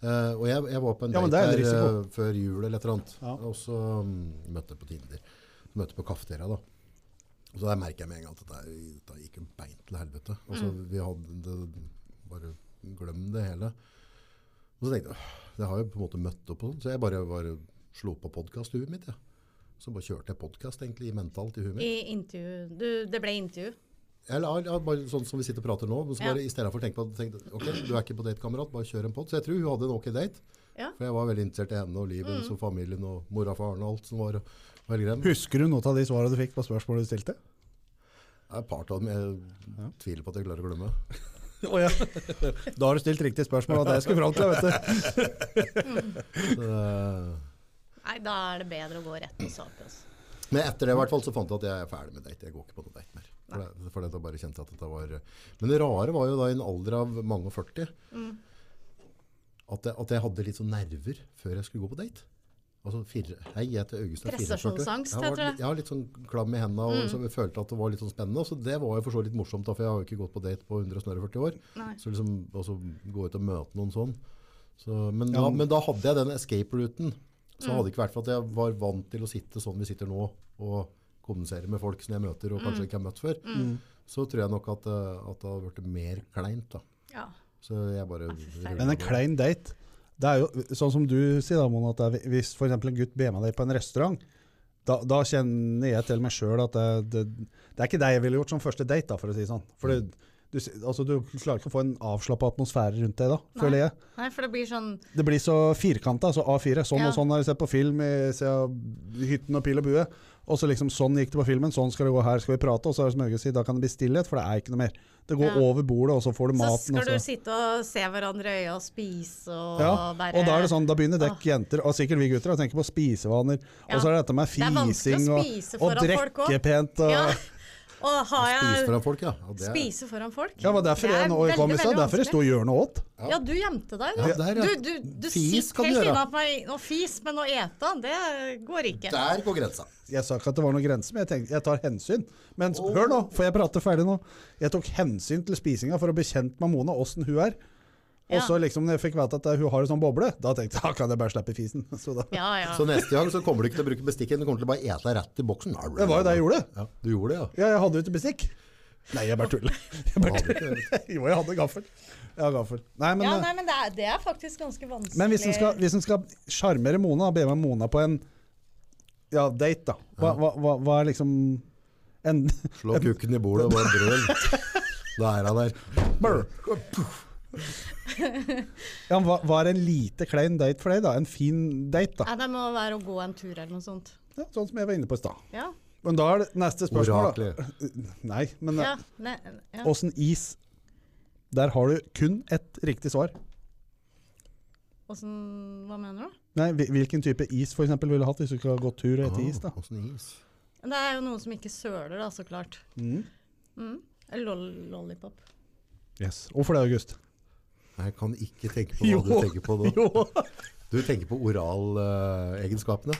Speaker 1: Eh, og jeg, jeg var på en
Speaker 3: Ja, men
Speaker 1: date
Speaker 3: det er en
Speaker 1: her
Speaker 3: risiko.
Speaker 1: eh, før jul eller et eller annet,
Speaker 3: Ja.
Speaker 1: og så mm, møtte jeg på Tinder. Så møtte jeg på kafeteria da. Og så der merker jeg med en gang at dette, er- dette gikk jo beint til helvete. Altså, vi hadde det, bare glem det hele. Og så tenkte jeg, «Åh, det har jeg på en måte møtt opp på sånn, så jeg bare, bare slo på podcast i huet mitt, ja. Så bare kjørte jeg podcast egentlig, i mentalt i huet mitt.
Speaker 2: I intervju du, Det ble intervju.
Speaker 1: Eller ja, bare sånn som vi sitter og prater nå, men så
Speaker 2: Ja.
Speaker 1: bare i stedet for å tenke på at tenkte, ok, du er ikke på date, kamerat, bare kjør en podd. Så jeg tror hun hadde en ok date.
Speaker 2: Ja.
Speaker 1: For jeg var veldig interessert i henne og livet hennes og familien og mora og faren og alt som var, og hele greia.
Speaker 3: Husker du noe av de svarene du fikk på spørsmålet du stilte?
Speaker 1: Det er et par av dem jeg tviler på at jeg klarer å glemme.
Speaker 3: *laughs* Da har du stilt riktig spørsmål, og det jeg skulle fram til, vet du.
Speaker 1: Så, eh,
Speaker 2: Nei, da er det bedre å gå rett på sak. Altså.
Speaker 1: men etter det i hvert fall så fant jeg at jeg er ferdig med date. Jeg går ikke på noe date mer. For, det, for dette bare kjente jeg at dette var... Men det rare var jo da i en alder av mange og 40, at, jeg, at jeg hadde litt sånn nerver før jeg skulle gå på date. Altså, fire, hei, jeg heter August. jeg er 44.
Speaker 2: Prestasjonsangst,
Speaker 1: Jeg var
Speaker 2: heter det. Mm.
Speaker 1: litt- Jeg har litt sånn klam i hendene, og så jeg følte at det var litt sånn spennende. Så det var jo for så litt morsomt, da, for jeg har jo ikke gått på date på 140 år.
Speaker 2: Nei.
Speaker 1: Så liksom, og så gå ut og møte noen sånn. Så, men, da, men da hadde jeg den escape-ruten. Så
Speaker 2: Mm.
Speaker 1: hadde det ikke vært for at jeg var vant til å sitte sånn vi sitter nå, og kommunisere med folk som jeg møter, og
Speaker 2: Mm.
Speaker 1: kanskje ikke har møtt før. Så tror jeg nok at, eh, at det hadde blitt mer kleint, da.
Speaker 2: Ja.
Speaker 1: Så jeg bare...
Speaker 3: Men en klein date, det er jo sånn som du sier da, Mona, at det er- hvis for eksempel en gutt ber med deg på en restaurant, da, da kjenner jeg til meg sjøl at det, det, det er ikke det jeg ville gjort som første date, da, for å si det sånn. For det, du, s- altså, du klarer ikke å få en avslappa atmosfære rundt deg da, føler jeg.
Speaker 2: Nei, for det blir sånn
Speaker 3: Det blir så firkanta, altså A4. Sånn
Speaker 2: Ja.
Speaker 3: og sånn har jeg sett på film i siden Hytten og Pil og bue. Og så liksom sånn gikk det på filmen, sånn skal det gå, her skal vi prate. Og så er det som Øyvind sier, da kan det bli stillhet, for det er ikke noe mer. Det går
Speaker 2: Ja.
Speaker 3: over bordet, og så får du
Speaker 2: Så
Speaker 3: maten.
Speaker 2: skal
Speaker 3: og så-
Speaker 2: du sitte og se hverandre i øya og spise og
Speaker 3: ja.
Speaker 2: bare
Speaker 3: Og da er det sånn, da begynner dekk jenter, og sikkert vi gutter, å tenke på spisevaner.
Speaker 2: Ja.
Speaker 3: Og så er det dette med
Speaker 2: Det er vanskelig å
Speaker 3: fising og,
Speaker 2: spise
Speaker 3: og
Speaker 2: foran folk også.
Speaker 3: drikke pent. Og,
Speaker 2: Ja.
Speaker 3: ja.
Speaker 2: *laughs* Og har
Speaker 1: Spise
Speaker 2: jeg
Speaker 1: foran folk, ja. Og det er-
Speaker 2: Spise foran folk?
Speaker 3: men Derfor
Speaker 2: Det er
Speaker 3: jeg nå jeg kom i
Speaker 2: veldig,
Speaker 3: stad,
Speaker 2: veldig
Speaker 3: derfor jeg sto i hjørnet og åt.
Speaker 2: Ja, du gjemte deg, du.
Speaker 1: Ja, der, ja.
Speaker 2: Du, du, du
Speaker 1: Fis kan
Speaker 2: sitter
Speaker 1: du
Speaker 2: helt
Speaker 1: gjøre.
Speaker 2: unna meg og fis, men å ete, det går ikke.
Speaker 1: Der går grensa.
Speaker 3: Jeg sa ikke at det var noen grense, men jeg tenkte jeg tar hensyn. Men s- hør nå, får jeg prate ferdig nå? Jeg tok hensyn til spisinga for å bli kjent med Mona, åssen hun er. Og
Speaker 2: Ja.
Speaker 3: så liksom når jeg fikk vite at eh, hun har en sånn boble, da tenkte jeg *laughs* da kan jeg bare slippe fisen. *laughs* Så da,
Speaker 2: Ja, ja.
Speaker 1: Så neste gang så kommer du ikke til å bruke bestikken, du kommer til å bare ete deg rett i boksen.
Speaker 3: Det var jo det jeg gjorde.
Speaker 1: Ja, du gjorde det, ja.
Speaker 3: Ja, jeg hadde jo ikke bestikk. *laughs* Nei, jeg bare tuller. Jeg bare tuller. *laughs* Jo, jeg hadde gaffel. Jeg har gaffel. Nei, men,
Speaker 2: ja,
Speaker 3: eh,
Speaker 2: nei, men det er, det er faktisk ganske vanskelig.
Speaker 3: men hvis en skal- hvis en skal sjarmere Mona, be med Mona på en ja, date, da. Hva, hva, hva, hva er liksom en *laughs*
Speaker 1: Slå kukken i bordet og bare brøl. Da er han der.
Speaker 3: Brr. Ja, men hva, hva er en lite klein date for deg, da? En fin date, da?
Speaker 2: Nei, det må være å gå en tur eller noe sånt.
Speaker 3: Ja, sånn som jeg var inne på i stad.
Speaker 2: Ja.
Speaker 3: Men da er det neste spørsmål, da.
Speaker 1: Oraklet.
Speaker 3: Nei, men eh,
Speaker 2: ja, ne, ja.
Speaker 3: åssen is? Der har du kun ett riktig svar.
Speaker 2: Åssen Hva mener du?
Speaker 3: Nei, hvil- hvilken type is for eksempel ville du hatt hvis du skulle ha gått tur og spist is? da?
Speaker 1: Ah, Åssen is?
Speaker 2: Det er jo noe som ikke søler, da, så klart.
Speaker 3: Mm.
Speaker 2: Mm. Lol lollipop.
Speaker 3: Yes. Hvorfor det, August?
Speaker 1: Nei, Jeg kan ikke tenke på hva du
Speaker 3: Jo.
Speaker 1: tenker på nå. Du tenker på eh, oralegenskapene.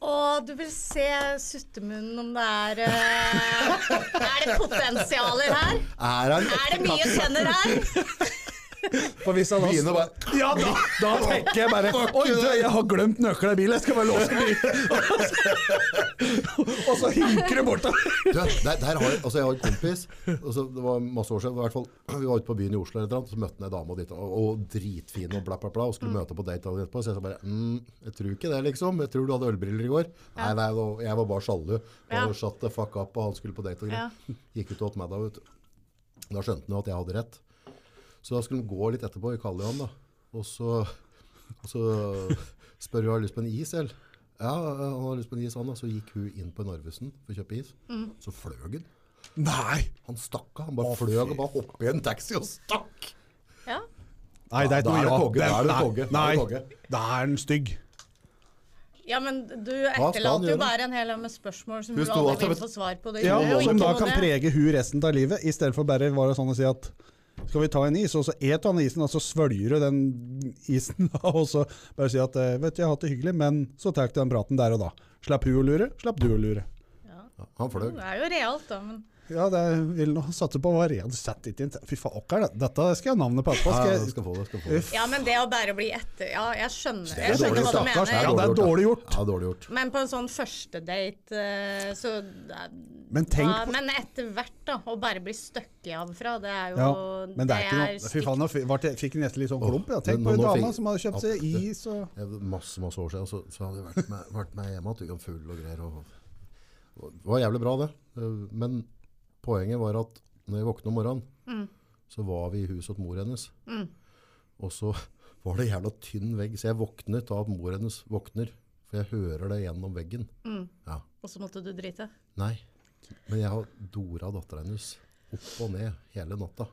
Speaker 2: Å, du vil se suttemunnen om det er eh, Er det potensialer her?
Speaker 1: er han
Speaker 2: Er det mye tenner her?
Speaker 3: For hvis han
Speaker 1: Begynner bare
Speaker 3: Ja, da, da tenker jeg bare Oi, du, jeg har glemt nøkkelen i bilen, jeg skal bare låse bilen. og så hinker du bort da.
Speaker 1: du, der, der har, jeg- altså Jeg har en kompis og så, Det var masse år siden. i hvert fall, Vi var ute på byen i Oslo, eller et eller annet, så møtte han ei dame og, dit, og, og dritfin og bla, bla, bla, og skulle møte på date dagen etterpå. Så jeg sa bare mm, Jeg tror ikke det, liksom. Jeg tror du hadde ølbriller i går. Nei, nei, da- jeg var bare sjalu.
Speaker 2: Ja.
Speaker 1: Og shut the fuck *laughs* up, og han skulle på date og greier. Gikk ut og åt middag, vet du. Da skjønte han jo at jeg hadde rett. Så da skulle de gå litt etterpå i Kallian, da. Og så, og så spør hun har lyst på en is, eller? Ja, han har lyst på en is, han da. Så gikk hun inn på Narvesen for å kjøpe is. Så fløg hun.
Speaker 3: Nei!
Speaker 1: Han stakk av. Han bare fløy og bare hoppet i en taxi og stakk.
Speaker 2: Ja.
Speaker 3: Nei, det er
Speaker 1: Da
Speaker 3: ikke noe
Speaker 1: er det
Speaker 3: ja.
Speaker 1: konge, da er det konge, da er det
Speaker 3: Nei,
Speaker 1: konge.
Speaker 3: da er den stygg.
Speaker 2: ja, men du
Speaker 1: han
Speaker 2: etterlater jo
Speaker 1: gjøre?
Speaker 2: bare en hel haug med spørsmål som
Speaker 1: Hun
Speaker 2: du
Speaker 1: sto
Speaker 2: aldri
Speaker 1: altså
Speaker 2: vil
Speaker 1: med-
Speaker 2: få svar på. Det
Speaker 3: Ja,
Speaker 2: gjør jo
Speaker 3: som
Speaker 2: ikke
Speaker 3: da
Speaker 2: noe
Speaker 3: kan
Speaker 2: det.
Speaker 3: prege hun resten av livet, istedenfor bare var det sånn å si at skal vi ta en is, og så et du den isen, og så svølger du den isen, og så bare si at eh, vet du, jeg har hatt det hyggelig, men så tar du den praten der og da. Slapp hun å lure, slapp du å lure.
Speaker 2: Ja.
Speaker 1: Han fløy.
Speaker 2: Det er jo realt, da, men
Speaker 3: Ja, det er- vil nå satse på å være ren. Sett ikke inn Fy faen, åkker det. Dette skal jeg ha navnet på etterpå.
Speaker 1: Ja,
Speaker 3: Skal
Speaker 1: du
Speaker 3: jeg,
Speaker 1: skal få det. Skal få det.
Speaker 2: Ja, men det å bare bli etter Ja, jeg skjønner, jeg
Speaker 1: Det er dårlig,
Speaker 2: skjønner hva du
Speaker 3: stakkars.
Speaker 2: mener.
Speaker 3: Ja, det er
Speaker 1: da.
Speaker 3: dårlig gjort.
Speaker 1: Ja, dårlig gjort.
Speaker 2: Men på en sånn første date, eh, så
Speaker 3: men tenk
Speaker 2: ja,
Speaker 3: på
Speaker 2: Men etter hvert, da. Å bare bli støkket av fra, det er jo
Speaker 3: ja, men det er ikke noe Fy
Speaker 2: stygt.
Speaker 3: faen, nå f- vart jeg- fikk jeg nesten litt sånn klump. Ja. Tenk
Speaker 1: men
Speaker 3: på
Speaker 1: nå-
Speaker 3: hun
Speaker 1: nå
Speaker 3: dama
Speaker 1: fikk-
Speaker 3: som hadde kjøpt seg
Speaker 1: Ja, det-
Speaker 3: is og
Speaker 1: Jeg, masse, masse år siden så, så hadde jeg vært med, vært med hjemme at du kan full og greier. Og, og det var jævlig bra det. Eh, Men poenget var at når jeg våkna om morgenen, så var vi i huset til mor hennes. Og så var det jævla tynn vegg, så jeg våknet av at mor hennes våkner. For jeg hører det gjennom veggen. Ja.
Speaker 2: Og så måtte du drite.
Speaker 1: Nei. Men jeg har dora dattera hennes opp og ned hele natta.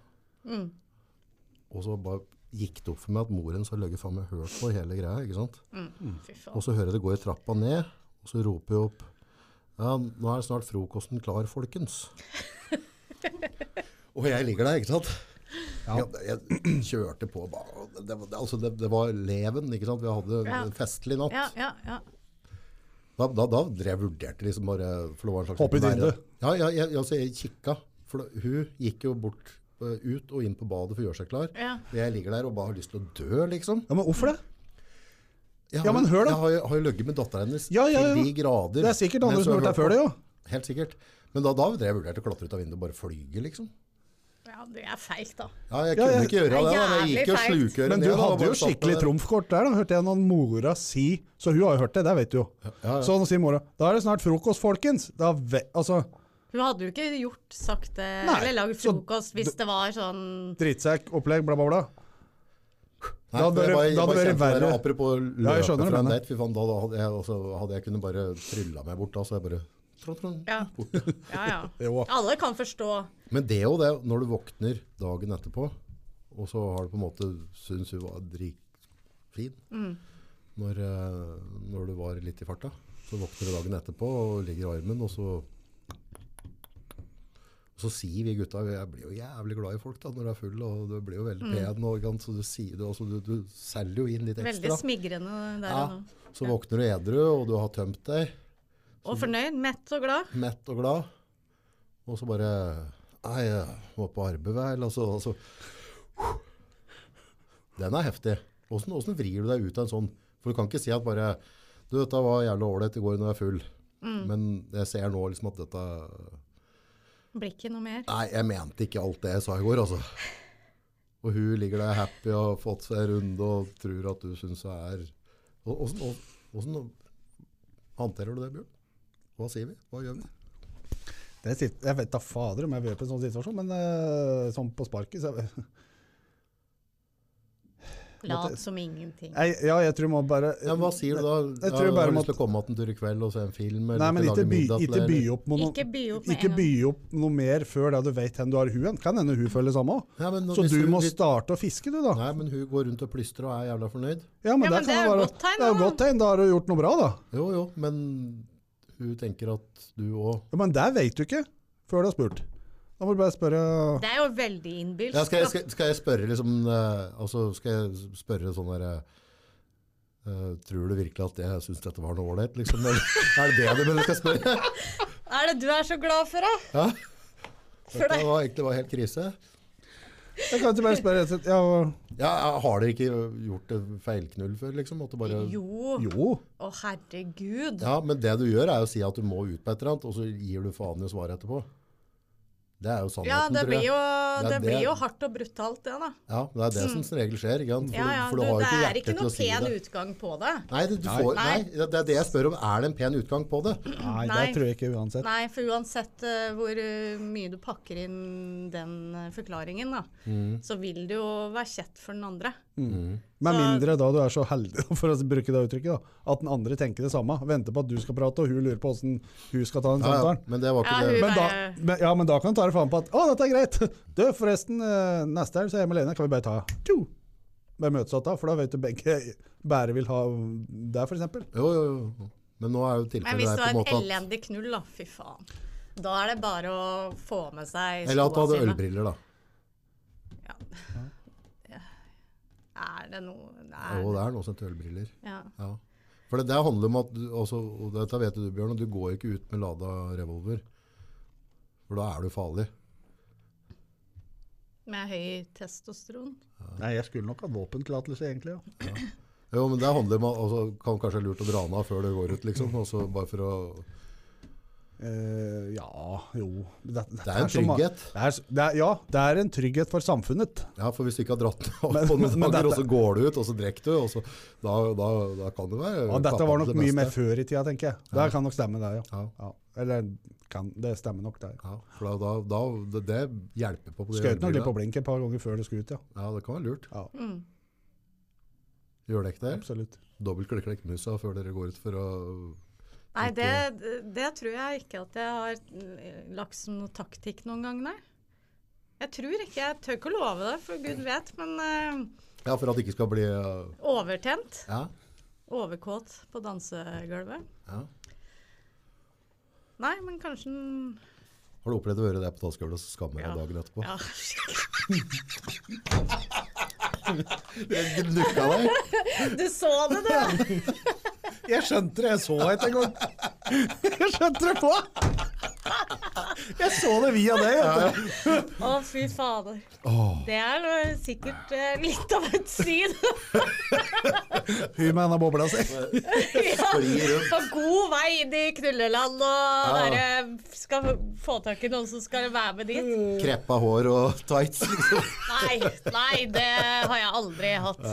Speaker 1: Og så bare gikk det opp for meg at moren så løgge faen meg hørt på hele greia. ikke sant?
Speaker 3: Mm.
Speaker 2: Fy faen.
Speaker 1: Og så hører jeg det går i trappa ned, og så roper jeg opp ja, nå er snart frokosten klar, folkens. *laughs* og jeg ligger der, ikke sant?
Speaker 3: Ja.
Speaker 1: Jeg, jeg kjørte på. bare- Det, det, altså det, det var leven, ikke sant? Vi hadde en-
Speaker 2: Ja.
Speaker 1: en festlig natt.
Speaker 2: Ja, ja, ja.
Speaker 1: Da, da, da drev jeg vurderte liksom bare for det var en slags
Speaker 3: Hopp i
Speaker 1: nære-
Speaker 3: vinduet.
Speaker 1: Ja, ja, jeg, altså, jeg kikka. For da- hun gikk jo bort eh, ut og inn på badet for å gjøre seg klar.
Speaker 2: Ja.
Speaker 1: Og Jeg ligger der og bare har lyst til å dø, liksom.
Speaker 3: Ja, men hvorfor det?
Speaker 1: Jeg har,
Speaker 3: Ja, men hør da.
Speaker 1: Jeg har, jo- har jo ligget med dattera hennes
Speaker 3: Ja, ja, ja.
Speaker 1: til de grader.
Speaker 3: Det er sikkert andre
Speaker 1: mens
Speaker 3: som har
Speaker 1: hun
Speaker 3: gjort det
Speaker 1: hørt
Speaker 3: før det, jo.
Speaker 1: på. Helt sikkert. Men da, da drev jeg vurderte å klatre ut av vinduet og bare flyge, liksom.
Speaker 2: ja det er feigt, da.
Speaker 1: Ja, jeg
Speaker 3: Ja,
Speaker 1: kunne
Speaker 3: jeg-
Speaker 1: ikke gjøre
Speaker 2: Det
Speaker 1: det.
Speaker 2: er
Speaker 1: da. Jeg gikk jo
Speaker 2: jævlig feigt.
Speaker 1: slukøret
Speaker 3: Men
Speaker 1: ned,
Speaker 3: du
Speaker 1: og
Speaker 3: hadde
Speaker 1: bare
Speaker 3: jo
Speaker 1: satt meg
Speaker 3: skikkelig
Speaker 1: der.
Speaker 3: trumfkort der, da, hørte jeg noen mora si. Så hun har jo hørt det, det vet du jo.
Speaker 1: ja.
Speaker 3: Så nå sier mora da er det snart frokost, folkens. Da ve altså,
Speaker 2: Hun hadde jo ikke gjort sagt det,
Speaker 3: Nei,
Speaker 2: eller lagd
Speaker 3: så
Speaker 2: frokost, hvis det var sånn
Speaker 3: drittsekk, opplegg, bla, bla, bla.
Speaker 1: Nei,
Speaker 3: Da hadde
Speaker 1: for jeg
Speaker 3: det-
Speaker 1: bare- jeg
Speaker 3: da hadde
Speaker 1: bare
Speaker 3: det
Speaker 1: kjente
Speaker 3: vært verre.
Speaker 1: der, Apropos
Speaker 3: Ja, jeg
Speaker 1: løpe
Speaker 3: skjønner det,
Speaker 1: fra en
Speaker 3: men-
Speaker 1: date, fy faen, da da hadde jeg, altså, hadde jeg kunnet bare trylla meg bort da, så jeg bare tron, tron,
Speaker 2: Ja.
Speaker 1: borte.
Speaker 2: Ja, ja.
Speaker 3: *laughs* Jo.
Speaker 2: Alle kan forstå.
Speaker 1: Men det er jo det, når du våkner dagen etterpå, og så har du på en måte syntes du var dritfin når, eh, når du var litt i farta. Så våkner du dagen etterpå og ligger i armen, og så og så sier vi gutta Jeg blir jo jævlig glad i folk da, når du er full, og du blir jo veldig pen. Og, ikke sant, så du, sier, du, altså, du, du selger jo inn litt
Speaker 2: Veldig
Speaker 1: ekstra.
Speaker 2: smigrende der og
Speaker 1: Ja,
Speaker 2: nå.
Speaker 1: så våkner du edru, og du har tømt deg,
Speaker 2: Og fornøyd, mett og glad.
Speaker 1: mett og glad, og så bare Nei, jeg må på arbeid, vel. Og så, og så. Den er heftig. Åssen åssen vrir du deg ut av en sånn? For du kan ikke si at bare Du, dette var jævlig ålreit i går når jeg er full, men jeg ser nå liksom at dette
Speaker 2: Blir ikke noe mer.
Speaker 1: Nei, jeg mente ikke alt det jeg sa i går, altså. Og hun ligger der happy og har fått seg en runde og tror at du syns hun er Og- Åssen og- åssen håndterer du det, Bjørn? Hva sier vi? Hva gjør vi?
Speaker 3: Det sit- jeg vet da fader om jeg vil på en sånn situasjon, men eh, sånn på sparket så jeg,
Speaker 2: Lat som ingenting.
Speaker 3: Nei, Ja, jeg tror må bare
Speaker 1: Ja, men hva sier du da?
Speaker 3: Jeg
Speaker 1: Ja,
Speaker 3: tror bare
Speaker 1: har du lyst
Speaker 3: må-
Speaker 1: til å komme att en tur i kveld og se en film? Eller
Speaker 3: Nei, men
Speaker 1: skal
Speaker 3: ikke
Speaker 1: lage
Speaker 3: by,
Speaker 1: middag til
Speaker 3: ikke
Speaker 1: deg,
Speaker 3: by
Speaker 1: eller?
Speaker 3: opp med noe
Speaker 2: Ikke by opp med
Speaker 3: Ikke
Speaker 2: en gang.
Speaker 3: by opp noe mer før det du vet hvor du har huen. Kan hende hun føler det samme òg.
Speaker 1: Ja, men nå-
Speaker 3: Så
Speaker 1: hvis
Speaker 3: du
Speaker 1: hun-
Speaker 3: må
Speaker 1: hvis-
Speaker 3: starte å fiske, du, da.
Speaker 1: Nei, men hun går rundt og plystrer og er jævla fornøyd.
Speaker 2: Ja,
Speaker 3: Ja, men, det,
Speaker 2: men
Speaker 3: kan
Speaker 2: det er
Speaker 3: jo
Speaker 2: jo
Speaker 3: være,
Speaker 2: godt tegn,
Speaker 3: det er jo
Speaker 2: da.
Speaker 3: godt tegn. Da har du gjort noe bra, da.
Speaker 1: Jo, jo, men hun tenker at du òg
Speaker 3: Ja, men det vet du ikke før du har spurt. Da må du bare spørre
Speaker 2: Det er jo veldig innbilsk.
Speaker 1: ja, skal, jeg-
Speaker 2: da.
Speaker 1: skal, skal jeg spørre liksom eh, Altså, skal jeg spørre sånn der eh, eh, Tror du virkelig at jeg syns dette var noe ålreit, liksom? Eller, *laughs* er det det du mener jeg skal spørre?
Speaker 2: Er det du er så glad for, da?
Speaker 1: Ja?
Speaker 2: *laughs* For
Speaker 1: Dette
Speaker 2: det.
Speaker 1: var egentlig var helt krise.
Speaker 3: Jeg kan ikke bare spørre rett og slett, ja,
Speaker 1: Ja, har dere ikke gjort et feilknull før, liksom? At du bare
Speaker 2: Jo.
Speaker 3: Jo.
Speaker 2: Å, herregud.
Speaker 1: Ja, men det du gjør er jo å si at du må ut på et eller annet, og så gir du faen i å svare etterpå. Det er jo sannheten,
Speaker 2: Ja, det
Speaker 1: tror
Speaker 2: blir
Speaker 1: jeg.
Speaker 2: jo,
Speaker 1: Det er
Speaker 2: det blir
Speaker 1: det-
Speaker 2: jo hardt og brutalt, det, da.
Speaker 1: Ja, det er det som som regel skjer. Ikke sant? For,
Speaker 2: Mm. Ja, ja,
Speaker 1: for
Speaker 2: du,
Speaker 1: du har jo
Speaker 2: det
Speaker 1: ikke
Speaker 2: er
Speaker 1: hjerte
Speaker 2: ikke
Speaker 1: til
Speaker 2: noe
Speaker 1: å si
Speaker 2: pen
Speaker 1: det.
Speaker 2: utgang på det.
Speaker 1: Nei, det, du får, nei,
Speaker 2: Nei.
Speaker 1: det er det jeg spør om. Er det en pen utgang på det?
Speaker 3: Nei, det
Speaker 2: Nei.
Speaker 3: tror jeg ikke uansett.
Speaker 2: Nei, for uansett eh, hvor eh, mye du pakker inn den eh, forklaringen, da,
Speaker 1: Mm.
Speaker 2: så vil det jo være kjett for den andre.
Speaker 3: Med
Speaker 2: Så-
Speaker 3: mindre da du er så heldig, *laughs* for å bruke det uttrykket, da, at den andre tenker det samme. Venter på at du skal prate, og hun lurer på åssen hun skal ta den
Speaker 1: Ja, ja,
Speaker 3: samtalen.
Speaker 1: men det var
Speaker 2: Ja,
Speaker 1: ikke
Speaker 2: hun-
Speaker 1: det.
Speaker 3: Men da,
Speaker 2: Bare-
Speaker 3: men, ja, men da kan du ta det faen på at 'Å, dette er greit'. *laughs* Du, forresten, eh, neste helg så er jeg med Lene. Kan vi bare ta tjo, Bare møtes igjen da? For da vet du begge *laughs* bare vil ha deg, f.eks.
Speaker 1: Jo, jo, jo. Men nå er jo
Speaker 2: Men
Speaker 1: tilfellet
Speaker 2: hvis
Speaker 1: der
Speaker 2: det
Speaker 1: på en
Speaker 2: var
Speaker 1: måte
Speaker 2: en
Speaker 1: at
Speaker 2: elendig knull, da, fy faen. Da er det bare å få med seg
Speaker 1: Eller at du
Speaker 2: skoa
Speaker 1: hadde
Speaker 2: sine.
Speaker 1: ølbriller, da.
Speaker 2: Ja. Er det noe er
Speaker 1: Jo, det er noe som heter ølbriller.
Speaker 2: Ja.
Speaker 1: Ja. For det, det handler om at du, altså, og Dette vet du, Bjørn, og du går ikke ut med lada revolver. For da er du farlig.
Speaker 2: Med høy testosteron.
Speaker 3: Nei, jeg skulle nok ha våpentillatelse, egentlig. Ja.
Speaker 1: Jo, men det handler om at- altså, kan kanskje være lurt å dra den av før du går ut, liksom. Altså, bare for å
Speaker 3: Eh, ja, jo Det,
Speaker 1: Det er en
Speaker 3: så ma-
Speaker 1: trygghet.
Speaker 3: Det er, s- det er, ja, det er en trygghet for samfunnet.
Speaker 1: Ja, for hvis du ikke har dratt den av
Speaker 3: Men-
Speaker 1: på noen
Speaker 3: men
Speaker 1: dager, og
Speaker 3: dette-
Speaker 1: så går du ut, og så drikker du, og så da, da, da kan det være
Speaker 3: Ja, dette
Speaker 1: kappa
Speaker 3: var
Speaker 1: til
Speaker 3: nok
Speaker 1: det
Speaker 3: mye mer
Speaker 1: meste.
Speaker 3: før i tida, tenker jeg. Det kan nok stemme, det. Ja.
Speaker 1: Ja.
Speaker 3: Ja. Eller kan, det stemmer nok, det.
Speaker 1: Ja, for da, da, da det, det hjelper på. på de
Speaker 3: Skjøt nok litt
Speaker 1: ølbrillene.
Speaker 3: på blinket et par ganger før det skulle ut, ja.
Speaker 1: Ja, det kan være lurt.
Speaker 3: Ja.
Speaker 2: Mm.
Speaker 1: Gjør det ikke det?
Speaker 3: Absolutt.
Speaker 1: Dobbelt klikklekkmusa før dere går ut for å
Speaker 2: Nei, det, det tror jeg ikke at jeg har eh, lagt som noe taktikk noen gang, nei. Jeg tror ikke. Jeg tør ikke å love det, for gud vet. Men eh,
Speaker 1: Ja, for at det ikke skal bli eh,
Speaker 2: overtent.
Speaker 1: Ja.
Speaker 2: Overkåt på dansegulvet.
Speaker 1: ja.
Speaker 2: Nei, men kanskje den
Speaker 1: Har du opplevd å høre det på dansegulvet og så skammer deg
Speaker 2: Ja.
Speaker 1: dagen etterpå?
Speaker 2: Ja. *laughs*
Speaker 1: Jeg gnukka deg!
Speaker 2: Du så det, du!
Speaker 3: Jeg skjønte det, jeg så det ikke *laughs* engang. Jeg skjønte det på! Jeg så det via det. vet du.
Speaker 2: Å, fy fader. Det er noe- sikkert eh, litt av et syn.
Speaker 3: Hun med denne bobla si.
Speaker 2: ja.
Speaker 1: Flyr rundt.
Speaker 2: På god vei inn i knulleland og
Speaker 1: Ja.
Speaker 2: bare skal få tak i noen som skal være med dit.
Speaker 1: Kreppa hår og *laughs* tights. Liksom.
Speaker 2: Nei, nei, det har jeg aldri hatt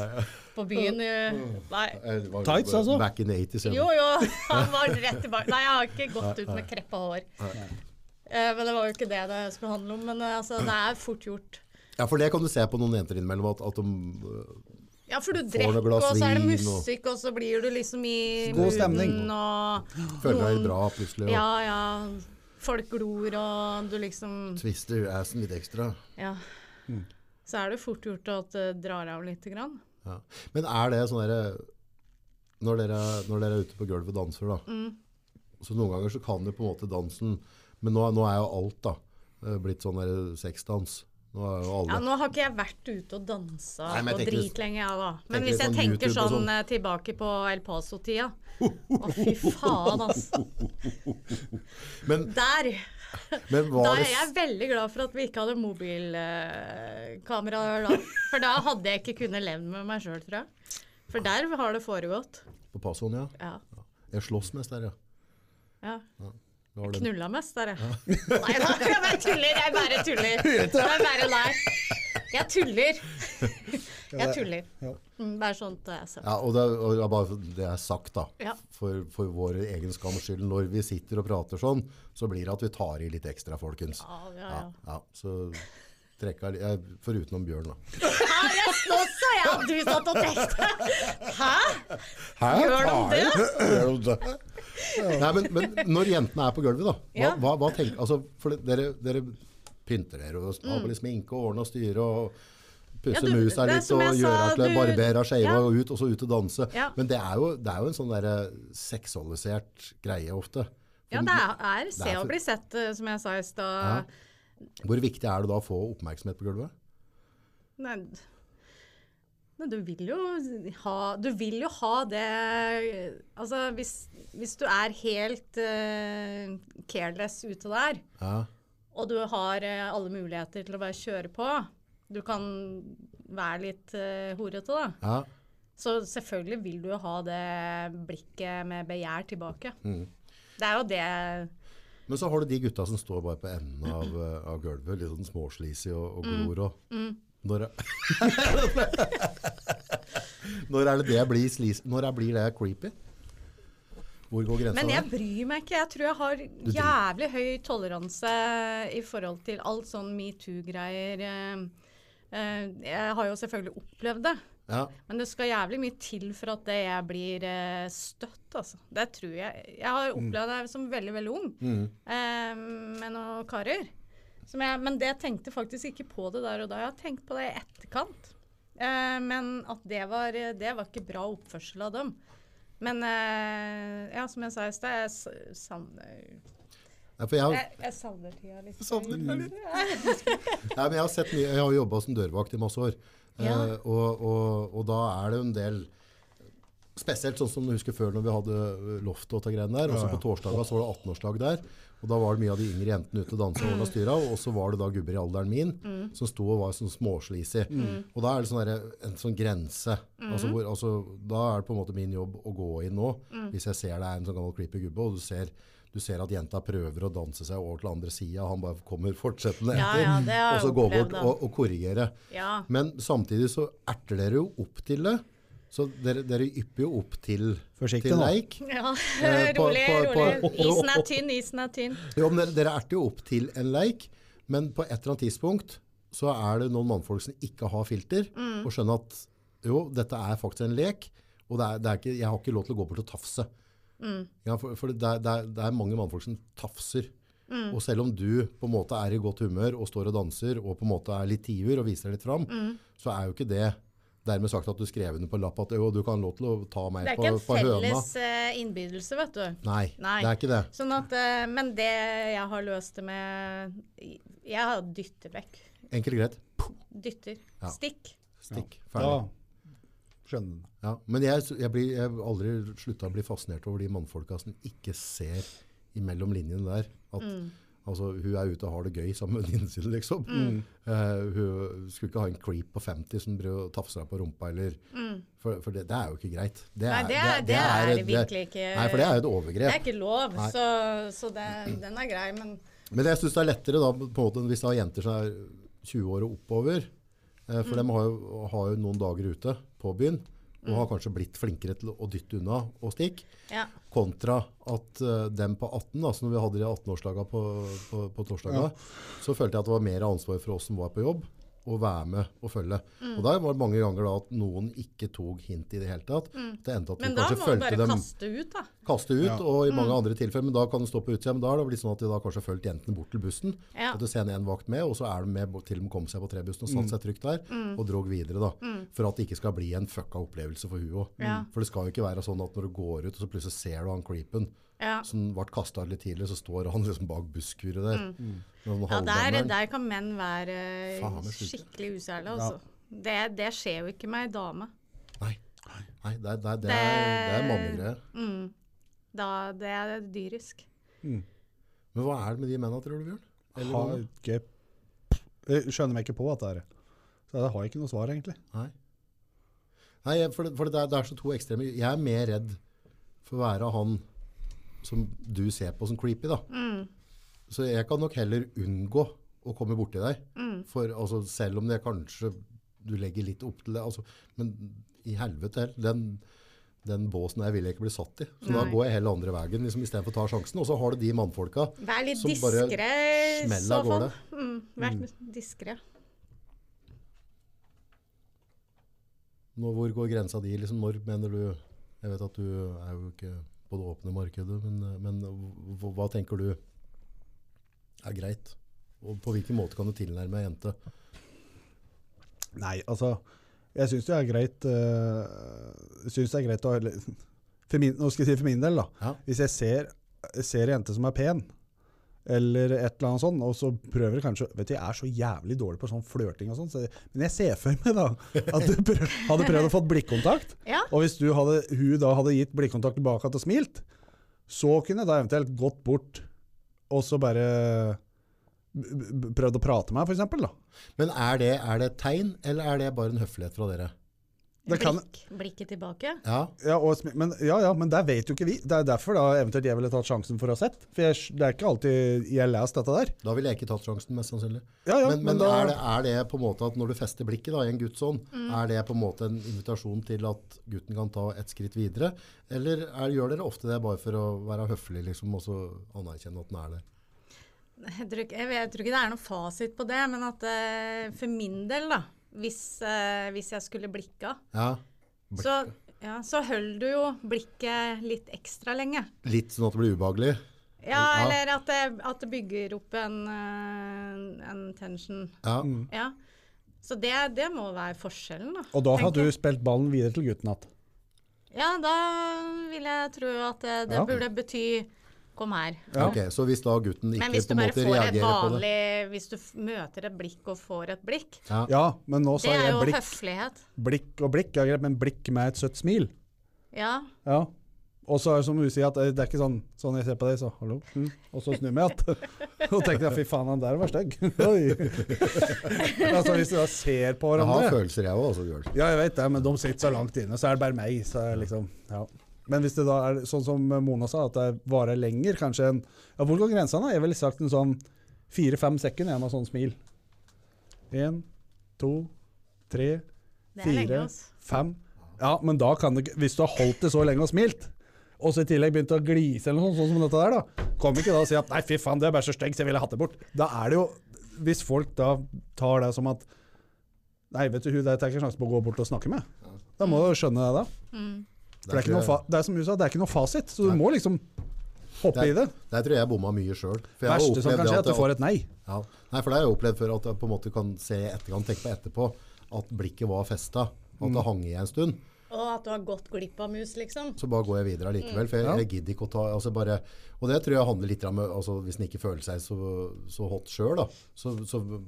Speaker 2: på byen. eh, Nei.
Speaker 1: Eller var det
Speaker 3: Tights,
Speaker 1: bare
Speaker 3: altså?
Speaker 1: Back in the 80s.
Speaker 2: Jo, jo, han var rett tilbake. Nei, jeg har ikke gått ut med kreppa hår. Eh, Men det var jo ikke det det skulle handle om. Men eh, altså, det er fort gjort.
Speaker 1: Ja, for det kan du se på noen jenter innimellom. At, at de, øh,
Speaker 2: Ja, for du
Speaker 1: noe
Speaker 2: drikker,
Speaker 1: glass
Speaker 2: og så er det
Speaker 1: vin, og-
Speaker 2: musikk, og så blir du liksom i
Speaker 3: God stemning.
Speaker 2: mooden, og
Speaker 1: eh, føler deg bra plutselig. Og
Speaker 2: Ja, ja. Folk glor, og du liksom
Speaker 1: twister assen litt ekstra.
Speaker 2: Ja. Så er det fort gjort at det drar av lite grann.
Speaker 1: Ja. Men er det sånn derre når, dere- når dere er ute på gulvet og danser, da.
Speaker 2: Mm.
Speaker 1: Så noen ganger så kan jo på en måte dansen Men nå, nå er jo alt da eh, blitt sånn der sexdans. Nå er jo alle
Speaker 2: Ja, nå har ikke jeg vært ute og dansa
Speaker 1: Nei, men
Speaker 2: og
Speaker 1: jeg tenker litt-
Speaker 2: dritlenge, jeg da. Men
Speaker 1: tenker litt
Speaker 2: hvis jeg
Speaker 1: sånn YouTube
Speaker 2: tenker
Speaker 1: og
Speaker 2: sånn
Speaker 1: sånn.
Speaker 2: eh, tilbake på El Paso-tida Å,
Speaker 1: *laughs*
Speaker 2: fy faen, altså.
Speaker 1: Men,
Speaker 2: Der! *laughs*
Speaker 1: men
Speaker 2: Da
Speaker 1: var
Speaker 2: er
Speaker 1: det
Speaker 2: jeg veldig glad for at vi ikke hadde mobilkamera da. For da hadde jeg ikke kunnet levd med meg sjøl, tror jeg. For der har det foregått.
Speaker 1: På Passoen, ja.
Speaker 2: Ja.
Speaker 1: Jeg slåss mest der, ja.
Speaker 2: ja.
Speaker 1: Det var den.
Speaker 2: Knulla mest, der, ja. Nei da, jeg bare tuller. Jeg bare
Speaker 1: *laughs*
Speaker 2: tuller. Det er bare lær. Jeg tuller. Jeg tuller. Mm, Bare sånn at det er sagt.
Speaker 1: Ja, og det, er- og det er bare det er sagt, da.
Speaker 2: Ja.
Speaker 1: For, for vår egen skams skyld. Når vi sitter og prater sånn, så blir det at vi tar i litt ekstra, folkens.
Speaker 2: Ja, ja, ja.
Speaker 1: ja, så trekka jeg litt Foruten om Bjørn, da.
Speaker 2: Ja, jeg slåss, sa jeg. Du satt og tenkte. Hæ?
Speaker 1: Hæ?
Speaker 2: Gjør de det?
Speaker 1: *laughs* Gjør de det? Nei, men, men når jentene er på gulvet, da, hva,
Speaker 2: Ja.
Speaker 1: hva, hva tenker altså, for det- dere, dere pynter dere og har på litt sminke og ordner og styrer og
Speaker 2: Mm. Ja,
Speaker 1: pusser
Speaker 2: du-
Speaker 1: musa
Speaker 2: det er
Speaker 1: litt
Speaker 2: som
Speaker 1: og
Speaker 2: jeg
Speaker 1: gjør
Speaker 2: sa,
Speaker 1: her til en
Speaker 2: du-
Speaker 1: barberer av skeiva
Speaker 2: ja.
Speaker 1: og ut, og så ut og danse.
Speaker 2: Ja.
Speaker 1: Men det er, jo, det er jo en sånn derre seksualisert greie ofte.
Speaker 2: Ja, det er, er
Speaker 1: Det
Speaker 2: se
Speaker 1: er
Speaker 2: og
Speaker 1: for-
Speaker 2: bli sett, eh, som jeg sa i stad.
Speaker 1: Hvor viktig er det da å få oppmerksomhet på gulvet?
Speaker 2: Nei, d- men du vil jo ha, du vil jo ha det Altså, hvis, hvis du er helt eh, careless ute der,
Speaker 1: Ja.
Speaker 2: og du har eh, alle muligheter til å bare kjøre på Du kan være litt eh, horete, da.
Speaker 1: ja.
Speaker 2: Så selvfølgelig vil
Speaker 1: Mm.
Speaker 2: du jo ha det blikket med begjær tilbake. Det er jo det
Speaker 1: Men så har du de gutta som står bare på enden av, eh, av gulvet, litt sånn småslisig og, og
Speaker 2: Mm.
Speaker 1: glor. Og, når, er- *laughs* når er det det blir slis... Når er, blir det creepy? Hvor går grensa
Speaker 2: Men jeg
Speaker 1: der?
Speaker 2: bryr meg ikke. Jeg tror jeg har jævlig høy toleranse i forhold til alt sånn metoo-greier. eh, eh, Jeg har jo selvfølgelig opplevd det.
Speaker 1: Ja.
Speaker 2: Men det skal jævlig mye til for at det jeg blir eh, støtt, altså. Det tror jeg. Jeg har
Speaker 1: Mm.
Speaker 2: opplevd det som veldig, veldig ung eh, med noen karer. Som jeg, men det jeg tenkte faktisk ikke på det der og da. Jeg har tenkt på det i etterkant. Eh, men at det var, det var ikke bra oppførsel av dem. Men eh, ja, som jeg sa i sted, jeg s- savner
Speaker 1: Nei, for jeg, har-
Speaker 2: jeg, jeg savner tida litt.
Speaker 1: Nei, men jeg har sett mye. Jeg har jo jobba som dørvakt i masse år.
Speaker 2: Ja.
Speaker 1: Eh, og, og, og da er det jo en del Spesielt sånn som du husker før når vi hadde eh, loftet og de greiene der. Også
Speaker 3: Ja, ja.
Speaker 1: på torsdager så var det 18-årsdag der. Og da var det mye av de yngre jentene ute og dansa og ordna styra. Og så var det da gubber i alderen min
Speaker 2: Mm.
Speaker 1: som sto og var sånn småslisig. Og da er det sånn derre- en sånn grense.
Speaker 2: Mm.
Speaker 1: Altså hvor, altså, da er det på en måte min jobb å gå inn nå.
Speaker 2: Mm.
Speaker 1: Hvis jeg ser det er en sånn gammel creepy gubbe, og du ser, du ser at jenta prøver å danse seg over til andre sida, og han bare kommer fortsettende
Speaker 2: Ja,
Speaker 1: etter.
Speaker 2: ja, det har
Speaker 1: og så
Speaker 2: jeg
Speaker 1: gå
Speaker 2: opplevd,
Speaker 1: bort
Speaker 2: da.
Speaker 1: og, og korrigere.
Speaker 2: Ja.
Speaker 1: *laughs* Men samtidig så erter dere jo opp til det. Så dere, dere ypper jo opp til,
Speaker 3: Forsiktig
Speaker 1: til
Speaker 3: nå.
Speaker 1: leik.
Speaker 2: ja.
Speaker 1: Eh, på-
Speaker 2: *laughs* Rolig,
Speaker 1: på- på-
Speaker 2: rolig. Isen er tynn, isen er tynn.
Speaker 1: Jo, men dere, dere erter jo opp til en leik, men på et eller annet tidspunkt så er det noen mannfolk som ikke har filter,
Speaker 2: Mm.
Speaker 1: og skjønner at jo, dette er faktisk en lek, og det er, det er ikke, jeg har ikke lov til å gå bort og tafse.
Speaker 2: Mm.
Speaker 1: Ja, for, for det, er- det, er, det er mange mannfolk som tafser.
Speaker 2: Mm.
Speaker 1: Og selv om du på en måte er i godt humør og står og danser og på en måte er litt tiver og viser deg litt fram,
Speaker 2: Mm.
Speaker 1: så er jo ikke det dermed sagt at du skrev under på en lapp at jo, du kan ha lov til å ta meg
Speaker 2: Det er
Speaker 1: på,
Speaker 2: ikke en
Speaker 1: på høna.
Speaker 2: felles eh, innbydelse, vet du.
Speaker 1: Nei,
Speaker 2: Nei.
Speaker 1: det er ikke det.
Speaker 2: Sånn at, eh, men det jeg har løst det med Jeg har dytter vekk.
Speaker 1: Enkelt og greit.
Speaker 2: Dytter.
Speaker 1: Ja.
Speaker 2: Stikk.
Speaker 1: Stikk.
Speaker 3: Da
Speaker 1: Ferdig.
Speaker 3: skjønner du.
Speaker 1: Ja, men jeg, jeg, blir, jeg har aldri slutta å bli fascinert over de mannfolka som ikke ser imellom linjene der. At,
Speaker 2: Mm.
Speaker 1: altså, hun er ute og har det gøy sammen med venninnen sin, liksom.
Speaker 2: Mm.
Speaker 1: Eh, hun skulle ikke ha en creep på 50 som driver og tafser deg på rumpa, eller For, for det, det er jo ikke greit. Det
Speaker 2: Mm. Nei, det er- det er virkelig ikke-
Speaker 1: Nei, for det er jo et
Speaker 2: Det
Speaker 1: overgrep.
Speaker 2: er ikke lov,
Speaker 1: Nei.
Speaker 2: så, så det, den er grei, men
Speaker 1: Men jeg syns det er lettere da, på en måte, enn hvis det er jenter som er 20 år og oppover. Eh,
Speaker 2: Mm.
Speaker 1: for de har jo, har jo noen dager ute på byen og
Speaker 2: Mm.
Speaker 1: har kanskje blitt flinkere til å dytte unna og stikke.
Speaker 2: ja.
Speaker 1: Kontra at eh, dem på 18, da, så når vi hadde de 18-årsdaga på, på, på torsdaga, så følte jeg at det var mer ansvar for oss som var på jobb, å være med og følge.
Speaker 2: Mm.
Speaker 1: Og der var det mange ganger da at noen ikke tok hint i det hele tatt. Det endte at vi
Speaker 2: Mm. Men da
Speaker 1: kanskje
Speaker 2: må du bare
Speaker 1: fulgte dem
Speaker 2: kaste ut, da.
Speaker 1: kaste ut,
Speaker 3: Ja.
Speaker 1: og i mange
Speaker 2: Mm.
Speaker 1: andre tilfeller, men da kan det stå på utsida. Men da har det blitt sånn at de da kanskje har fulgt jentene bort til bussen.
Speaker 2: Ja.
Speaker 1: At du sender en vakt med, og så er de med bort til de kom seg på trebussen og satte seg trygt der,
Speaker 2: Mm.
Speaker 1: og drog videre, da. For at det ikke skal bli en fucka opplevelse for hun òg.
Speaker 2: Ja.
Speaker 1: For det skal jo ikke være sånn at når du går ut, og så plutselig ser du han creepen
Speaker 2: Ja.
Speaker 1: som ble kasta litt tidligere, så står han liksom bak busskuret der. Noen
Speaker 2: Mm. Ja, der,
Speaker 1: halvdamer.
Speaker 2: der kan menn være eh,
Speaker 1: Faen, det er sjukt.
Speaker 2: skikkelig usærlige, altså. Det, det skjer jo ikke med ei dame.
Speaker 1: Nei. Nei, det, er- det, er- det er, det er mannegreier.
Speaker 2: Da, det er dyrisk.
Speaker 1: Men hva er det med de mennene, tror du, Bjørn? Eller
Speaker 3: Har
Speaker 1: hva?
Speaker 3: ikke Jeg skjønner meg ikke på at det er det. Så jeg har ikke noe svar, egentlig.
Speaker 1: Nei. Nei, jeg- for, det, for det, er, det er så to ekstreme. Jeg er mer redd for å være han som du ser på som creepy, da. Så jeg kan nok heller unngå å komme borti deg. For altså, selv om det kanskje du legger litt opp til det, altså, men i helvete heller, den, den båsen der vil jeg ikke bli satt i. Så da
Speaker 2: Nei.
Speaker 1: går jeg heller andre veien, liksom, istedenfor å ta sjansen. Og så har du de mannfolka.
Speaker 2: Vær litt
Speaker 1: Som bare
Speaker 2: diskré i
Speaker 1: smell
Speaker 2: så
Speaker 1: av
Speaker 2: fall.
Speaker 1: gårde.
Speaker 2: Mm, vær diskré.
Speaker 1: Nå, hvor går grensa di? Liksom, når mener du Jeg vet at du er jo ikke på det åpne markedet, men, men hva, hva tenker du er greit? Og på hvilken måte kan du tilnærme ei jente?
Speaker 3: Nei, altså Jeg syns det er greit eh, synes det er greit å eller, *laughs* for min, Nå skal jeg si for min del, da.
Speaker 1: Ja.
Speaker 3: Hvis jeg ser, ser en jente som er pen, eller et eller annet sånt, og så prøver jeg kanskje Vet du, jeg er så jævlig dårlig på sånn flørting og sånn, så, men jeg ser for meg da at du prøv, hadde prøvd å få blikkontakt.
Speaker 2: Ja.
Speaker 3: Og hvis du hadde, hun da hadde gitt blikkontakt tilbake og smilt, så kunne jeg da eventuelt gått bort og så bare b- b- prøvd å prate med henne, for eksempel, da.
Speaker 1: Men er det, er det et tegn, eller er det bare en høflighet fra dere?
Speaker 3: Det kan-
Speaker 2: Blikk, blikket tilbake.
Speaker 1: Ja,
Speaker 3: Ja, og, smi- men, ja, ja, men der vet jo ikke vi. Det er derfor da eventuelt jeg ville tatt sjansen for å ha sett. For jeg, det er ikke alltid jeg har lest dette der.
Speaker 1: da ville jeg ikke tatt sjansen, mest sannsynlig.
Speaker 3: Ja, ja,
Speaker 1: men men
Speaker 3: men da-
Speaker 1: er, det, er det på en måte at når du fester blikket da, i en Guds ånd, er det på en måte en invitasjon til at gutten kan ta et skritt videre? Eller er, gjør dere ofte det bare for å være høflig liksom, og så anerkjenne at den er der?
Speaker 2: Jeg tror, ikke, jeg, vet- jeg tror ikke det er noen fasit på det, men at eh, for min del, da Hvis, eh, hvis jeg skulle blikka,
Speaker 1: Ja,
Speaker 2: så, ja, så holder du jo blikket litt ekstra lenge.
Speaker 1: Litt sånn at det blir ubehagelig?
Speaker 2: Ja,
Speaker 1: Ja.
Speaker 2: eller at det, at det bygger opp en, eh, en tension.
Speaker 1: Ja.
Speaker 3: Mm,
Speaker 2: Ja. Så det, det må være forskjellen, da.
Speaker 3: Og da har
Speaker 2: tenker
Speaker 3: du
Speaker 2: jeg.
Speaker 3: spilt ballen videre til gutten igjen.
Speaker 2: Ja, da vil jeg tro at eh, det, det
Speaker 3: Ja.
Speaker 2: burde bety kom her.
Speaker 3: Ja.
Speaker 1: Ok, Så hvis da gutten ikke
Speaker 2: Men hvis
Speaker 1: på
Speaker 2: du
Speaker 1: en
Speaker 2: bare
Speaker 1: måte
Speaker 2: får et
Speaker 1: reagerer på det
Speaker 2: vanlig Hvis du f- møter et blikk og får et blikk,
Speaker 1: ja.
Speaker 3: Ja, men nå
Speaker 2: det
Speaker 3: sa
Speaker 2: er
Speaker 3: jeg
Speaker 2: jo
Speaker 3: blikk,
Speaker 2: høflighet.
Speaker 3: blikk og blikk. Ja, greit, men blikk med et søtt smil.
Speaker 2: Ja.
Speaker 3: Ja. Og så er det som du sier, at det er ikke sånn sånn jeg ser på deg, så hallo. Mm. Og så snur jeg meg igjen. *laughs* Og tenker jeg fy faen, han der var stygg. *laughs* Oi. altså hvis du da ser
Speaker 1: Jeg
Speaker 3: på
Speaker 1: har
Speaker 3: hverandre
Speaker 1: følelser, jeg òg. Altså, Bjørn.
Speaker 3: Ja, jeg vet det, men de sitter så langt inne, så er det bare meg. Så er det liksom, ja. Men hvis det da er sånn som Mona sa, at det varer lenger, kanskje en ja, Hvor går grensa, da? Jeg ville sagt en sånn fire-fem sekunder, en av sånn smil. Én, to, tre,
Speaker 2: Det er lenge,
Speaker 3: fire,
Speaker 2: altså.
Speaker 3: fem Ja, men da kan det ikke Hvis du har holdt det så lenge og smilt, og så i tillegg begynte å glise eller noe sånt, sånn som dette der, da, kom ikke da og si at 'nei, fy faen, det er bare så stygg, så jeg ville hatt det bort'. Da er det jo Hvis folk da tar det som at Nei, vet du, hun der tar ikke sjansen på å gå bort og snakke med. Da må du skjønne det, da.
Speaker 2: Mm.
Speaker 3: For det er, ikke noe fa det er som du sa, det er ikke noe fasit, så du må liksom hoppe
Speaker 1: Det
Speaker 3: i det.
Speaker 1: er- Der tror jeg jeg bomma mye sjøl.
Speaker 3: Det verste som kan skje, er at du får et nei.
Speaker 1: Ja. Nei, for det har jeg opplevd før, at jeg på en måte kan se i etterkant, tenke på etterpå, at blikket var festa. At
Speaker 3: Mm.
Speaker 1: det hang i en stund.
Speaker 2: Og at du har gått glipp av mus, liksom.
Speaker 1: Så bare går jeg videre allikevel. For jeg,
Speaker 3: Ja.
Speaker 1: jeg gidder ikke å ta altså bare, Og det tror jeg handler litt om altså, Hvis en ikke føler seg så, så hot sjøl, da, så, så, så,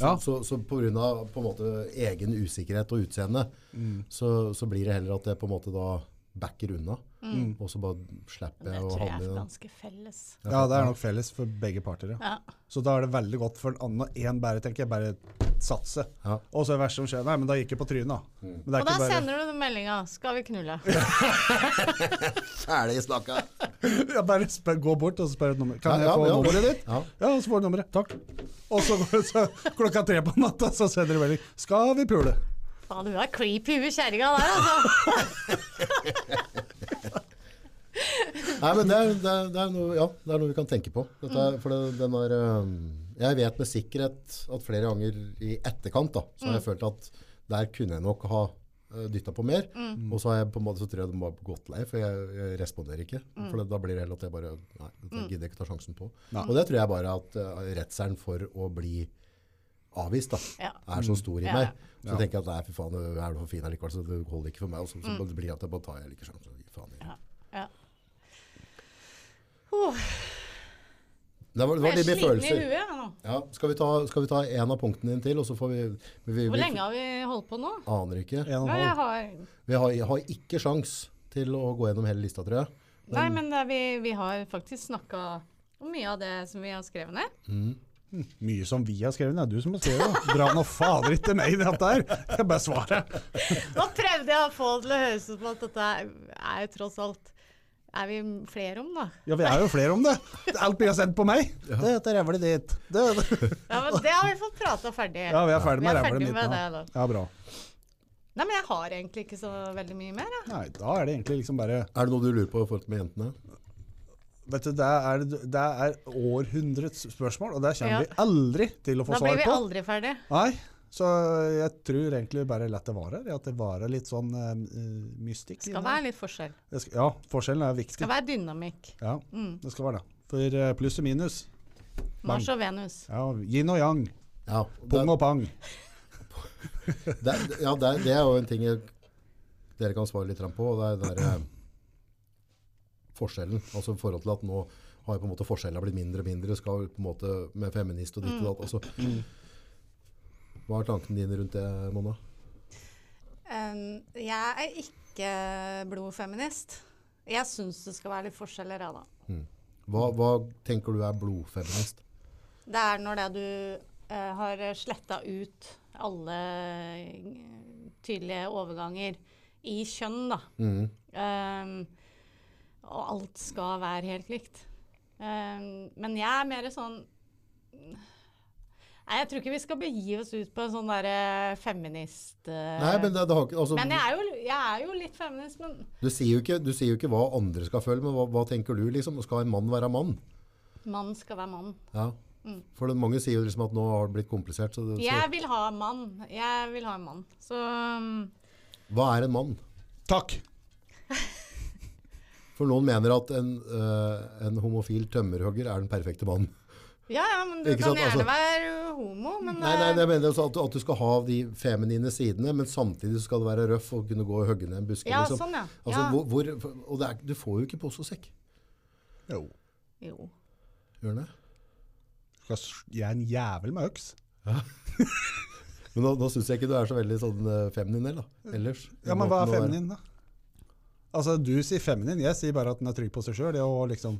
Speaker 3: Ja.
Speaker 1: så, så på grunn av på en måte egen usikkerhet og utseende,
Speaker 3: Mm.
Speaker 1: så, så blir det heller at jeg på en måte da backer unna.
Speaker 3: Mm.
Speaker 1: Og så bare slipper
Speaker 2: Det
Speaker 1: jeg å
Speaker 2: tror jeg
Speaker 1: havne
Speaker 2: er
Speaker 1: i den.
Speaker 2: ganske felles.
Speaker 3: Ja, det er nok felles for begge parter, ja.
Speaker 2: Ja.
Speaker 3: Så da er det veldig godt for en annen og én bare, tenker jeg, bare satse.
Speaker 1: Ja. Mm.
Speaker 3: Og så er det verste som skjer, nei, men da gikk jeg på trynet, da. Men det
Speaker 2: Og
Speaker 3: er
Speaker 2: da
Speaker 3: ikke bare-
Speaker 2: sender du den meldinga 'skal vi knulle'?
Speaker 1: Ferdig snakka!
Speaker 3: *laughs* Ja, bare spør, gå bort og spør et nummer. Kan
Speaker 1: Ja,
Speaker 3: jeg
Speaker 1: ja,
Speaker 3: få
Speaker 1: ja.
Speaker 3: nummeret ditt?
Speaker 1: Ja.
Speaker 3: Ja, og så får du nummeret. Takk. Og så, går, så klokka tre på natta så sender du melding. Skal vi pule?
Speaker 2: Faen, hun er creepy, hun kjerringa der, altså.
Speaker 1: Nei, men det er, det, er, det, er noe, ja, det er noe vi kan tenke på. Dette er,
Speaker 2: Mm.
Speaker 1: for det, den er, øhm, jeg vet med sikkerhet at flere ganger i etterkant da, så har
Speaker 2: Mm.
Speaker 1: jeg følt at der kunne jeg nok ha dytta på mer.
Speaker 2: Mm.
Speaker 1: Og så har jeg på en måte så tror jeg de har gått lei, for jeg, jeg responderer ikke.
Speaker 2: Mm.
Speaker 1: For det, da blir det heller at jeg bare Nei, dette gidder jeg ikke ta sjansen på. Og det tror jeg bare at uh, redselen for å bli avvist da,
Speaker 2: Ja.
Speaker 1: er så stor i
Speaker 2: Mm. Ja,
Speaker 1: meg. Så tenker jeg at nei, fy faen, du er du for fin allikevel, så det holder ikke for meg. Og
Speaker 2: Mm.
Speaker 1: så, så blir det at jeg bare tar jeg ikke sjansen. Faen, jeg.
Speaker 2: Ja. ja. Huh,
Speaker 1: Det var, det var
Speaker 2: jeg er
Speaker 1: litt mye
Speaker 2: sliten i
Speaker 1: følelser.
Speaker 2: huet jeg, nå.
Speaker 1: Ja, skal vi, ta, skal vi ta en av punktene din til, og så får vi, vi, vi
Speaker 2: Hvor lenge har vi holdt på nå?
Speaker 1: Aner ikke.
Speaker 3: En og en
Speaker 2: Nei, jeg
Speaker 3: halv.
Speaker 2: har,
Speaker 1: Vi har, har ikke sjans til å gå gjennom hele lista, tror jeg.
Speaker 2: nei men det, er vi, vi har faktisk snakka om mye av det som vi har skrevet ned.
Speaker 3: Mye som vi har skrevet, det er du som har skrevet det. Dra nå fader ikke meg i dette her. Jeg bare svarer.
Speaker 2: Nå prøvde jeg å få det til å høres ut som at dette er jo tross alt Er vi flere om, da?
Speaker 3: Ja, vi er jo flere om det. Alt blir sendt på meg. Det heter rævlet ditt. Det, det.
Speaker 2: Ja, men Det har vi fått prata ferdig.
Speaker 3: Ja, vi er ferdig
Speaker 2: Vi
Speaker 3: med
Speaker 2: er
Speaker 3: rævlet
Speaker 2: ferdig
Speaker 3: mitt.
Speaker 2: med
Speaker 3: nå.
Speaker 2: det,
Speaker 3: Ja, bra.
Speaker 2: Nei, men jeg har egentlig ikke så veldig mye mer. Jeg.
Speaker 3: Nei, da er det egentlig liksom bare
Speaker 1: Er det noe du lurer på i forhold til med jentene?
Speaker 3: Vet du, det er, det er århundrets spørsmål, og det
Speaker 2: Ja.
Speaker 3: kommer vi aldri til å
Speaker 2: Da
Speaker 3: få svar
Speaker 2: blir
Speaker 3: på.
Speaker 2: vi aldri ferdig.
Speaker 3: Nei, så jeg tror egentlig bare lett det varer. At det varer litt sånn eh, eh, mystikk.
Speaker 2: Skal
Speaker 3: inne.
Speaker 2: være litt forskjell.
Speaker 3: Det skal, ja, forskjellen er viktig.
Speaker 2: Skal være Mm. dynamikk.
Speaker 3: Ja, det skal være det. For eh, pluss og minus.
Speaker 2: Mars og Venus.
Speaker 3: Ja, yin og yang.
Speaker 1: Ja, det,
Speaker 3: Pung og pang.
Speaker 1: det, ja det, det er jo en ting jeg, dere kan svare litt på, og det er den der, eh, forskjellen. Altså i forhold til at nå har jo på en måte forskjellene blitt mindre og mindre, skal på en måte med feminist og ditt og datt. Altså. Hva er tankene dine rundt det, Mona?
Speaker 2: Um, jeg er ikke blodfeminist. Jeg syns det skal være litt forskjeller, jeg, da.
Speaker 1: Hva, hva tenker du er blodfeminist?
Speaker 2: Det er når det du eh, har sletta ut alle eh, tydelige overganger i kjønn, da.
Speaker 1: Mm.
Speaker 2: Ehm, og alt skal være helt likt. Ehm, men jeg er mer sånn Nei, jeg tror ikke vi skal begi oss ut på en sånn derre feminist eh,
Speaker 1: Nei, men det, det har ikke altså,
Speaker 2: men jeg, er jo, jeg er jo litt feminist, men
Speaker 1: du, sier jo ikke, du sier jo ikke hva andre skal føle, men hva, hva tenker du, liksom? Skal en mann være mann?
Speaker 2: mann skal være mann.
Speaker 1: Ja.
Speaker 2: Mm.
Speaker 1: For det, mange sier jo liksom at nå har det blitt komplisert. Så, det- så
Speaker 2: Jeg vil ha mann. Jeg vil ha en mann. Så um,
Speaker 1: hva er en mann?
Speaker 3: Takk!
Speaker 1: For noen mener at en, eh, en homofil tømmerhogger er den perfekte mannen.
Speaker 2: ja, ja, men du
Speaker 1: Ikke
Speaker 2: kan
Speaker 1: sant,
Speaker 2: gjerne
Speaker 1: altså.
Speaker 2: være homo, men eh,
Speaker 1: Nei, nei, jeg mener altså at, du- at du skal ha de feminine sidene, men samtidig så skal du være røff og kunne gå og hogge ned en buske.
Speaker 2: Ja,
Speaker 1: liksom.
Speaker 2: sånn, ja.
Speaker 1: Altså,
Speaker 2: Ja.
Speaker 1: hvor, hvor, og det er, du får jo ikke pose og sekk.
Speaker 3: Jo.
Speaker 2: eh, Jo.
Speaker 1: Gjør den det?
Speaker 3: Skal s- Jeg er en jævel med øks.
Speaker 1: Men nå, nå syns jeg ikke du er så veldig sånn eh, feminin heller,
Speaker 2: Mm.
Speaker 1: da. Ellers.
Speaker 3: Ja, men hva er
Speaker 1: Måten å være-
Speaker 3: feminin, da? Altså, du sier feminin. Jeg sier bare at den er trygg på seg sjøl. Liksom,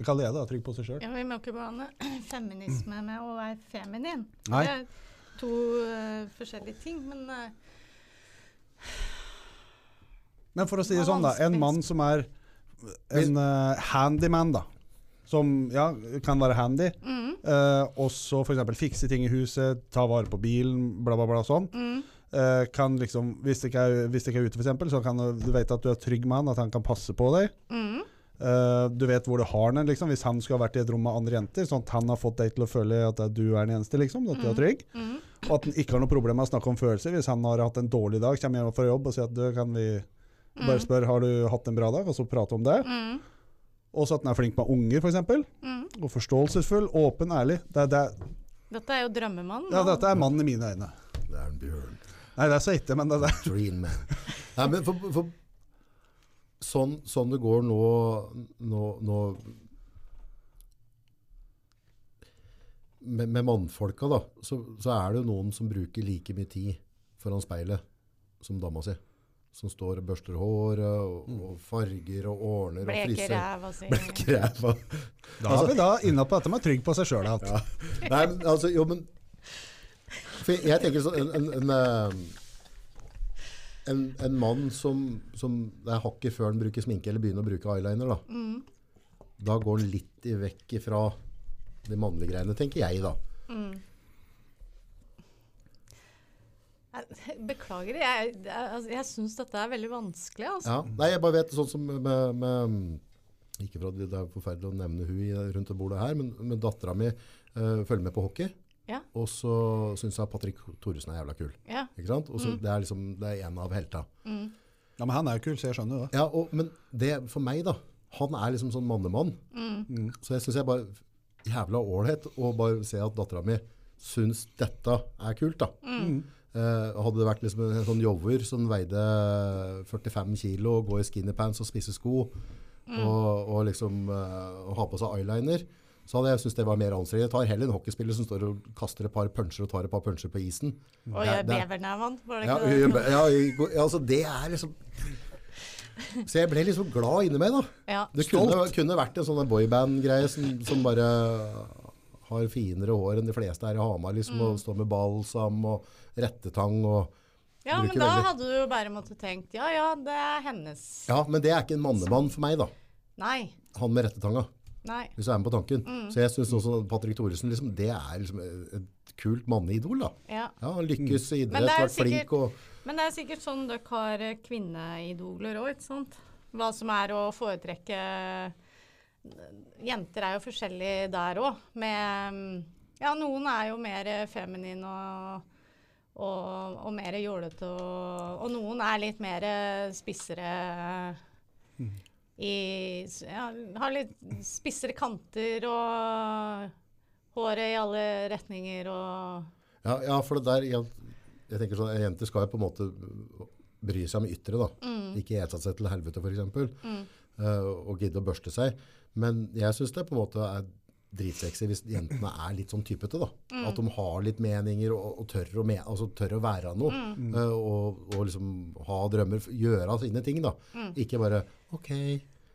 Speaker 3: hva kaller jeg det? da? Trygg på seg sjøl?
Speaker 2: Ja, vi må ikke blande *clears throat* feminisme med å være feminin.
Speaker 3: Nei.
Speaker 2: Det er to eh, forskjellige ting, men eh,
Speaker 3: Men for å si
Speaker 2: Det
Speaker 3: det
Speaker 2: er
Speaker 3: sånn, da. En
Speaker 2: vanskelig.
Speaker 3: mann som er en eh, handyman, da. Som ja, kan være handy.
Speaker 2: Mm.
Speaker 3: Uh, også f.eks. fikse ting i huset, ta vare på bilen, bla, bla, bla. Sånn.
Speaker 2: Mm.
Speaker 3: Eh, kan liksom, hvis det ikke er, hvis det ikke er ute, f.eks., så kan du- du vet at du er trygg med han, at han kan passe på deg.
Speaker 2: Mm.
Speaker 3: Eh, du vet hvor du har den, liksom, hvis han skulle ha vært i et rom med andre jenter, sånn at han har fått deg til å føle at eh, du er den eneste, liksom, at du
Speaker 2: Mm.
Speaker 3: er trygg. Og at han ikke har noe problem med å snakke om følelser. Hvis han har hatt en dårlig dag, kommer hjem fra jobb og sier at du kan vi bare spør har du hatt en bra dag, og så prate om det. Også at den er flink med unger, f.eks. Mm. Og forståelsesfull, åpen, ærlig. Det, er- det, er-
Speaker 2: dette er jo drømmemannen.
Speaker 3: ja,
Speaker 2: da.
Speaker 3: dette er mannen i mine øyne.
Speaker 1: Det er en bjørn.
Speaker 3: Nei, det er så ikke, men det, det.
Speaker 1: Dream man. Nei, men for, for sånn, sånn det går nå, nå, nå med, med mannfolka, da, så, så er det jo noen som bruker like mye tid foran speilet som dama si. Som står og børster håret, og, og farger og ordner og
Speaker 2: Bleker
Speaker 1: friser.
Speaker 2: ræv og sier
Speaker 1: Bleker ræva.
Speaker 3: Da er vi da inne på dette med trygg på seg sjøl. Ja.
Speaker 1: Nei, men altså, jo, men For jeg tenker sånn En, en, en, eh, en, en mann som, som Det er hakket før han bruker sminke eller begynner å bruke eyeliner, da. Da går han litt i vekk ifra de mannlige greiene, tenker jeg, da.
Speaker 2: Nei, Beklager, *laughs* jeg, jeg- altså, jeg syns dette er veldig vanskelig. Altså.
Speaker 1: Ja. Nei, jeg bare vet sånn som med, med Ikke for at det er forferdelig å nevne hun i, rundt det bordet her, men, men dattera mi eh, følger med på hockey.
Speaker 2: Ja.
Speaker 1: Og så syns jeg Patrick Thoresen er jævla kul.
Speaker 2: Ja.
Speaker 1: Ikke sant? Og så Det er liksom det er en av helta.
Speaker 3: ja, Men han er jo kul, så jeg skjønner jo det.
Speaker 1: Ja, og, men det for meg da, han er liksom sånn mannemann. Så jeg synes jeg bare, jævla ålhet, å bare se at datteren min synes dette er kult da. Eh, hadde det vært liksom en sånn jover som veide 45 kilo, og går i skinny pants og spiser sko, og, og liksom eh, og har på seg eyeliner, så hadde jeg syntes det var mer anstrengende. Jeg tar heller en hockeyspiller som står og kaster et par puncher og tar et par puncher på isen.
Speaker 2: Og
Speaker 1: Det-
Speaker 2: gjør
Speaker 1: det-
Speaker 2: bevernevene, var det
Speaker 1: ja,
Speaker 2: ikke det?
Speaker 1: ja, ja, altså det er liksom Så jeg ble liksom glad inni meg, da.
Speaker 2: Ja.
Speaker 1: Det kunne, kunne vært en sånn der boyband-greie som, som bare har finere hår enn de fleste her i Hamar, liksom, og
Speaker 2: Mm.
Speaker 1: står med balsam og rettetang og
Speaker 2: ja, men
Speaker 1: bruker
Speaker 2: da
Speaker 1: veldig-
Speaker 2: hadde du jo bare måttet tenkt ja ja, det er hennes.
Speaker 1: Ja, men det er ikke en mannemann for meg, da.
Speaker 2: Nei.
Speaker 1: Han med rettetanga,
Speaker 2: Nei.
Speaker 1: hvis jeg er med på tanken.
Speaker 2: Mm.
Speaker 1: Så jeg syns også Patrick Thoresen, liksom, det er liksom et kult manneidol, da.
Speaker 2: Ja.
Speaker 1: Ja, han lykkes i
Speaker 2: Men
Speaker 1: idrett,
Speaker 2: det er jo
Speaker 1: vært flink og
Speaker 2: Men det er sikkert sånn dere har eh, kvinneidoler òg, ikke sant? Hva som er å foretrekke eh, Jenter er jo forskjellige der òg. Med mm, Ja, noen er jo mer eh, feminine og, og, og mer jålete, og, og noen er litt mer eh, spissere
Speaker 1: Mm.
Speaker 2: i s- Ja, har litt spissere kanter og håret i alle retninger og
Speaker 1: Ja, ja for det der jeg, jeg tenker sånn, Jenter skal jo på en måte bry seg om ytre. da. Ikke ete seg til helvete, f.eks. Mm. og gidde å børste seg. Men jeg syns det på en måte er dritsexy hvis jentene er litt sånn typete. da. At de har litt meninger og, og tør, å me altså, tør å være noe. eh, og, og liksom ha drømmer. f- Gjøre sine ting, da. Ikke bare OK,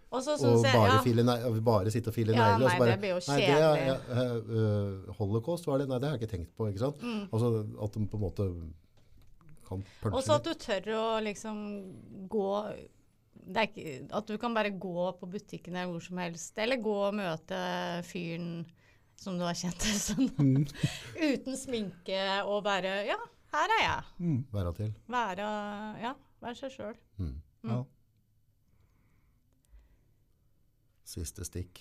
Speaker 2: Og så
Speaker 1: Og
Speaker 2: syns jeg
Speaker 1: bare,
Speaker 2: ja,
Speaker 1: file nei- bare sitte og file
Speaker 2: Ja,
Speaker 1: negler. og
Speaker 2: nei,
Speaker 1: så bare,
Speaker 2: det blir jo
Speaker 1: nei, det er-
Speaker 2: kjedelig.
Speaker 1: ja, eh, eh, holocaust, var det? Nei, det har jeg ikke tenkt på. ikke sant? Altså, At de på en måte kan
Speaker 2: Mm. Og
Speaker 1: punche
Speaker 2: så
Speaker 1: litt.
Speaker 2: at du tør å liksom gå det er ikke, At du kan bare gå på butikken eller hvor som helst, eller gå og møte fyren som *laughs* du har kjent en stund,
Speaker 3: Mm.
Speaker 2: uten sminke og bare Ja, her er jeg.
Speaker 3: Mm.
Speaker 1: Være til. Mm.
Speaker 2: Være Ja, være seg sjøl.
Speaker 3: Ja.
Speaker 1: Siste stikk.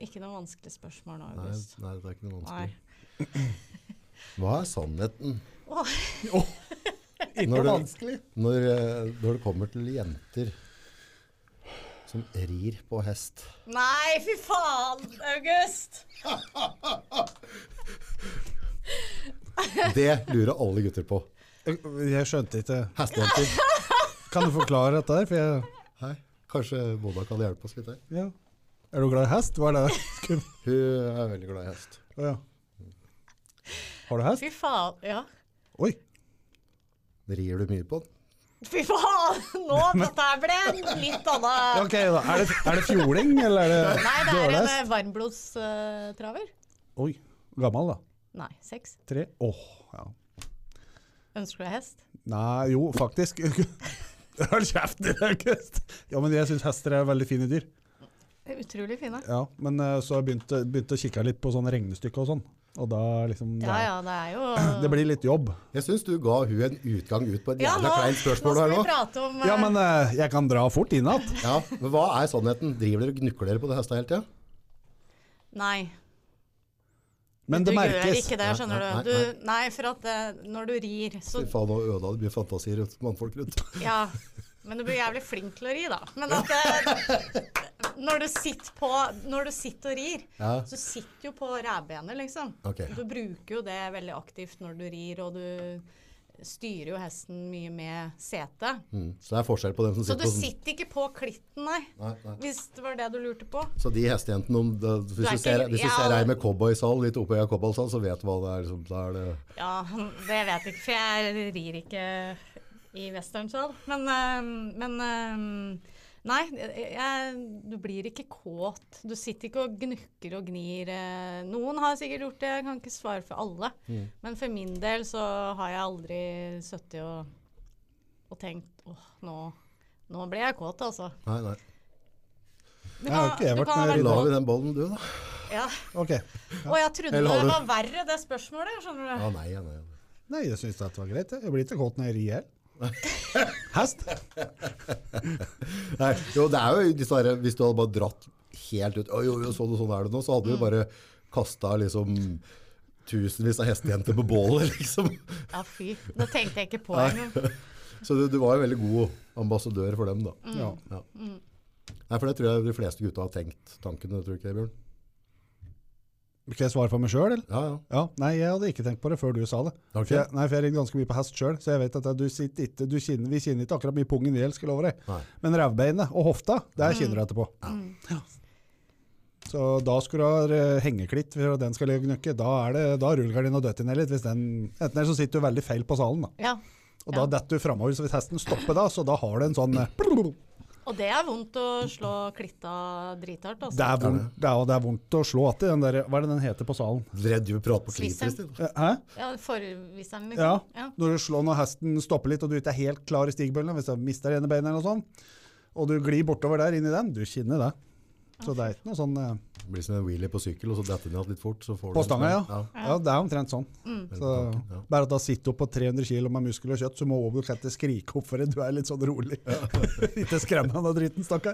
Speaker 2: Ikke noe vanskelig spørsmål nå,
Speaker 1: Nei,
Speaker 2: August.
Speaker 1: nei, det er ikke noe
Speaker 2: Nei.
Speaker 1: vanskelig. Hva er sannheten
Speaker 2: Åh,
Speaker 1: Når
Speaker 3: Ikke
Speaker 1: du-
Speaker 3: vanskelig.
Speaker 1: når, eh, når det kommer til jenter som rir på hest?
Speaker 2: nei, fy faen, August!
Speaker 1: Det lurer alle gutter på.
Speaker 3: Jeg skjønte ikke
Speaker 2: *laughs*
Speaker 1: Hestejenter.
Speaker 3: Kan du forklare dette her? For jeg,
Speaker 1: Nei, Kanskje Moda kan hjelpe oss litt her.
Speaker 3: ja. Er du glad i hest? Hva er det? Skulle-
Speaker 1: Hun er veldig glad i hest.
Speaker 3: Å, ja. Har du hest?
Speaker 2: Fy faen. Ja.
Speaker 3: Oi.
Speaker 1: Rir du mye på den?
Speaker 2: Fy faen! *laughs* Nå, dette her ble en litt annet
Speaker 3: Ok, da. Er det, er det fjoling, eller er det
Speaker 2: Nei, det er en
Speaker 3: dårlig
Speaker 2: eh,
Speaker 3: hest?
Speaker 2: varmblodstraver.
Speaker 3: Oi. Gammel, da.
Speaker 2: Nei, seks.
Speaker 3: Tre. Åh, ja.
Speaker 2: Ønsker du deg hest?
Speaker 3: Nei, jo, faktisk. *laughs* Hold kjeft, August! Ja, men jeg syns hester er veldig fine dyr.
Speaker 2: Det er Utrolig fine.
Speaker 3: Ja, Men eh, så har jeg begynt, begynt å kikke litt på sånne regnestykker og sånn. Og da liksom
Speaker 2: Ja ja, det er
Speaker 1: *clears throat*
Speaker 2: jo
Speaker 3: Det blir litt jobb.
Speaker 1: Jeg syns du ga hun en utgang ut på et
Speaker 2: Ja,
Speaker 1: jævla
Speaker 2: nå, nå
Speaker 1: kleint spørsmål
Speaker 2: skal
Speaker 1: her
Speaker 2: vi
Speaker 1: nå.
Speaker 2: prate om
Speaker 3: Ja, men eh, jeg kan dra fort inn igjen.
Speaker 1: Ja, men hva er sannheten? Driver dere og gnukler dere på det hesta hele tida?
Speaker 2: eh, Nei.
Speaker 3: Men
Speaker 2: du
Speaker 3: det
Speaker 2: gjør
Speaker 3: merkes.
Speaker 2: ikke det,
Speaker 1: Nei,
Speaker 2: skjønner
Speaker 1: nei,
Speaker 2: du.
Speaker 1: nei,
Speaker 2: du. Nei, for at eh, når du rir, så
Speaker 1: Fy faen, nå ødela du mye fantasi rundt mannfolk
Speaker 2: *laughs*
Speaker 1: rundt.
Speaker 2: Ja. Men du blir jævlig flink til å ri, da. Men at eh, når, du sitter på, når du sitter og rir,
Speaker 1: Ja.
Speaker 2: så sitter jo på rævbenet, liksom.
Speaker 1: Ok.
Speaker 2: Du bruker jo det veldig aktivt når du rir, og du styrer jo hesten mye med setet.
Speaker 1: Mm. Så det er forskjell på dem som
Speaker 2: Så
Speaker 1: sitter
Speaker 2: du
Speaker 1: på sånn.
Speaker 2: sitter ikke på klitten, nei.
Speaker 1: Nei, nei.
Speaker 2: Hvis det var det du lurte på.
Speaker 1: Så de hestejentene, om det, hvis,
Speaker 2: er
Speaker 1: du ser,
Speaker 2: ikke-
Speaker 1: hvis du
Speaker 2: ja.
Speaker 1: ser ei med cowboysal litt oppå øya cowboysal, så vet du hva det er. Liksom, da er det
Speaker 2: Ja, det vet jeg ikke, for jeg rir ikke i westernsal. Men, eh, men eh, Nei, jeg, du blir ikke kåt. Du sitter ikke og gnukker og gnir. eh. Noen har sikkert gjort det, jeg kan ikke svare for alle.
Speaker 3: Mm.
Speaker 2: Men for min del så har jeg aldri sittet og, og tenkt åh, nå, nå ble jeg kåt, altså.
Speaker 1: Nei, nei.
Speaker 2: Du
Speaker 3: Jeg har ikke jeg
Speaker 2: du
Speaker 3: vært med
Speaker 2: ha
Speaker 1: Da
Speaker 2: vært-
Speaker 1: lar vi den bollen, du, da.
Speaker 2: Ja.
Speaker 3: Ok.
Speaker 2: Og jeg trodde
Speaker 1: Eller har
Speaker 2: det
Speaker 1: du-
Speaker 2: var verre, det spørsmålet. skjønner du?
Speaker 1: Ja, nei, ja, nei. ja.
Speaker 3: Nei, jeg syns dette var greit. jeg. Jeg blir ikke kåt når jeg rir her. *laughs* Hest?
Speaker 1: Nei, jo, det er jo dessverre, hvis du hadde bare dratt helt ut «Oi, oi, oi, sånn og sånn er det nå, så hadde
Speaker 2: Mm.
Speaker 1: du bare kasta liksom tusenvis av hestejenter på bålet, *laughs* liksom.
Speaker 2: Ja, fy. Det tenkte jeg ikke på engang.
Speaker 1: Så du, du var jo veldig god ambassadør for dem, da.
Speaker 2: Mm.
Speaker 3: Ja.
Speaker 1: Ja. Nei, for det tror jeg de fleste gutta har tenkt tanken, tror du ikke det, Bjørn?
Speaker 3: Skal jeg svare for meg sjøl, eller?
Speaker 1: Ja, ja.
Speaker 3: Ja, Nei, jeg hadde ikke tenkt på det før du sa det.
Speaker 1: Ok.
Speaker 3: For jeg, nei, for jeg ringer ganske mye på hest sjøl, så jeg vet at du sitter ikke, du kinner, vi kinner ikke akkurat mye pungen i hjel, skal jeg love deg.
Speaker 1: Nei.
Speaker 3: Men rævbeinet og hofta,
Speaker 2: Mm.
Speaker 3: der kinner du etterpå. Ja. Så da skulle du ha eh, hengeklitt for at den skal ligge og gnukke. Da er det, da er rullegardina dødt inn litt. Hvis den, enten eller så sitter du veldig feil på salen, da.
Speaker 2: Ja.
Speaker 3: Og da detter du framover. Så hvis hesten stopper da, så da har du en sånn eh,
Speaker 2: Og det er vondt å slå klitta drithardt,
Speaker 3: Det
Speaker 2: altså.
Speaker 3: er vondt, det er, det er vondt å slå att i den der Hva er det den heter på salen?
Speaker 1: Redd du prater på klitoris,
Speaker 2: Svisseren.
Speaker 1: du.
Speaker 3: Eh, Hæ?
Speaker 2: Ja, Forviseren,
Speaker 3: Ja.
Speaker 2: liksom. Ja.
Speaker 3: Når du slår når hesten stopper litt, og du ikke er helt klar i stigbøylen, hvis du mister ene beinet eller noe sånt, og du glir bortover der inn i den, du kinner det. Så det er ikke noe sånn eh,
Speaker 1: Det Blir som en wheelie på sykkel, og så detter den igjen litt fort. Så får du
Speaker 3: På
Speaker 1: en
Speaker 3: stanga, ja.
Speaker 1: stang.
Speaker 3: ja. Det er omtrent sånn. Så,
Speaker 1: Ja.
Speaker 3: bare at da sitter du på 300 kg med muskler og kjøtt, så må du ikke skrike opp for det. Du er litt sånn rolig. *laughs* ikke skremme han av driten, stakkar.